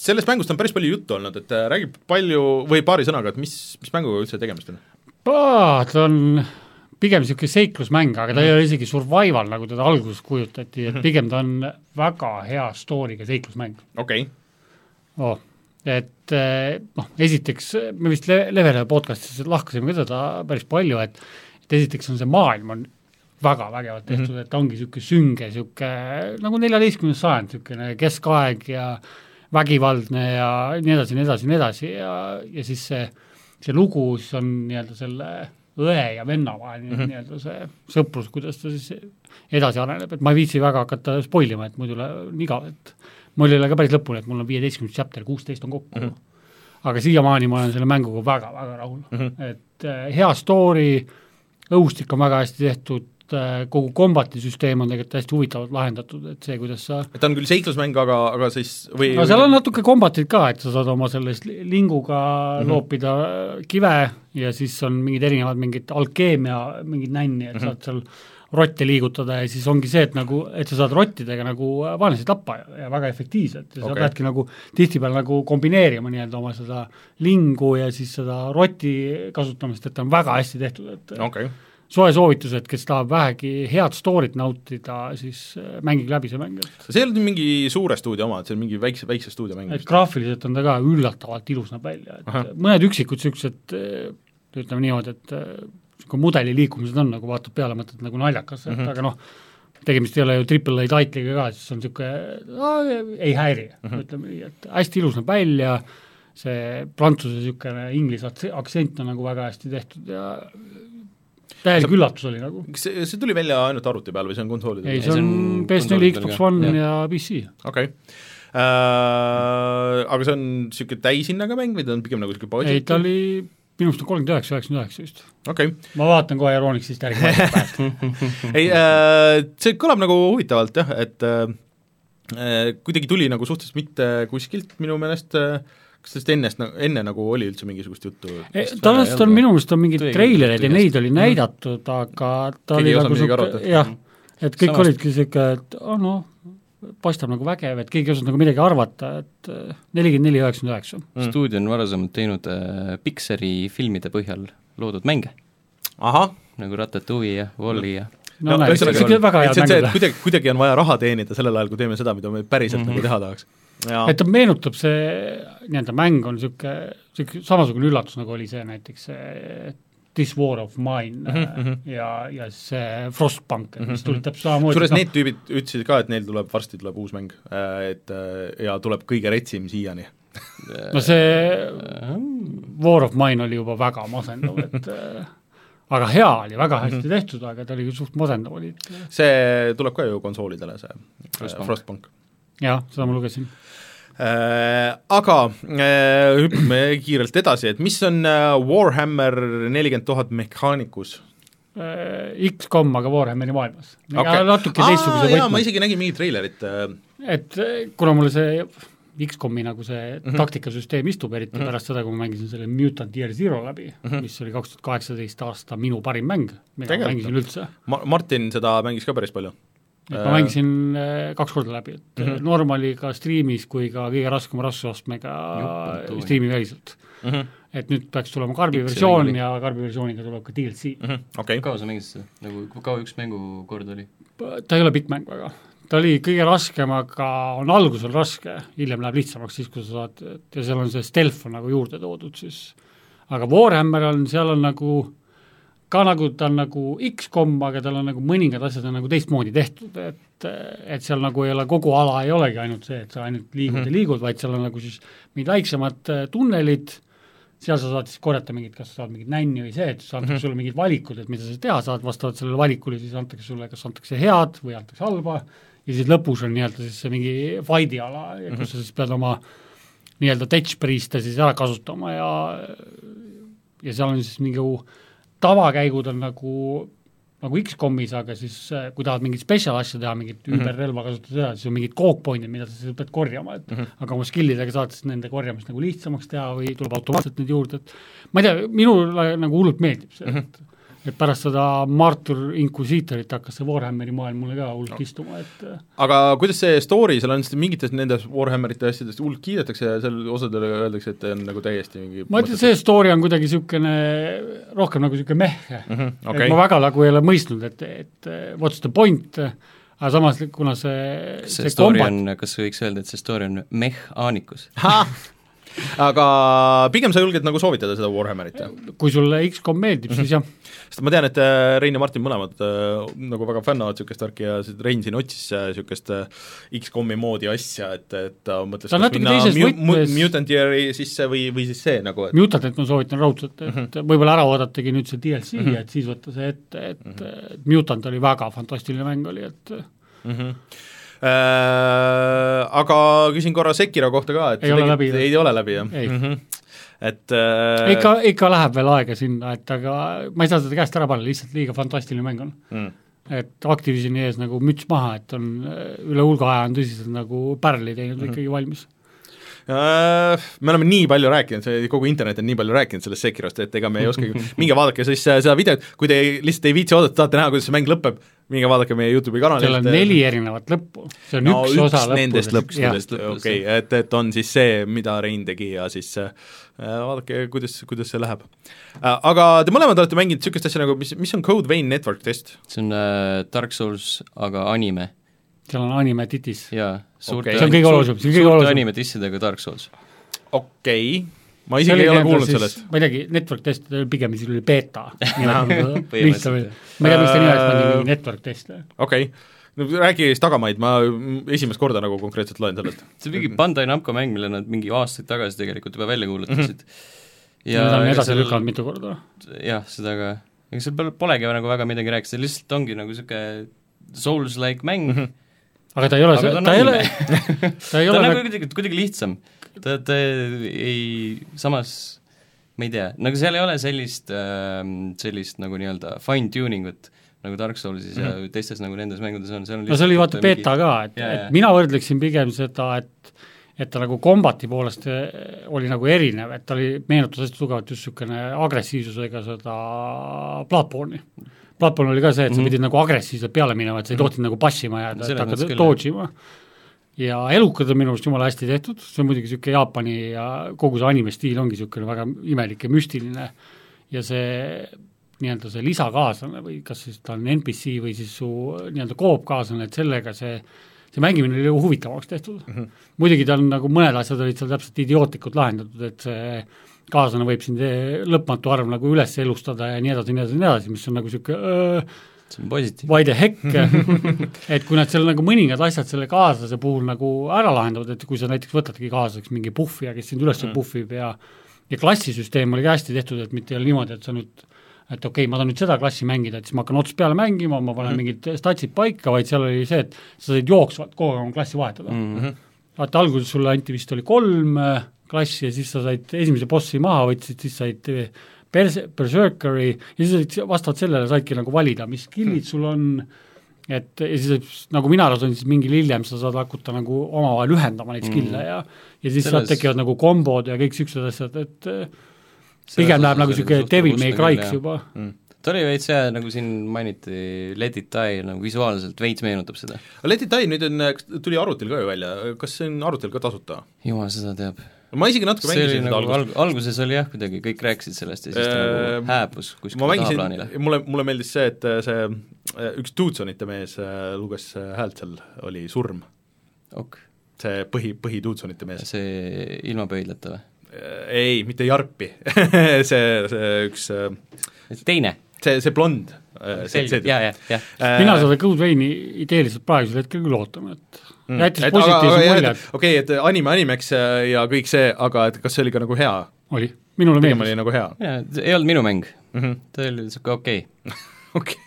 Speaker 3: sellest mängust on päris palju juttu olnud , et äh, räägi palju või paari sõnaga , et mis , mis mänguga üldse tegemist on ?
Speaker 2: ta on pigem niisugune seiklusmäng , aga ta ei ole isegi survival , nagu teda alguses kujutati ,
Speaker 3: Mhm.
Speaker 2: et pigem ta on väga hea story'ga seiklusmäng
Speaker 3: okei okay. ,
Speaker 2: oh. . et eh, noh , esiteks me vist le- , Levele podcastis lahkasime ka seda päris palju , et et esiteks on see maailm on väga vägevalt tehtud mm , -hmm. et ta ongi niisugune sünge , niisugune nagu neljateistkümnes sajand , niisugune keskaeg ja vägivaldne ja nii edasi , nii edasi , nii edasi ja , ja siis see , see lugu siis on nii-öelda selle õe ja venna vaheline mm -hmm. nii-öelda see sõprus , kuidas ta siis edasi areneb , et ma ei viitsi väga hakata spoil ima , et muidu läheb on igav , et mul ei ole ka päris lõpuni , et mul on viieteistkümnes chapter , kuusteist on kokku mm . -hmm. aga siiamaani ma olen selle mänguga väga-väga rahul mm , -hmm. et äh, hea story , õhustik on väga hästi tehtud , kogu kombati süsteem on tegelikult hästi huvitavalt lahendatud , et see , kuidas sa
Speaker 3: et ta on küll seiklusmäng , aga , aga siis või
Speaker 2: no seal on natuke kombateid ka , et sa saad oma selles li- linguga mm -hmm. loopida kive ja siis on mingid erinevad mingid alkeemia mingid nänni , et mm -hmm. saad seal rotte liigutada ja siis ongi see , et nagu , et sa saad rottidega nagu vaenlasi tappa ja, ja väga efektiivselt ja okay. sa
Speaker 3: Okei.
Speaker 2: peadki nagu tihtipeale nagu kombineerima nii-öelda oma seda lingu ja siis seda roti kasutamist , et ta on väga hästi tehtud , et
Speaker 3: okei okay. ,
Speaker 2: soe soovitus , et kes tahab vähegi head story't nautida , siis äh, mängige läbi see mäng , et
Speaker 3: see ei olnud mingi suure stuudio oma , et see on mingi väikse , väikse stuudio mäng
Speaker 2: et . graafiliselt on ta ka üllatavalt ilus näeb välja , et
Speaker 3: Ahah.
Speaker 2: Aha. mõned üksikud niisugused eh, ütleme niimoodi , et niisugune mudeli liikumised on , nagu vaatad peale , mõtled nagu naljakas mm , -hmm. et aga noh , tegemist ei ole ju triple A title'iga ka , siis on niisugune , ei häiri mm , -hmm. ütleme nii , et hästi ilus näeb välja , see prantsuse niisugune inglise aktse- aktsent on nagu väga hästi tehtud ja täielik üllatus oli nagu .
Speaker 3: kas see , see tuli välja ainult arvuti peal või see on konsoolidel
Speaker 2: ei , see on PS4 ,
Speaker 4: konsoolidel
Speaker 2: Xbox
Speaker 4: ka,
Speaker 2: One
Speaker 4: jah.
Speaker 2: ja PC .
Speaker 3: ka ? okei okay. äh, . Aga see on niisugune täishinnaga mäng või ta on pigem nagu niisugune baasil ?
Speaker 2: ei , ta oli minu arust on kolmkümmend üheksa , üheksakümmend üheksa vist .
Speaker 3: okei okay. ,
Speaker 2: ma vaatan kohe Euronixist *laughs* järgi .
Speaker 3: ei äh, , see kõlab nagu huvitavalt jah , et äh, äh, kuidagi tuli nagu suhteliselt mitte kuskilt minu meelest äh, kas sellest ennast , enne nagu oli üldse mingisugust juttu ?
Speaker 2: tõenäoliselt on , minu meelest on mingid
Speaker 4: Tõi-
Speaker 2: treilerid ja
Speaker 4: tõi-
Speaker 2: neid oli näidatud , aga ta
Speaker 3: Keegi
Speaker 2: oli
Speaker 3: ei osanud
Speaker 2: nagu
Speaker 3: midagi
Speaker 2: sihuke
Speaker 3: arvata. ,
Speaker 2: jah , et kõik
Speaker 4: Samas-
Speaker 2: Samast... olidki sihuke , et oh noh , paistab nagu vägev , et keegi ei osanud nagu midagi arvata , et eh, nelikümmend neli , üheksakümmend üheksa .
Speaker 4: stuudio on varasemalt teinud äh, Pikseri filmide põhjal loodud mänge ,
Speaker 3: ahah ,
Speaker 4: nagu Ratatouille ja Wall-E ja
Speaker 2: no näed ,
Speaker 3: ühesõnaga-
Speaker 2: sihuke väga
Speaker 3: et see on
Speaker 2: head
Speaker 3: see ,
Speaker 2: mängida Mhm.
Speaker 3: et . kuidagi , kuidagi on vaja raha teenida sellel ajal , kui teeme seda , mida me päriselt mm -hmm. nagu teha tahaks .
Speaker 2: et ta meenutab see nii-öelda mäng on niisugune , niisugune samasugune üllatus , nagu oli see näiteks see This War of Mine
Speaker 3: Mhm,
Speaker 2: mm -hmm. ja , ja siis see Frostpunk , mis tulid täpselt samamoodi
Speaker 3: kusjuures need tüübid ütlesid ka , et neil tuleb , varsti tuleb uus mäng , et äh, ja tuleb kõige retsim siiani .
Speaker 2: no see War of Mine oli juba väga masendav ,
Speaker 3: *laughs*
Speaker 2: et äh, aga hea oli , väga hästi
Speaker 3: Mhm.
Speaker 2: tehtud , aga ta oli küll suht masendav oli .
Speaker 3: see tuleb ka ju konsoolidele , see Frostpunk,
Speaker 4: Frostpunk.
Speaker 3: Frostpunk. .
Speaker 2: jah , seda ma lugesin .
Speaker 3: Aga äh, hüppame kiirelt edasi , et mis on äh, Warhammer nelikümmend tuhat mehaanikus ?
Speaker 2: Äh, X-kom , aga Warhammeri maailmas okay. . natuke teistsuguse
Speaker 3: jaa , ma
Speaker 2: võtmes ,
Speaker 3: isegi nägin mingit treilerit äh,
Speaker 2: et äh, kuna mulle see X-komi nagu see
Speaker 3: Mhm.
Speaker 2: mm -hmm. taktikasüsteem istub , eriti mm -hmm. pärast seda , kui ma mängisin selle Mutant Year Zero läbi mm , -hmm. mis oli kaks tuhat kaheksateist aasta minu parim mäng , mida ma
Speaker 3: Mhm. Tegelikult.
Speaker 2: mängisin üldse
Speaker 3: Ma- , Martin seda mängis ka päris palju .
Speaker 2: et
Speaker 3: Äh,
Speaker 2: ma mängisin äh, kaks korda läbi , et mm -hmm. Normaliga striimis kui ka kõige raskema raskusastmega
Speaker 4: Jupatui.
Speaker 2: striimiväliselt .
Speaker 3: mm -hmm.
Speaker 2: et nüüd peaks tulema karbi
Speaker 4: X-i
Speaker 2: versioon
Speaker 4: mänguli.
Speaker 2: ja karbi versiooniga tuleb ka DLC mm .
Speaker 3: mm -hmm. okei okay. ,
Speaker 4: kaua sa mängisid seda , nagu kui kaua üks mängukord oli ?
Speaker 2: -hmm. ta ei ole pikk mäng väga , ta oli kõige raskem , aga on algusel raske , hiljem läheb lihtsamaks , siis kui sa saad , et ja seal on see stealth on nagu juurde toodud siis . aga Warhammer on , seal on nagu ka nagu ta on nagu X-kom , aga tal on nagu mõningad asjad on nagu teistmoodi tehtud , et et seal nagu ei ole kogu ala , ei olegi ainult see , et sa ainult liigud mm -hmm. ja liigud , vaid seal on nagu siis mingid väiksemad eh, tunnelid , seal sa saad siis korjata mingit , kas sa saad mingit nänni või see , et siis antakse mm -hmm. sulle mingid valikud , et mida sa teha saad , vastavalt sellele valikule siis antakse sulle , kas antakse head või antakse halba ja siis lõpus on nii-öelda siis see mingi fight'i ala , kus sa siis pead oma nii-öelda touch priest'e siis ära kasutama ja ja seal on siis mingi u- tavakäigud on nagu , nagu X-komis , aga siis äh, kui tahad mingit spetsial asja teha , mingit mm -hmm. ümberrelva kasutada seda , siis on mingid kookpointid , mida sa siis pead korjama , et mm -hmm. aga oma skill'idega saad siis nende korjamist nagu lihtsamaks teha või tuleb automaatselt neid juurde , et ma ei tea , minule nagu hullult meeldib see mm , -hmm. et et pärast seda Martyr Inquisitorit hakkas see Warhammeri maailm mulle ka hullult no. istuma , et äh,
Speaker 3: aga kuidas see story seal on , sest mingites nendes Warhammerite asjadest hullult kiidetakse ja seal osadele öeldakse , et on nagu täiesti mingi
Speaker 2: ma ütlen , see story on kuidagi niisugune rohkem nagu niisugune mehhe mm .
Speaker 3: Mhm,
Speaker 2: -hmm,
Speaker 3: okei.
Speaker 2: okay. et ma väga nagu ei ole mõistnud , et , et what's the point , aga samas kuna see
Speaker 4: kas see story kombat. on , kas võiks öelda , et see story on mehhaanikus ?
Speaker 3: *laughs* aga pigem sa julged nagu soovitada seda Warhammerit , jah ?
Speaker 2: kui sulle X-kom meeldib mm , -hmm. siis jah ,
Speaker 3: sest ma tean , et äh, Rein ja Martin mõlemad äh, nagu väga fännavad niisugust värki ja see Rein siin otsis äh, niisugust äh, X-komi moodi asja , et , et ta mõtles
Speaker 2: Ta on
Speaker 3: kas
Speaker 2: natuke
Speaker 3: minna
Speaker 2: teises
Speaker 3: mu- mu-
Speaker 2: võtmes.
Speaker 3: Mutant Year'i sisse või , või siis see nagu , et
Speaker 2: Mutantit ma soovitan raudselt , et mm -hmm. võib-olla ära oodatagi nüüd see DLC mm , -hmm. et siis võtta see ette , et mm -hmm. Mutant oli väga fantastiline mäng oli , et
Speaker 3: mm -hmm. äh, aga küsin korra Sekiro kohta ka , et
Speaker 2: Ei
Speaker 3: sa
Speaker 2: ole
Speaker 3: tegid-
Speaker 2: läbi, jah?
Speaker 3: ei ole läbi , jah ?
Speaker 2: Ei.
Speaker 3: -hmm. et äh,
Speaker 2: ikka , ikka läheb veel aega sinna , et aga ma ei saa seda käest ära panna , lihtsalt liiga fantastiline mäng on
Speaker 3: mm.
Speaker 2: et Activisioni ees nagu müts maha , et on äh, üle hulga aja on tõsiselt nagu pärli
Speaker 3: Mhm.
Speaker 2: teinud mm -hmm. ikkagi valmis .
Speaker 3: Äh, me oleme nii palju rääkinud , kogu internet on nii palju rääkinud sellest Sekirost , et ega me ei
Speaker 2: *laughs*
Speaker 3: oskagi , minge vaadake siis äh, seda videot , kui te ei- lihtsalt ei viitsi oodata , tahate näha , kuidas see mäng lõpeb , minge vaadake meie Youtube'i kanalilt .
Speaker 2: seal on neli erinevat lõppu , see on
Speaker 3: äh, no,
Speaker 2: üks, üks osa
Speaker 3: nendest lõpudest ,
Speaker 4: Jah.
Speaker 3: okei , et , et on siis see , mida Rein tegi ja siis äh, vaadake , kuidas , kuidas see läheb äh, . Aga te mõlemad olete mänginud niisugust asja nagu , mis , mis on Code Vein Network Test ?
Speaker 4: see on äh, Dark Souls , aga anime
Speaker 2: seal on anime titis .
Speaker 4: jaa , suurte
Speaker 3: Okei.
Speaker 2: See on kõige olulisem, see on kõige
Speaker 4: suurte
Speaker 2: olulisem.
Speaker 4: animetissidega Dark Souls .
Speaker 3: okei okay. , ma isegi ei ole kuulnud sellest .
Speaker 2: ma ei teagi , network test , pigem siis oli beeta .
Speaker 3: *laughs*
Speaker 2: ma ei tea , miks ta
Speaker 4: Põhimõtteliselt,
Speaker 2: nimi oleks , ma
Speaker 3: Äh,
Speaker 2: tegin network test .
Speaker 3: okei okay. , no räägi siis tagamaid , ma mm, esimest korda nagu konkreetselt loen sellest .
Speaker 4: see on mingi Bandai Namco mäng , mille nad mingi aastaid tagasi tegelikult juba välja kuulutasid .
Speaker 2: ja nad on Mhm. edasi lükanud mitu korda .
Speaker 4: jah , seda ka , ega seal pole , polegi nagu väga midagi rääkida , see lihtsalt ongi nagu niisugune Souls-like mäng ,
Speaker 2: Mhm. aga ta ei ole ,
Speaker 4: aga ta on
Speaker 2: ta ei
Speaker 4: *laughs*
Speaker 2: ole , *laughs*
Speaker 4: anime .
Speaker 2: ta ei
Speaker 4: ta on
Speaker 2: ole
Speaker 4: nagu
Speaker 2: nagu
Speaker 4: kuidagi , kuidagi lihtsam . ta , ta ei , samas ma ei tea , nagu seal ei ole sellist ähm, , sellist nagu nii-öelda fine-tuning ut , nagu Dark Soulsis mm -hmm. ja teistes nagu nendes mängudes on , äh, seal on
Speaker 2: Mhm. no see oli vaata beeta ka , et ,
Speaker 4: Jaa, jaa.
Speaker 2: et mina võrdleksin pigem seda , et et ta nagu kombati poolest eh, oli nagu erinev , et ta oli , meenutas hästi tugevalt just niisugune agressiivsusega seda platvormi . platvorm oli ka see , et sa
Speaker 4: Mhm.
Speaker 2: pidid nagu agressiivselt peale minema , et sa ei tohtinud nagu passima jääda , et
Speaker 4: Selles mõttes
Speaker 2: hakkad
Speaker 4: küll, jah.
Speaker 2: dodge'ima . ja elukad on minu arust jumala hästi tehtud , see on muidugi niisugune Jaapani ja kogu see anime stiil ongi niisugune väga imelik ja müstiline ja see nii-öelda see lisakaaslane või kas siis ta on NPC või siis su nii-öelda koopkaaslane , et sellega see , see mängimine oli ju huvitavamaks tehtud mm .
Speaker 4: Mhm.
Speaker 2: -hmm. muidugi ta on nagu mõned asjad olid seal täpselt idiootlikult lahendatud , et see kaaslane võib sind eh, lõpmatu arv nagu üles elustada ja nii edasi , nii edasi , nii edasi , mis on nagu niisugune
Speaker 4: see on positiivne .
Speaker 2: why the heck , et kui nad seal nagu mõningad asjad selle kaaslase puhul nagu ära lahendavad , et kui sa näiteks võtadki kaaslaseks mingi puhvija , kes sind üles puhvib ja ja klassisüsteem oli ka hästi tehtud , et mitte ei ole niimoodi , et sa nüüd et okei okay, , ma tahan nüüd seda klassi mängida , et siis ma hakkan otsast peale mängima , ma panen mingid statsid paika , vaid seal oli see , et sa said jooksvalt kogu aeg oma klassi vahetada mm. . vaata alguses sulle anti vist oli kolm äh, klassi ja siis sa said esimese bossi maha , võtsid , siis said äh, pers- , berserkeri ja siis said se- vastavalt sellele saidki nagu valida , mis
Speaker 3: Hmm.
Speaker 2: skill'id sul on , et ja siis nagu mina aru sain , siis mingil hiljem sa saad hakata nagu omavahel ühendama neid
Speaker 3: Hmm.
Speaker 2: skill'e ja ja siis sealt
Speaker 4: Selles-
Speaker 2: tekivad nagu kombod ja kõik niisugused asjad , et äh, pigem läheb nagu niisugune Devil May Cry'ks juba .
Speaker 4: ta oli veits jah , nagu siin mainiti , Let it die nagu visuaalselt veits meenutab seda .
Speaker 3: Let it die nüüd on , tuli arvutil ka ju välja , kas see on arvutil ka tasuta ?
Speaker 4: jumal seda teab .
Speaker 3: ma isegi natuke
Speaker 4: see oli
Speaker 3: mängisin seda
Speaker 4: nagu
Speaker 3: alguses
Speaker 4: alg- , alguses oli jah , kuidagi kõik rääkisid sellest ja siis ta
Speaker 3: Äh,
Speaker 4: nagu hääbus
Speaker 3: ma
Speaker 4: kuskile
Speaker 3: mängisin
Speaker 4: tahaplaanile .,
Speaker 3: mulle , mulle meeldis see , et äh, see äh, üks Tuutsonite mees äh, luges äh, häält seal , oli surm ,
Speaker 4: ok ,
Speaker 3: see põhi , põhituutsonite mees .
Speaker 4: see ilma pöidlata või ?
Speaker 3: ei , mitte Jarpi , *laughs* see , see üks ,
Speaker 4: teine ,
Speaker 3: see , see blond . äh,
Speaker 4: selge , jaa , jaa , jah .
Speaker 2: mina seda Code Veini ideeliselt praegusel hetkel küll ootan , et mm. jättis
Speaker 3: Hmm. Et aga- aga
Speaker 2: positiivse
Speaker 3: jah,
Speaker 2: mulje
Speaker 3: et , okei , et anime animeks äh, ja kõik see , aga et kas see oli ka nagu hea ?
Speaker 2: oli , minule
Speaker 3: pigem oli
Speaker 2: meeldis .
Speaker 3: nagu hea *laughs*
Speaker 4: ei olnud minu mäng ,
Speaker 3: mm -hmm. ,
Speaker 4: ta oli niisugune okei
Speaker 3: okei .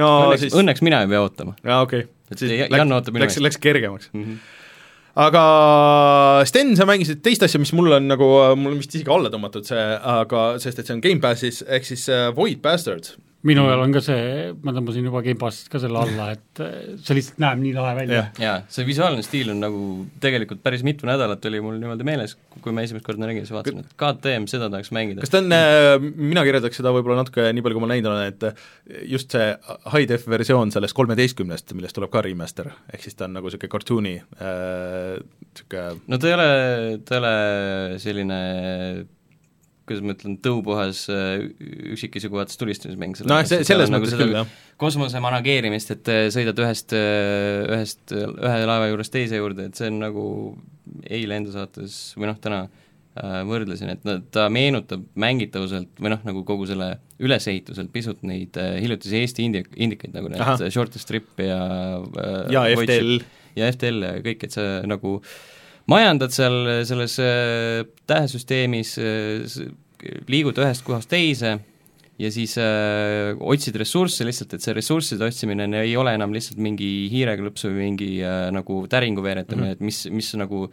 Speaker 3: no
Speaker 4: okay. .
Speaker 3: siis
Speaker 4: Siis... , õnneks mina ei pea ootama
Speaker 3: jaa okei .
Speaker 4: Et Ja- Jan ootab minu
Speaker 3: läks ,
Speaker 4: eest.
Speaker 3: läks kergemaks .
Speaker 4: mm . -hmm.
Speaker 3: aga Sten , sa mängisid teist asja , mis mul on nagu , mul on vist isegi alla tõmmatud see , aga sest et see on Gamepassis , ehk siis äh, Void Bastards .
Speaker 2: minu
Speaker 3: Mm.
Speaker 2: ajal on ka see , ma tõmbasin juba Gamepassist ka selle alla , et eh, see lihtsalt näeb nii lahe välja
Speaker 3: Jah.
Speaker 4: jaa , see visuaalne stiil on nagu tegelikult päris mitu nädalat oli mul niimoodi meeles , kui ma esimest korda nägin , siis vaatasin , et KTM , seda tahaks mängida
Speaker 3: kas . ta on , mina kirjeldaks seda võib-olla natuke nii palju , kui ma näinud olen , et äh, just see high-def versioon sellest kolmeteistkümnest , millest tuleb ka remaster , ehk siis ta on nagu niisugune cartoon'i niisugune äh,
Speaker 4: no ta ei ole , ta ei ole selline kuidas ma ütlen , tõupuhas äh, üksikisiku vaates tulistamismäng ,
Speaker 3: nojah , see , selles mõttes küll , jah .
Speaker 4: nagu kosmose manageerimist , et äh, sõidad ühest , ühest , ühe laeva juurest teise juurde , et see on nagu eile enda saates või noh , täna äh, võrdlesin , et no, ta meenutab mängitavuselt või noh , nagu kogu selle ülesehituselt pisut neid äh, hiljutisi Eesti indi- , indikaid , nagu need
Speaker 3: Ahah.
Speaker 4: Aha. Short Strip ja äh,
Speaker 3: ja
Speaker 4: Void Ship
Speaker 3: FTL ,
Speaker 4: ja FTL ja kõik , et sa nagu majandad seal selles äh, tähesüsteemis , liigud ühest kohast teise ja siis äh, otsid ressursse lihtsalt , et see ressursside otsimine ei ole enam lihtsalt mingi hiireklõps või mingi äh, nagu täringu veeretamine mm , -hmm. et mis , mis nagu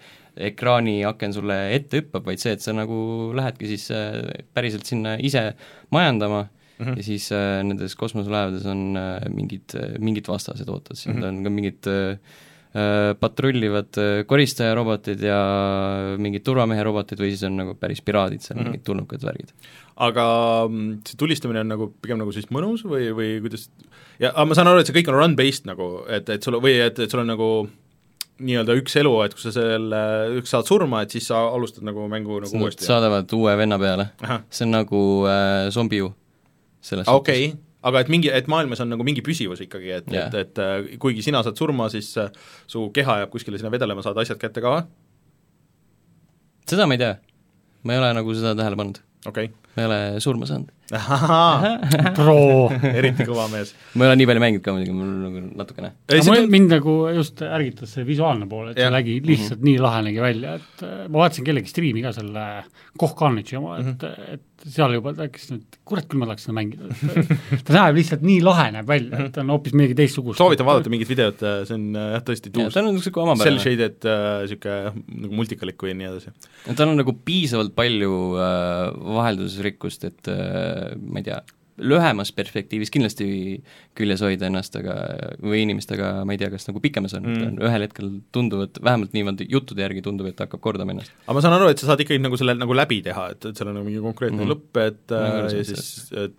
Speaker 4: ekraaniaken sulle ette hüppab , vaid see , et sa nagu lähedki siis äh, päriselt sinna ise majandama mm
Speaker 3: Mhm.
Speaker 4: -hmm. ja siis äh, nendes kosmoselaevades on äh, mingid , mingid vastased ootas
Speaker 3: Mhm.
Speaker 4: mm , -hmm. on ka mingid äh, äh, patrullivad äh, koristajarobotid ja mingid turvameherobotid või siis on nagu päris piraadid seal mm ,
Speaker 3: Mhm.
Speaker 4: -hmm. mingid tulnukad , värgid .
Speaker 3: Nagu aga mm, see tulistamine on nagu pigem nagu siis mõnus või , või kuidas ja aga ma saan aru , et see kõik on run-based nagu , et , et sul või et , et sul on nagu nii-öelda üks elu , et kui sa selle , üks saad surma , et siis sa alustad nagu mängu nagu
Speaker 4: Nad
Speaker 3: uuesti .
Speaker 4: saadavad uue venna peale , see on nagu äh, zombiu selles
Speaker 3: okei , aga et mingi , et maailmas on nagu mingi püsivus ikkagi , et
Speaker 4: Jah.
Speaker 3: yeah. , et , et äh, kuigi sina saad surma , siis äh, su keha jääb kuskile sinna vedelema , saad asjad kätte ka ,
Speaker 4: suhtes . seda ma ei tea , ma ei ole nagu seda tähele pannud ,
Speaker 3: okei okay. .
Speaker 4: ma ei ole surma saanud .
Speaker 3: ahahaa , *laughs*
Speaker 2: pro .
Speaker 3: eriti kõva mees .
Speaker 4: ma ei ole nii palju mänginud ka muidugi , mul nagu natukene
Speaker 2: aga mul , mind nagu just ärgitas see visuaalne pool , et
Speaker 3: Jah. Mhm.
Speaker 2: see nägi lihtsalt nii lahe nägi välja , et äh, ma vaatasin kellegi striimi ka selle Koch Carnage'i oma , et ,
Speaker 3: Mhm.
Speaker 2: et seal juba tekkis nüüd , kurat küll ma tahaks seda mängida , et ta näeb lihtsalt nii lahe näeb välja , et ta on hoopis midagi teistsugust .
Speaker 3: Mhm. soovitan vaadata mingit videot , see on äh, jah , tõesti
Speaker 4: ja,
Speaker 3: tuus
Speaker 4: tal on
Speaker 3: cell
Speaker 4: niisugune omapärane ,
Speaker 3: shaded niisugune äh, nagu multikalik või nii edasi .
Speaker 4: tal on nagu piisavalt palju äh, vaheldusrikkust , et äh, ma ei tea , lühemas perspektiivis kindlasti küljes hoida ennast , aga , või inimest , aga ma ei tea , kas nagu pikemas on
Speaker 3: Mm.
Speaker 4: mm. , ühel hetkel tundub , et vähemalt niimoodi juttude järgi tundub , et ta hakkab kordama ennast .
Speaker 3: aga ma saan aru , et sa saad ikkagi nagu selle nagu läbi teha , et , et seal on nagu mingi konkreetne mm -hmm.
Speaker 4: Mhm.
Speaker 3: lõpp , et
Speaker 4: Ma ei ole
Speaker 3: äh, ja
Speaker 4: sellest
Speaker 3: siis et,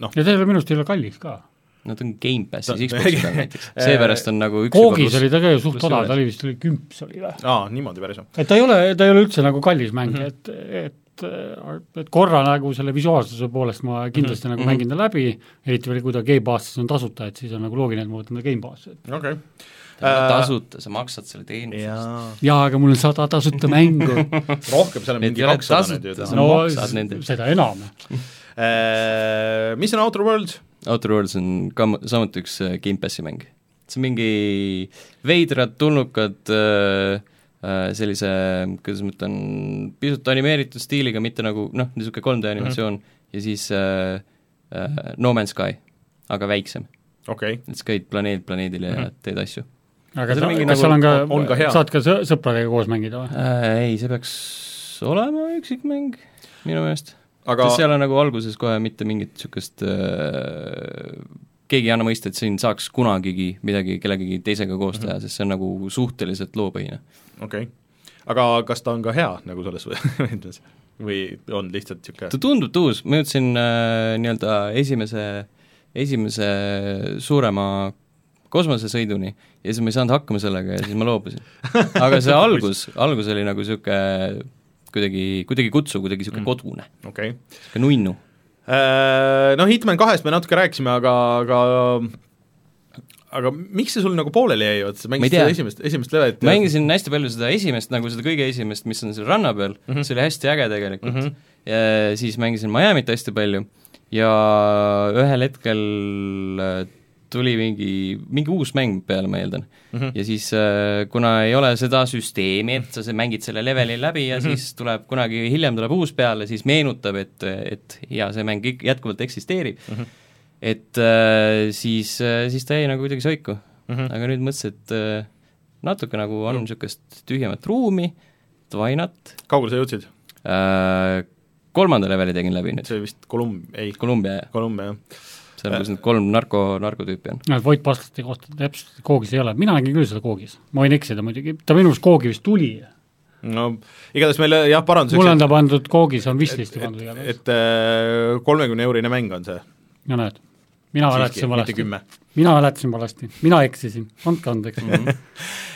Speaker 3: noh ,
Speaker 2: ja see ei ole minu arust ei ole kallis ka .
Speaker 4: Nad on Gamepassis
Speaker 3: Ta-
Speaker 4: Xbox'i peal
Speaker 3: *laughs*
Speaker 4: näiteks , seepärast on nagu üks
Speaker 2: koogis oli ta ka ju
Speaker 4: pluss
Speaker 2: suht odav ,
Speaker 4: juures.
Speaker 2: ta oli vist , oli kümps oli või ?
Speaker 3: aa , niimoodi päris või ?
Speaker 2: et ta ei ole , ta ei ole üldse nagu kallis mäng
Speaker 3: Mhm.
Speaker 2: mm , -hmm. et , et et korra nagu selle visuaalsuse poolest ma
Speaker 3: Mhm.
Speaker 2: kindlasti mm -hmm. nagu mängin ta läbi , eriti veel , kui ta Gamepassis on tasuta , et siis on nagu loogiline , et ma võtan ta Gamepassi .
Speaker 3: okei okay. .
Speaker 4: ta on tasuta , sa maksad selle teenuse eest .
Speaker 3: jaa ,
Speaker 2: jaa , aga mul on sada tasuta mängu .
Speaker 3: *laughs* rohkem seal on
Speaker 4: Need
Speaker 3: mingi
Speaker 4: ei ole
Speaker 3: kakssada
Speaker 4: tasuta,
Speaker 3: nüüd ju
Speaker 4: see
Speaker 3: täna
Speaker 4: on-
Speaker 2: no
Speaker 4: maksad
Speaker 2: s-
Speaker 4: nende-
Speaker 2: seda enam .
Speaker 3: Äh, Mis on Outer Worlds ?
Speaker 4: Outer Worlds on ka samuti üks äh, Gamepassi mäng . see on mingi veidrad tulnukad äh, äh, sellise , kuidas ma ütlen , pisut animeeritud stiiliga , mitte nagu noh , niisugune 3D animatsioon mm -hmm. ja siis äh, äh, No Man's Sky , aga väiksem .
Speaker 3: okei okay. ,
Speaker 4: et sa käid planeet planeedile mm -hmm. ja teed asju
Speaker 2: aga
Speaker 4: See on
Speaker 2: ta,
Speaker 4: mingi
Speaker 2: kas
Speaker 4: nagu-
Speaker 2: seal on ka,
Speaker 3: on ka hea.
Speaker 2: saad ka sõ- sõpradega koos mängida või ?
Speaker 4: äh, . ei , see peaks olema üksikmäng minu meelest
Speaker 3: aga
Speaker 4: aga... . seal on nagu alguses kohe mitte mingit niisugust äh, keegi ei anna mõista , et siin saaks kunagigi midagi kellegagi teisega koos teha , sest see on nagu suhteliselt loopõhine .
Speaker 3: okei okay. , aga kas ta on ka hea nagu selles *laughs* mõttes või on lihtsalt niisugune
Speaker 4: ta tundub tuus , ma jõudsin äh, nii-öelda esimese , esimese suurema kosmosesõiduni ja siis ma ei saanud hakkama sellega ja siis ma loobusin . aga see algus , algus oli nagu niisugune kuidagi , kuidagi kutsuv , kuidagi niisugune kodune ,
Speaker 3: okei okay. .
Speaker 4: niisugune nunnu .
Speaker 3: Noh , Hitman kahest me natuke rääkisime , aga , aga aga miks see sul nagu pooleli jäi , et sa mängisid
Speaker 4: tea.
Speaker 3: seda esimest , esimest levelit
Speaker 4: ma mängisin hästi palju seda esimest , nagu seda kõige esimest , mis on seal ranna peal mm , -hmm. see oli hästi äge tegelikult mm . -hmm. ja siis mängisin Miami't hästi palju ja ühel hetkel äh, tuli mingi , mingi uus mäng peale , ma eeldan mm . -hmm. ja siis äh, kuna ei ole seda süsteemi , et sa se- mängid selle leveli läbi ja mm -hmm. siis tuleb kunagi , hiljem tuleb uus peale , siis meenutab , et , et jaa , see mäng ik- jätkuvalt eksisteerib mm . -hmm. et äh, siis , siis ta jäi nagu kuidagi soiku mm . -hmm. aga nüüd mõtlesin , et äh, natuke nagu on niisugust tühjemat ruumi , why not
Speaker 3: kaugele sa jõudsid ?
Speaker 4: äh, , kolmanda leveli tegin läbi nüüd ,
Speaker 3: see oli vist Kolumb- , ei ,
Speaker 4: Kolumbia ja
Speaker 3: Kolumbia , jah .
Speaker 4: seal , kus need kolm narko , narkotüüpi on .
Speaker 2: no et Voit Pastlate kohta täpselt koogis ei ole , mina nägin küll seda koogis , ma võin eksida muidugi , ta minu arust koogi vist tuli .
Speaker 3: no igatahes meil jah , paranduseks
Speaker 2: mulle on ta pandud koogis , on vistlisti
Speaker 3: et,
Speaker 2: pandud
Speaker 3: et-
Speaker 2: igatahes ,
Speaker 3: et kolmekümne eurine mäng on see .
Speaker 2: no näed , mina
Speaker 3: siiski ,
Speaker 2: hääletasin
Speaker 3: mitte
Speaker 2: valesti ,
Speaker 3: kümme .
Speaker 2: mina hääletasin valesti , mina eksisin , andke andeks .
Speaker 4: ei ole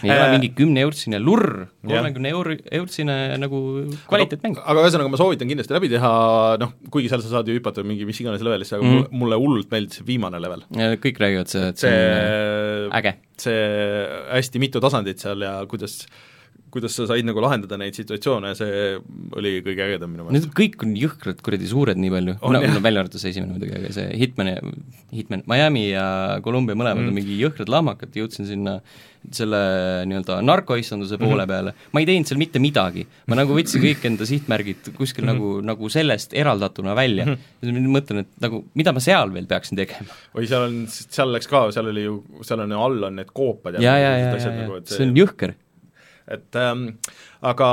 Speaker 3: Äh,
Speaker 4: mingi kümneeurtsine lurr ,
Speaker 3: jah.
Speaker 4: kolmekümne eur- , eurtsine nagu kvaliteetmäng .
Speaker 3: aga ühesõnaga , ma soovitan kindlasti läbi teha , noh , kuigi seal sa saad ju hüpata mingi mis iganes levelisse , aga
Speaker 4: Mhm.
Speaker 3: mm. mulle hullult meeldis see viimane level .
Speaker 4: kõik räägivad seda , et see on
Speaker 3: see ,
Speaker 4: äge .
Speaker 3: Mm. see hästi mitu tasandit seal ja kuidas , kuidas sa said nagu lahendada neid situatsioone , see oli kõige ägedam minu meelest .
Speaker 4: Need kõik on jõhkrad kuradi suured nii palju ,
Speaker 3: On,
Speaker 4: no,
Speaker 3: jah.
Speaker 4: no välja arvatud see esimene muidugi , aga see Hitman ja , Hitman , Miami ja Columbia mõlemad mm. on mingi jõhkrad lahmakad , jõudsin sinna selle nii-öelda narkoissanduse poole
Speaker 3: Mhm.
Speaker 4: peale , ma ei teinud seal mitte midagi . ma nagu võtsin kõik enda sihtmärgid kuskil
Speaker 3: Mhm.
Speaker 4: nagu , nagu sellest eraldatuna välja mm . -hmm. ma mõtlen , et nagu mida ma seal veel peaksin tegema .
Speaker 3: oi , seal on , seal läks ka , seal oli ju , seal on ju all on need koopad
Speaker 4: ja , ja , ja , ja , ja see on jõhker .
Speaker 3: et ähm, aga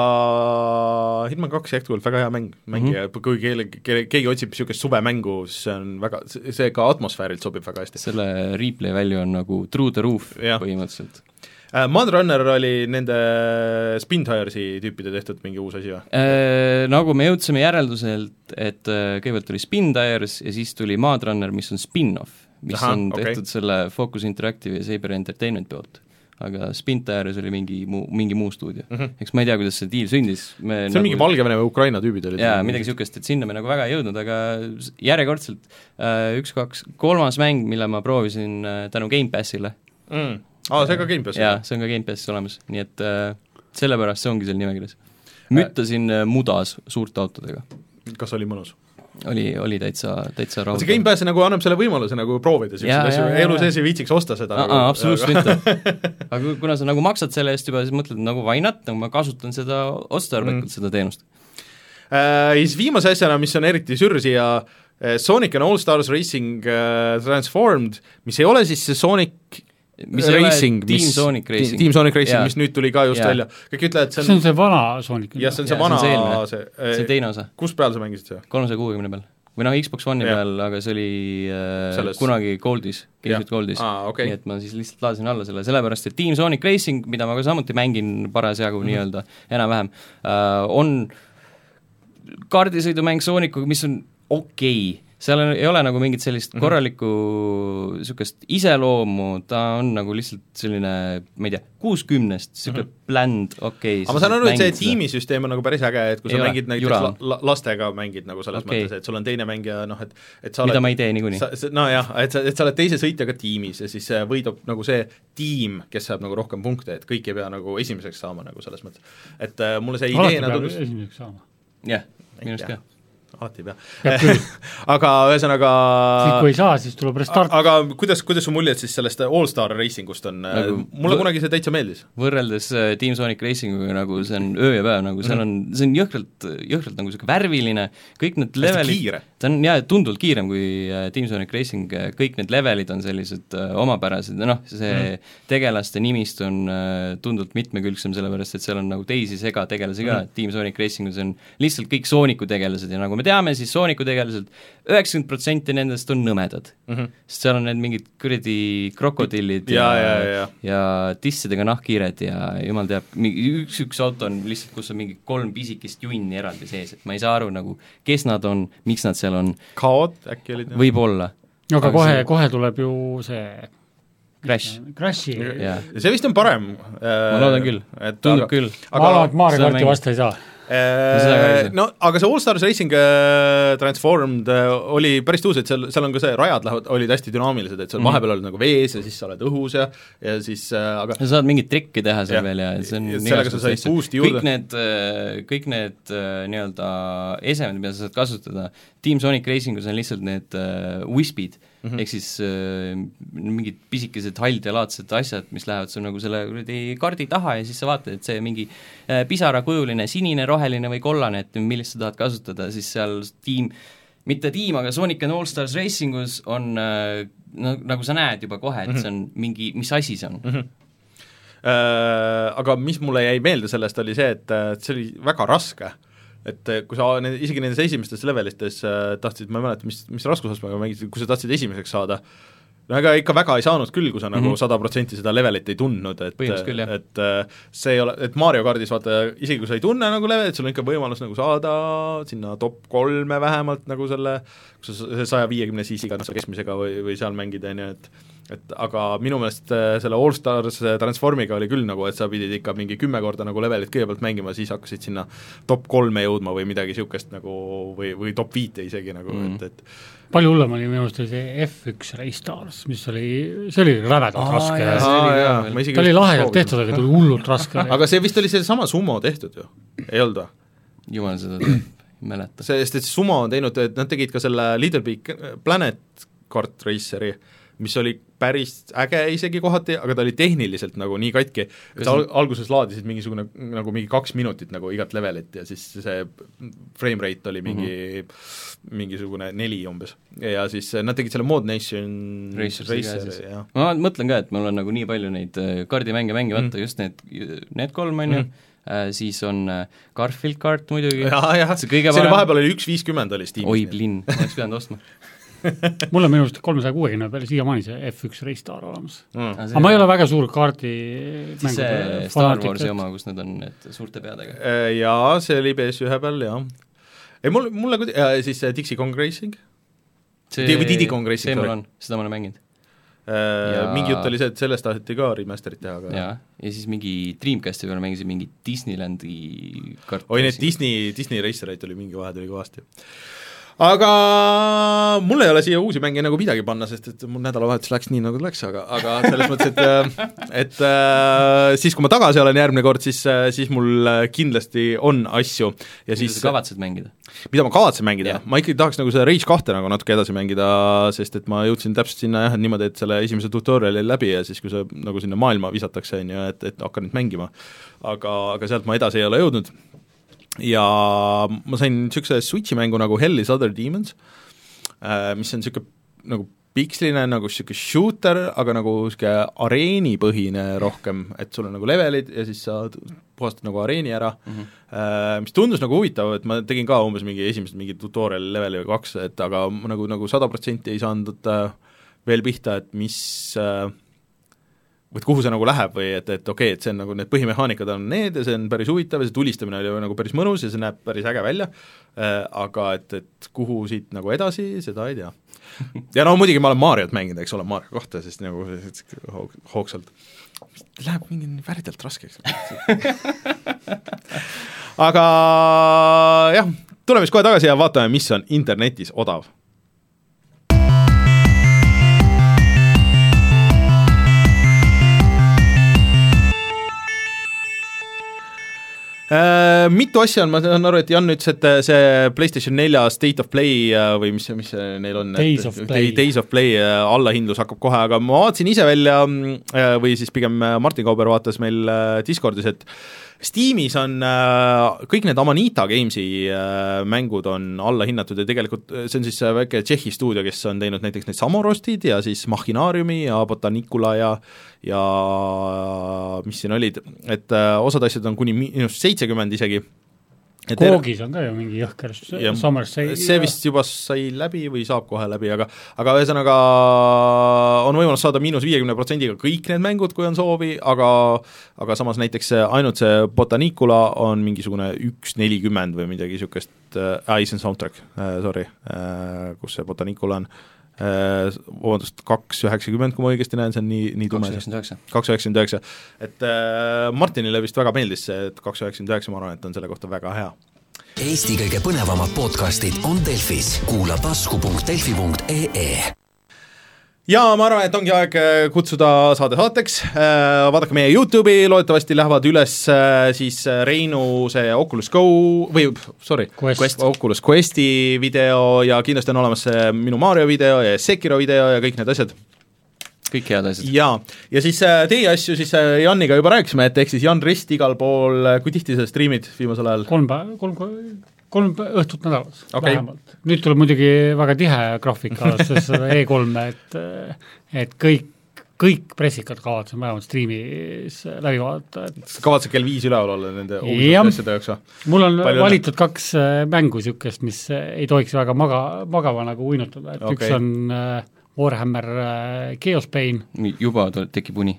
Speaker 3: Hitman kaks jätkuvalt väga hea mäng , mängija
Speaker 4: Mhm.
Speaker 3: mm , -hmm. kui keegi , keegi otsib niisugust suvemängu , siis see on väga , see ka atmosfäärilt sobib väga hästi .
Speaker 4: selle replay value on nagu through the roof
Speaker 3: Jah.
Speaker 4: ja. põhimõtteliselt .
Speaker 3: Äh, Mudrunner oli nende Spintiresi tüüpide tehtud mingi uus asi või ?
Speaker 4: Äh, nagu me jõudsime järelduselt , et äh, kõigepealt oli Spin Tires ja siis tuli Maadrunner , mis on spin-off , mis
Speaker 3: Ahah,
Speaker 4: Aha, on
Speaker 3: okei.
Speaker 4: tehtud okay. selle Focus Interactive ja Saber Entertainment poolt . aga Spin Tires oli mingi muu , mingi muu stuudio mm . -hmm. eks ma ei tea , kuidas see diil sündis , me
Speaker 3: Mhm. see on nagu... mingi Valgevene või Ukraina tüübid olid .
Speaker 4: jaa , midagi niisugust , et sinna me nagu väga ei jõudnud , aga s- järjekordselt äh, üks-kaks , kolmas mäng , mille ma proovisin äh, tänu Gamepassile ,
Speaker 3: mm. . aa , see ka Gamepassis
Speaker 4: jaa ,? see on ka Gamepassis olemas , nii et äh, sellepärast see ongi seal nimekirjas . müttasin äh, mudas suurte autodega
Speaker 3: kas oli mõnus ?
Speaker 4: oli , oli täitsa , täitsa rahul .
Speaker 3: see Gamepass nagu annab selle võimaluse nagu proovida
Speaker 4: Jaa,
Speaker 3: niisuguseid asju
Speaker 4: jaa, , jaa,
Speaker 3: elu
Speaker 4: jaa.
Speaker 3: sees ei viitsiks osta seda nagu.
Speaker 4: aa , aa , absoluutselt . mitte .
Speaker 3: *laughs*
Speaker 4: aga kui- kuna sa nagu maksad selle eest juba , siis mõtled nagu why not , nagu ma kasutan seda otstarbekalt mm. , seda teenust .
Speaker 3: Äh, siis viimase asjana , mis on eriti sür siia , Sonic and All Stars Racing äh, Transformed , mis ei ole siis see Sonic
Speaker 4: mis ei ole
Speaker 3: Racing ,
Speaker 4: Team Sonic Racing .
Speaker 3: Team Sonic Racing , mis
Speaker 4: see
Speaker 3: nüüd tuli ka just
Speaker 4: Jaa.
Speaker 3: välja , kõik ütlevad , et
Speaker 2: see
Speaker 3: see on
Speaker 2: on see vana Sonic .
Speaker 3: jah , see on see
Speaker 4: Jaa, see on
Speaker 3: vana
Speaker 4: see eelmine.
Speaker 3: see,
Speaker 4: on
Speaker 3: see
Speaker 4: teine osa ,
Speaker 3: kus peal sa mängisid seda ?
Speaker 4: kolmesaja kuuekümne peal . või noh , Xbox One'i
Speaker 3: Jah.
Speaker 4: peal , aga see oli äh,
Speaker 3: Selles-
Speaker 4: kunagi Goldis ,
Speaker 3: Jah.
Speaker 4: Gamesnet Goldis .
Speaker 3: Aa, okei.
Speaker 4: nii et ma siis lihtsalt laadisin alla selle , sellepärast et Team Sonic Racing , mida ma ka samuti mängin
Speaker 3: Mhm.
Speaker 4: parasjagu mm -hmm. nii-öelda enam-vähem äh, , on kaardisõidumäng Soonikuga , mis on okei okay. , seal on, ei ole nagu mingit sellist
Speaker 3: Mhm.
Speaker 4: mm -hmm. korralikku niisugust iseloomu , ta on nagu lihtsalt selline , ma ei tea , kuuskümnest , niisugune bland , okei okay, .
Speaker 3: Mhm. aga ma saan aru , et see . tiimisüsteem on nagu päris äge , et kui
Speaker 4: Ei
Speaker 3: sa
Speaker 4: ole,
Speaker 3: mängid näiteks
Speaker 4: jura
Speaker 3: la,
Speaker 4: on.
Speaker 3: la, lastega mängid nagu selles
Speaker 4: Okei.
Speaker 3: okay. mõttes , et sul on teine mängija noh , et et sa
Speaker 4: mida
Speaker 3: oled
Speaker 4: ma ei tee niikuinii .
Speaker 3: sa , nojah , et sa , et sa oled teise sõitjaga tiimis ja siis äh, võidab nagu see tiim , kes saab nagu rohkem punkte , et kõik ei pea nagu esimeseks saama nagu selles mõttes . et äh, mulle see idee
Speaker 2: alati peab
Speaker 3: nagu
Speaker 2: esimeseks saama .
Speaker 4: jah ,
Speaker 3: Ei
Speaker 4: minu arust
Speaker 3: tea.
Speaker 4: ka .
Speaker 3: alati ei
Speaker 2: Peab
Speaker 3: pea .
Speaker 2: küll.
Speaker 3: *laughs* aga ühesõnaga
Speaker 2: siis kui ei saa , siis tuleb restart .
Speaker 3: aga kuidas , kuidas su muljed siis sellest Allstar Racingust on nagu...
Speaker 4: Nagu- ?
Speaker 3: mulle kunagi see täitsa meeldis .
Speaker 4: võrreldes äh, Team Sonic Racinguga nagu see on öö ja päev , nagu seal on , see on jõhkralt , jõhkralt nagu niisugune värviline , kõik need levelid
Speaker 3: kiire. ,
Speaker 4: ta on jaa , tunduvalt kiirem kui äh, Team Sonic Racing , kõik need levelid on sellised äh, omapärased , noh , see mm. tegelaste nimist on äh, tunduvalt mitmekülgsem , sellepärast et seal on nagu teisi segategelasi ka mm. , Team Sonic Racingus on lihtsalt kõik Sooniku tegelased ja nagu me teame , siis Sooniku tegelased üheksakümmend protsenti nendest on nõmedad mm . -hmm. sest seal on need mingid kuradi krokodillid
Speaker 3: Jaa, jaa, jaa.
Speaker 4: ja tissidega nahkhiired ja jumal teab , üks , üks auto on lihtsalt , kus on mingi kolm pisikest junni eraldi sees , et ma ei saa aru nagu , kes nad on , miks nad seal on ,
Speaker 3: kaod äkki olid ?
Speaker 4: võib-olla .
Speaker 2: aga kohe , kohe tuleb ju see
Speaker 4: Crash ,
Speaker 2: Crashi yeah.
Speaker 4: jah .
Speaker 3: see vist on parem . äh,
Speaker 4: ma
Speaker 3: ma
Speaker 4: loodan küll , tundub küll .
Speaker 2: ma arvan , et Mario
Speaker 4: seda
Speaker 2: karti
Speaker 4: mängib-
Speaker 2: vastu ei saa .
Speaker 4: seda ka ei saa.
Speaker 3: äh, no aga see All Stars Racing äh, Transformed äh, oli päris tuus , et seal , seal on ka see , rajad lähevad , olid hästi dünaamilised , et seal
Speaker 4: Mhm.
Speaker 3: mm. vahepeal olid nagu vees ja siis sa oled õhus ja , ja siis äh, aga
Speaker 4: sa saad mingeid trikke teha seal
Speaker 3: Jah.
Speaker 4: veel ja see on
Speaker 3: Ja sellega sa
Speaker 4: igasuguseid
Speaker 3: said
Speaker 4: asju.
Speaker 3: boost'i juurde.
Speaker 4: kõik need , kõik need äh, nii-öelda esemed , mida sa saad kasutada , Team Sonic Racingus on lihtsalt need äh, wispid mm
Speaker 3: Mhm.
Speaker 4: -hmm. , ehk siis äh, mingid pisikesed haldelaadsed asjad , mis lähevad sul nagu selle kuradi kaardi taha ja siis sa vaatad , et see mingi äh, pisarakujuline sinine , roheline või kollane , et millist sa tahad kasutada , siis seal tiim mitte tiim , aga Sonic and All Stars Racingus on äh, no nagu sa näed juba kohe ,
Speaker 3: Mhm.
Speaker 4: et see on mingi , mis asi see on mm . -hmm.
Speaker 3: äh, aga mis mulle jäi meelde sellest , oli see , et äh, see oli väga raske . et äh, kui sa ne- isegi nendes esimestes levelites äh, tahtsid , ma ei mäleta , mis , mis raskusastmega mängisid , kui sa tahtsid esimeseks saada , no ega ikka väga ei saanud küll , kui sa nagu
Speaker 4: Mhm.
Speaker 3: sada protsenti seda levelit ei tundnud , et
Speaker 4: Põhimõtteliselt küll, jah.
Speaker 3: et äh, see ei ole , et Mario kardis vaata , isegi kui sa ei tunne nagu levelit , sul on ikka võimalus nagu saada sinna top kolme vähemalt nagu selle , kui sa s- saja viiekümne CC-ga noh, keskmisega või , või seal mängid , on ju , et et aga minu meelest äh, selle All Stars äh, Transformiga oli küll nagu , et sa pidid ikka mingi kümme korda nagu levelit kõigepealt mängima , siis hakkasid sinna top kolme jõudma või midagi niisugust nagu või , või top viite isegi nagu
Speaker 4: Mhm.
Speaker 3: mm. , et , et
Speaker 2: palju hullem oli minu arust oli see F1 Race Stars , mis oli , see oli rävedalt
Speaker 4: Aa, jaa,
Speaker 2: raske .
Speaker 4: see- oli ka veel-
Speaker 3: ma isegi
Speaker 2: ta oli
Speaker 3: just
Speaker 2: lahedalt
Speaker 3: proovisin.
Speaker 2: tehtud , aga ta oli hullult raske .
Speaker 3: aga see vist oli seesama Sumo tehtud ju , ei olnud või ?
Speaker 4: jumal seda teab , ei mäleta .
Speaker 3: sest et Sumo on teinud , et nad tegid ka selle Little Big Planet kart reisseri , mis oli päris äge isegi kohati , aga ta oli tehniliselt nagu nii katki , et
Speaker 4: Kas-
Speaker 3: sa al- alguses laadisid mingisugune nagu mingi kaks minutit nagu igat levelit ja siis see frame rate oli mingi mm ,
Speaker 4: Mhm.
Speaker 3: -hmm. mingisugune neli umbes . ja siis nad tegid selle Mod Nation
Speaker 4: Racersi ka siis.
Speaker 3: reisseri , Mm, jah .
Speaker 4: ma mõtlen ka , et mul on nagu nii palju neid äh, kaardimänge mängimata mm. , just need , need kolm , on ju ,
Speaker 3: Mm.
Speaker 4: siis on äh, Garfield kart muidugi ,
Speaker 3: jah , jah ,
Speaker 4: see kõige
Speaker 3: siin
Speaker 4: parem-
Speaker 3: vahepeal oli üks viiskümmend oli
Speaker 4: oi
Speaker 3: Steamis .
Speaker 4: plinn , oleks pidanud ostma .
Speaker 2: mul on minu arust kolmesaja kuuekümne peal siiamaani see F1 Race Star olemas .
Speaker 3: *laughs* Mm.
Speaker 2: aga ma ei ole väga suur kaardi
Speaker 4: siis see
Speaker 2: mängude
Speaker 4: Star
Speaker 2: fanaatik ,
Speaker 4: Warsi
Speaker 2: et
Speaker 4: oma , kus nad on need suurte peadega .
Speaker 3: jaa , see oli PS1 peal , jah . ei mul , mulle kuid- , siis see Dixie Kong Racing , Di- või Didi Kongressi,
Speaker 4: see mul
Speaker 3: sorry.
Speaker 4: on , seda ma olen mänginud , Ja-
Speaker 3: ja... Äh, mingi jutt oli see , et sellest taheti ka remaster'it teha , aga
Speaker 4: jaa . ja siis mingi Dreamcasti peal mängisin mingi Disneylandi kart .
Speaker 3: oi , need . Disney , Disney Racereid oli mingi vahe tuli kõvasti . aga mul ei ole siia uusi mänge nagu midagi panna , sest et mul nädalavahetus läks nii , nagu ta läks , aga , aga selles mõttes , et et äh, siis , kui ma tagasi olen järgmine kord , siis , siis mul kindlasti on asju ja
Speaker 4: siis
Speaker 3: siis äh,
Speaker 4: sa kavatsed mängida ?
Speaker 3: mida ma kavatsen mängida
Speaker 4: Jah. ,
Speaker 3: ma ikkagi tahaks nagu seda Rage kahte nagu natuke edasi mängida , sest et ma jõudsin täpselt sinna jah , niimoodi , et selle esimese tutorial'i läbi ja siis , kui see nagu sinna maailma visatakse , on ju , et , et hakkan nüüd mängima . aga , aga sealt ma edasi ei ole jõudnud ja ma sain niisuguse Switchi mängu nagu Hell is other demons , Äh, mis on niisugune nagu piksline nagu niisugune shooter , aga nagu niisugune areenipõhine rohkem , et sul on nagu levelid ja siis sa t- puhastad nagu areeni ära mm , -hmm. mis tundus nagu huvitav , et ma tegin ka umbes mingi esimesed mingi tutorial leveli või kaks , et aga ma nagu , nagu sada protsenti ei saanud äh, veel pihta , et mis äh, et kuhu see nagu läheb või et , et okei okay, , et see on nagu need põhimehaanikad on need ja see on päris huvitav ja see tulistamine oli nagu päris mõnus ja see näeb päris äge välja äh, , aga et , et kuhu siit nagu edasi , seda ei tea . *laughs* ja no muidugi ma olen Mariot mänginud , eks ole , Mario kohta , sest nagu et- hoog- hoogsalt läheb mingi nii värdjalt raskeks . aga jah , tuleme siis kohe tagasi ja vaatame , mis on internetis odav Äh, mitu asja on , ma saan aru , et Jan ütles , et äh, see PlayStation nelja State of Play äh, või mis , mis see neil on ,
Speaker 2: Days of Play.
Speaker 3: Days of Play äh, allahindlus hakkab kohe , aga ma vaatasin ise välja mm, äh, või siis pigem äh, Martin Kauber vaatas meil äh, Discordis , et Steamis on äh, kõik need Amanita Gamesi äh, mängud on allahinnatud ja tegelikult äh, see on siis see väike Tšehhi stuudio , kes on teinud näiteks need Samorostid ja siis Machinaariumi ja Botanicula ja ja mis siin olid , et äh, osad asjad on kuni miinus seitsekümmend isegi . er-
Speaker 2: Koogis on ka ju mingi jõhker s-
Speaker 3: Jah.
Speaker 2: Summer Sale .
Speaker 3: see vist juba sai läbi või saab kohe läbi , aga aga ühesõnaga on võimalus saada miinus viiekümne protsendiga kõik need mängud , kui on soovi , aga aga samas näiteks see- ainult see Botanicula on mingisugune üks nelikümmend või midagi niisugust äh, , ei see on soundtrack äh, , sorry äh, , kus see Botanicula on , vabandust, kaks üheksakümmend, kui ma õigesti näen, see on nii, nii tume
Speaker 4: kaks . üheksakümmend üheksa .
Speaker 3: kaks üheksakümmend üheksa, et äh, Martinile vist väga meeldis see, et kaks üheksakümmend üheksa, ma arvan, et on selle kohta väga hea
Speaker 1: Eesti kõige põnevamad podcastid on Delfis , kuula tasku.delfi.ee
Speaker 3: ja ma arvan , et ongi aeg äh, kutsuda saade saateks , vaadake meie Youtube'i , loodetavasti lähevad üles äh, siis äh, Reinu see Oculus Go või sorry ,
Speaker 2: Quest.
Speaker 3: Oculus Questi video ja kindlasti on olemas see minu Mario video ja Sekiro video ja kõik need asjad .
Speaker 4: kõik head asjad .
Speaker 3: jaa , ja siis äh, teie asju siis äh, Janiga juba rääkisime , et ehk siis Jan Rist igal pool , kui tihti sa striimid viimasel ajal ?
Speaker 2: kolm päeva , kolm , kolm pä- õhtut nädalas
Speaker 3: Okei.
Speaker 2: okay. vähemalt . nüüd tuleb muidugi väga tihe graafik
Speaker 3: *laughs*
Speaker 2: alates seda E3-e , et , et kõik , kõik pressikad kavatsen vähemalt striimis läbi vaadata , et
Speaker 3: kavatsed kell viis üleval olla nende
Speaker 2: Jah.
Speaker 3: uusate asjade jaoks või ?
Speaker 2: mul on
Speaker 3: Palju õnne.
Speaker 2: Palju valitud kaks äh, mängu niisugust , mis äh, ei tohiks väga maga , magava nagu uinutada , et okay.
Speaker 3: Okei.
Speaker 2: üks on äh, Warhammer äh, Chaos Pain
Speaker 4: juba tol- tekib uni .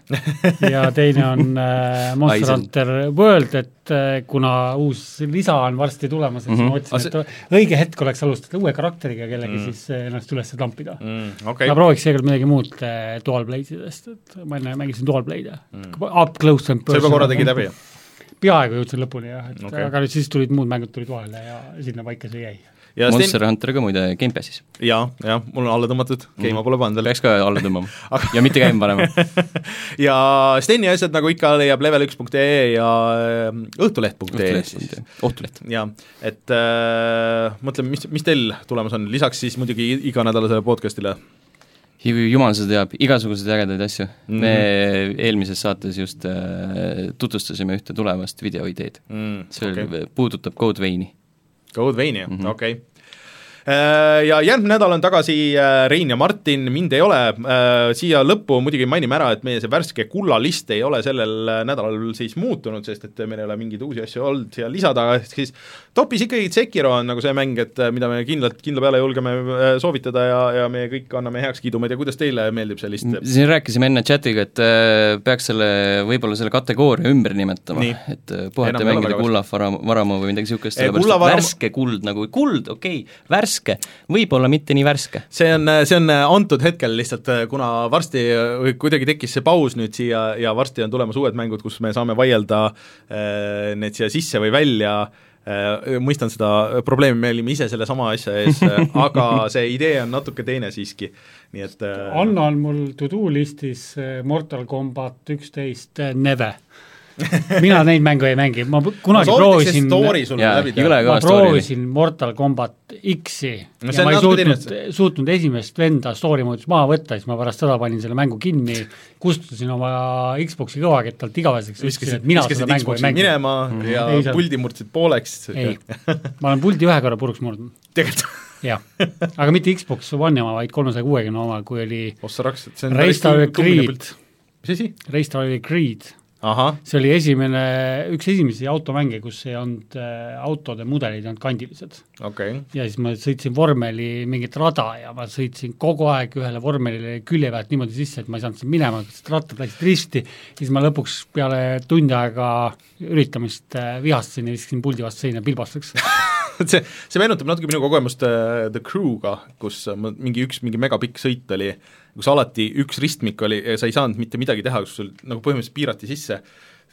Speaker 2: ja teine
Speaker 3: *laughs*
Speaker 2: on äh, Monster
Speaker 4: Aisan.
Speaker 2: Hunter World , et äh, kuna uus lisa on varsti tulemas , et siis
Speaker 4: Mhm.
Speaker 2: ma
Speaker 4: Aga
Speaker 2: otsin , et õige hetk oleks alustada uue karakteriga , kellega mm. siis äh, ennast üles tampida mm. .
Speaker 3: Mhm. okei
Speaker 2: ma , prooviks seekord midagi muud äh, Dual Blade idest , et ma enne mängisin Dual Blade'e mm. , up close and
Speaker 3: sa Mhm. juba korra tegid läbi ?
Speaker 2: peaaegu jõudsin lõpuni jah , et
Speaker 3: Okei.
Speaker 2: okay. aga nüüd siis tulid muud mängud tulid vahele ja sinna paika see jäi .
Speaker 3: ja Sten ,
Speaker 4: Monster Hunter ka muide Gamepassis ,
Speaker 3: jaa , jah , mul on alla tõmmatud , käima pole pannud veel .
Speaker 4: peaks ka alla
Speaker 3: *laughs*
Speaker 4: tõmbama ja mitte käima panema .
Speaker 3: ja Steni asjad nagu ikka leiab level1.ee ja ähm, õhtuleht.ee siis .
Speaker 4: Ohtuleht .
Speaker 3: jaa , et äh, mõtleme , mis , mis teil tulemas on , lisaks siis muidugi i- iganädalasele podcast'ile .
Speaker 4: jumal seda teab , igasuguseid ägedaid asju mm .
Speaker 3: Mhm.
Speaker 4: -hmm. me eelmises saates just äh, tutvustasime ühte tulevast videoideed .
Speaker 3: Mm,
Speaker 4: see
Speaker 3: okay.
Speaker 4: okay. puudutab Codeveini .
Speaker 3: Code Veini ,
Speaker 4: Mhm.
Speaker 3: okei . Ja järgmine nädal on tagasi äh, Rein ja Martin , mind ei ole , siia lõppu muidugi mainime ära , et meie see värske kullalist ei ole sellel äh, nädalal siis muutunud , sest et meil ei ole mingeid uusi asju olnud siia lisada , ehk siis topis ikkagi Sekiro on nagu see mäng , et äh, mida me kindlalt , kindla peale julgeme äh, soovitada ja , ja me kõik anname heakskiidu , ma ei tea , kuidas teile meeldib see list ?
Speaker 4: siin rääkisime enne chatiga , et äh, peaks selle , võib-olla selle kategooria ümber nimetama
Speaker 3: Nii. ,
Speaker 4: et äh,
Speaker 3: Enam ei
Speaker 4: puhata ja
Speaker 3: ole
Speaker 4: mängida
Speaker 3: väga
Speaker 4: kulla varamu , varamu või midagi niisugust ,
Speaker 3: Ei,
Speaker 4: sellepärast
Speaker 3: kulla
Speaker 4: et
Speaker 3: varamu-
Speaker 4: värske kuld nagu , kuld , okei okay, , värske , võib-olla mitte nii värske .
Speaker 3: see on , see on antud hetkel lihtsalt , kuna varsti või kuidagi tekkis see paus nüüd siia ja varsti on tulemas uued mängud , kus me saame vaielda eh, need siia sisse või välja , mõistan seda probleemi , me olime ise sellesama asja *laughs* ees , aga see idee on natuke teine siiski , nii et eh,
Speaker 2: Anna on mul to-do listis äh, Mortal Combat üksteist äh,
Speaker 3: *laughs*
Speaker 2: Neve . mina neid mänge ei mängi , ma p-
Speaker 3: ma
Speaker 2: kunagi
Speaker 3: soovitaks see
Speaker 2: proovisin ,
Speaker 3: story sul
Speaker 4: Jaa,
Speaker 3: läbi teha
Speaker 4: jõle- .
Speaker 2: ma
Speaker 4: kõva story oli.
Speaker 2: proovisin Mortal Combat X-i
Speaker 3: No see on
Speaker 2: no, ja ma ei
Speaker 3: natuke
Speaker 2: suutnud , suutnud esimest venda story moodus maha võtta , siis ma pärast seda panin selle mängu kinni , kustutasin oma Xboxi kõvakettalt igaveseks , ütlesin ,
Speaker 3: viskasid ,
Speaker 2: et mina seda
Speaker 3: viskasid
Speaker 2: mängu ei
Speaker 3: Xboxi
Speaker 2: mängi .
Speaker 3: minema ja
Speaker 2: Ei saa.
Speaker 3: puldi murdsid pooleks ,
Speaker 2: ei , ma olen puldi ühe korra puruks murdnud ,
Speaker 3: *laughs* tegelikult
Speaker 2: jah . aga mitte Xbox One'i oma , vaid kolmesaja kuuekümne oma , kui oli
Speaker 3: ossa raks , et see on päris
Speaker 2: Race
Speaker 3: tummine
Speaker 2: Creed
Speaker 3: pilt ., mis asi ?
Speaker 2: Race Creed
Speaker 3: ahah ,
Speaker 2: see oli esimene , üks esimesi automänge , kus ei olnud äh, autode mudelid , ei olnud kandilised .
Speaker 3: okei okay. .
Speaker 2: ja siis ma sõitsin vormeli mingit rada ja ma sõitsin kogu aeg ühele vormelile külje pealt niimoodi sisse , et ma ei saanud sinna minema , sest rattad läksid risti , siis ma lõpuks peale tund aega üritamist äh, vihastasin ja viskasin puldi vastu seina pilbasteks .
Speaker 3: et *laughs* see , see meenutab natuke minu kogemust äh, The Crew'ga , kus ma mingi üks , mingi megapikk sõit oli , kus alati üks ristmik oli ja sa ei saanud mitte midagi teha , kus sul nagu põhimõtteliselt piirati sisse ,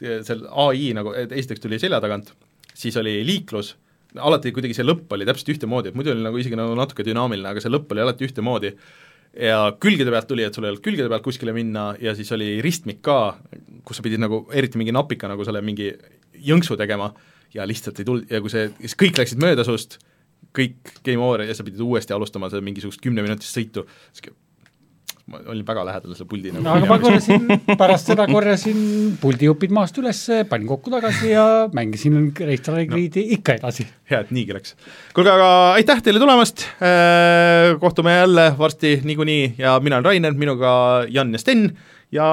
Speaker 3: seal ai nagu , et esiteks tuli selja tagant , siis oli liiklus , alati kuidagi see lõpp oli täpselt ühtemoodi , et muidu oli nagu isegi nagu natuke dünaamiline , aga see lõpp oli alati ühtemoodi ja külgede pealt tuli , et sul ei olnud külgede pealt kuskile minna ja siis oli ristmik ka , kus sa pidid nagu eriti mingi napika nagu selle mingi jõnksu tegema ja lihtsalt ei tulnud ja kui see , siis kõik läksid mööda sinust , kõik game over ja sa pidid uuesti alustama seda mingisugust kümneminutist sõitu , ma olin väga lähedal selle puldi nagu
Speaker 2: aga ma korjasin , pärast seda korjasin puldijupid maast üles , panin kokku tagasi ja mängisin Race Drive Greedi no. ikka edasi .
Speaker 3: hea , et niigi läks . kuulge , aga aitäh teile tulemast , kohtume jälle varsti niikuinii ja mina olen Rainer , minuga Jan ja Sten ja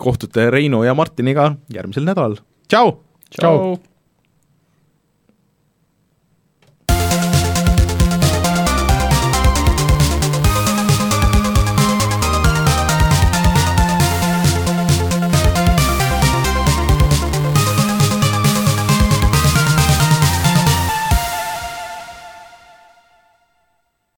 Speaker 3: kohtute Reinu ja Martiniga järgmisel nädalal , tšau !
Speaker 2: Tšau.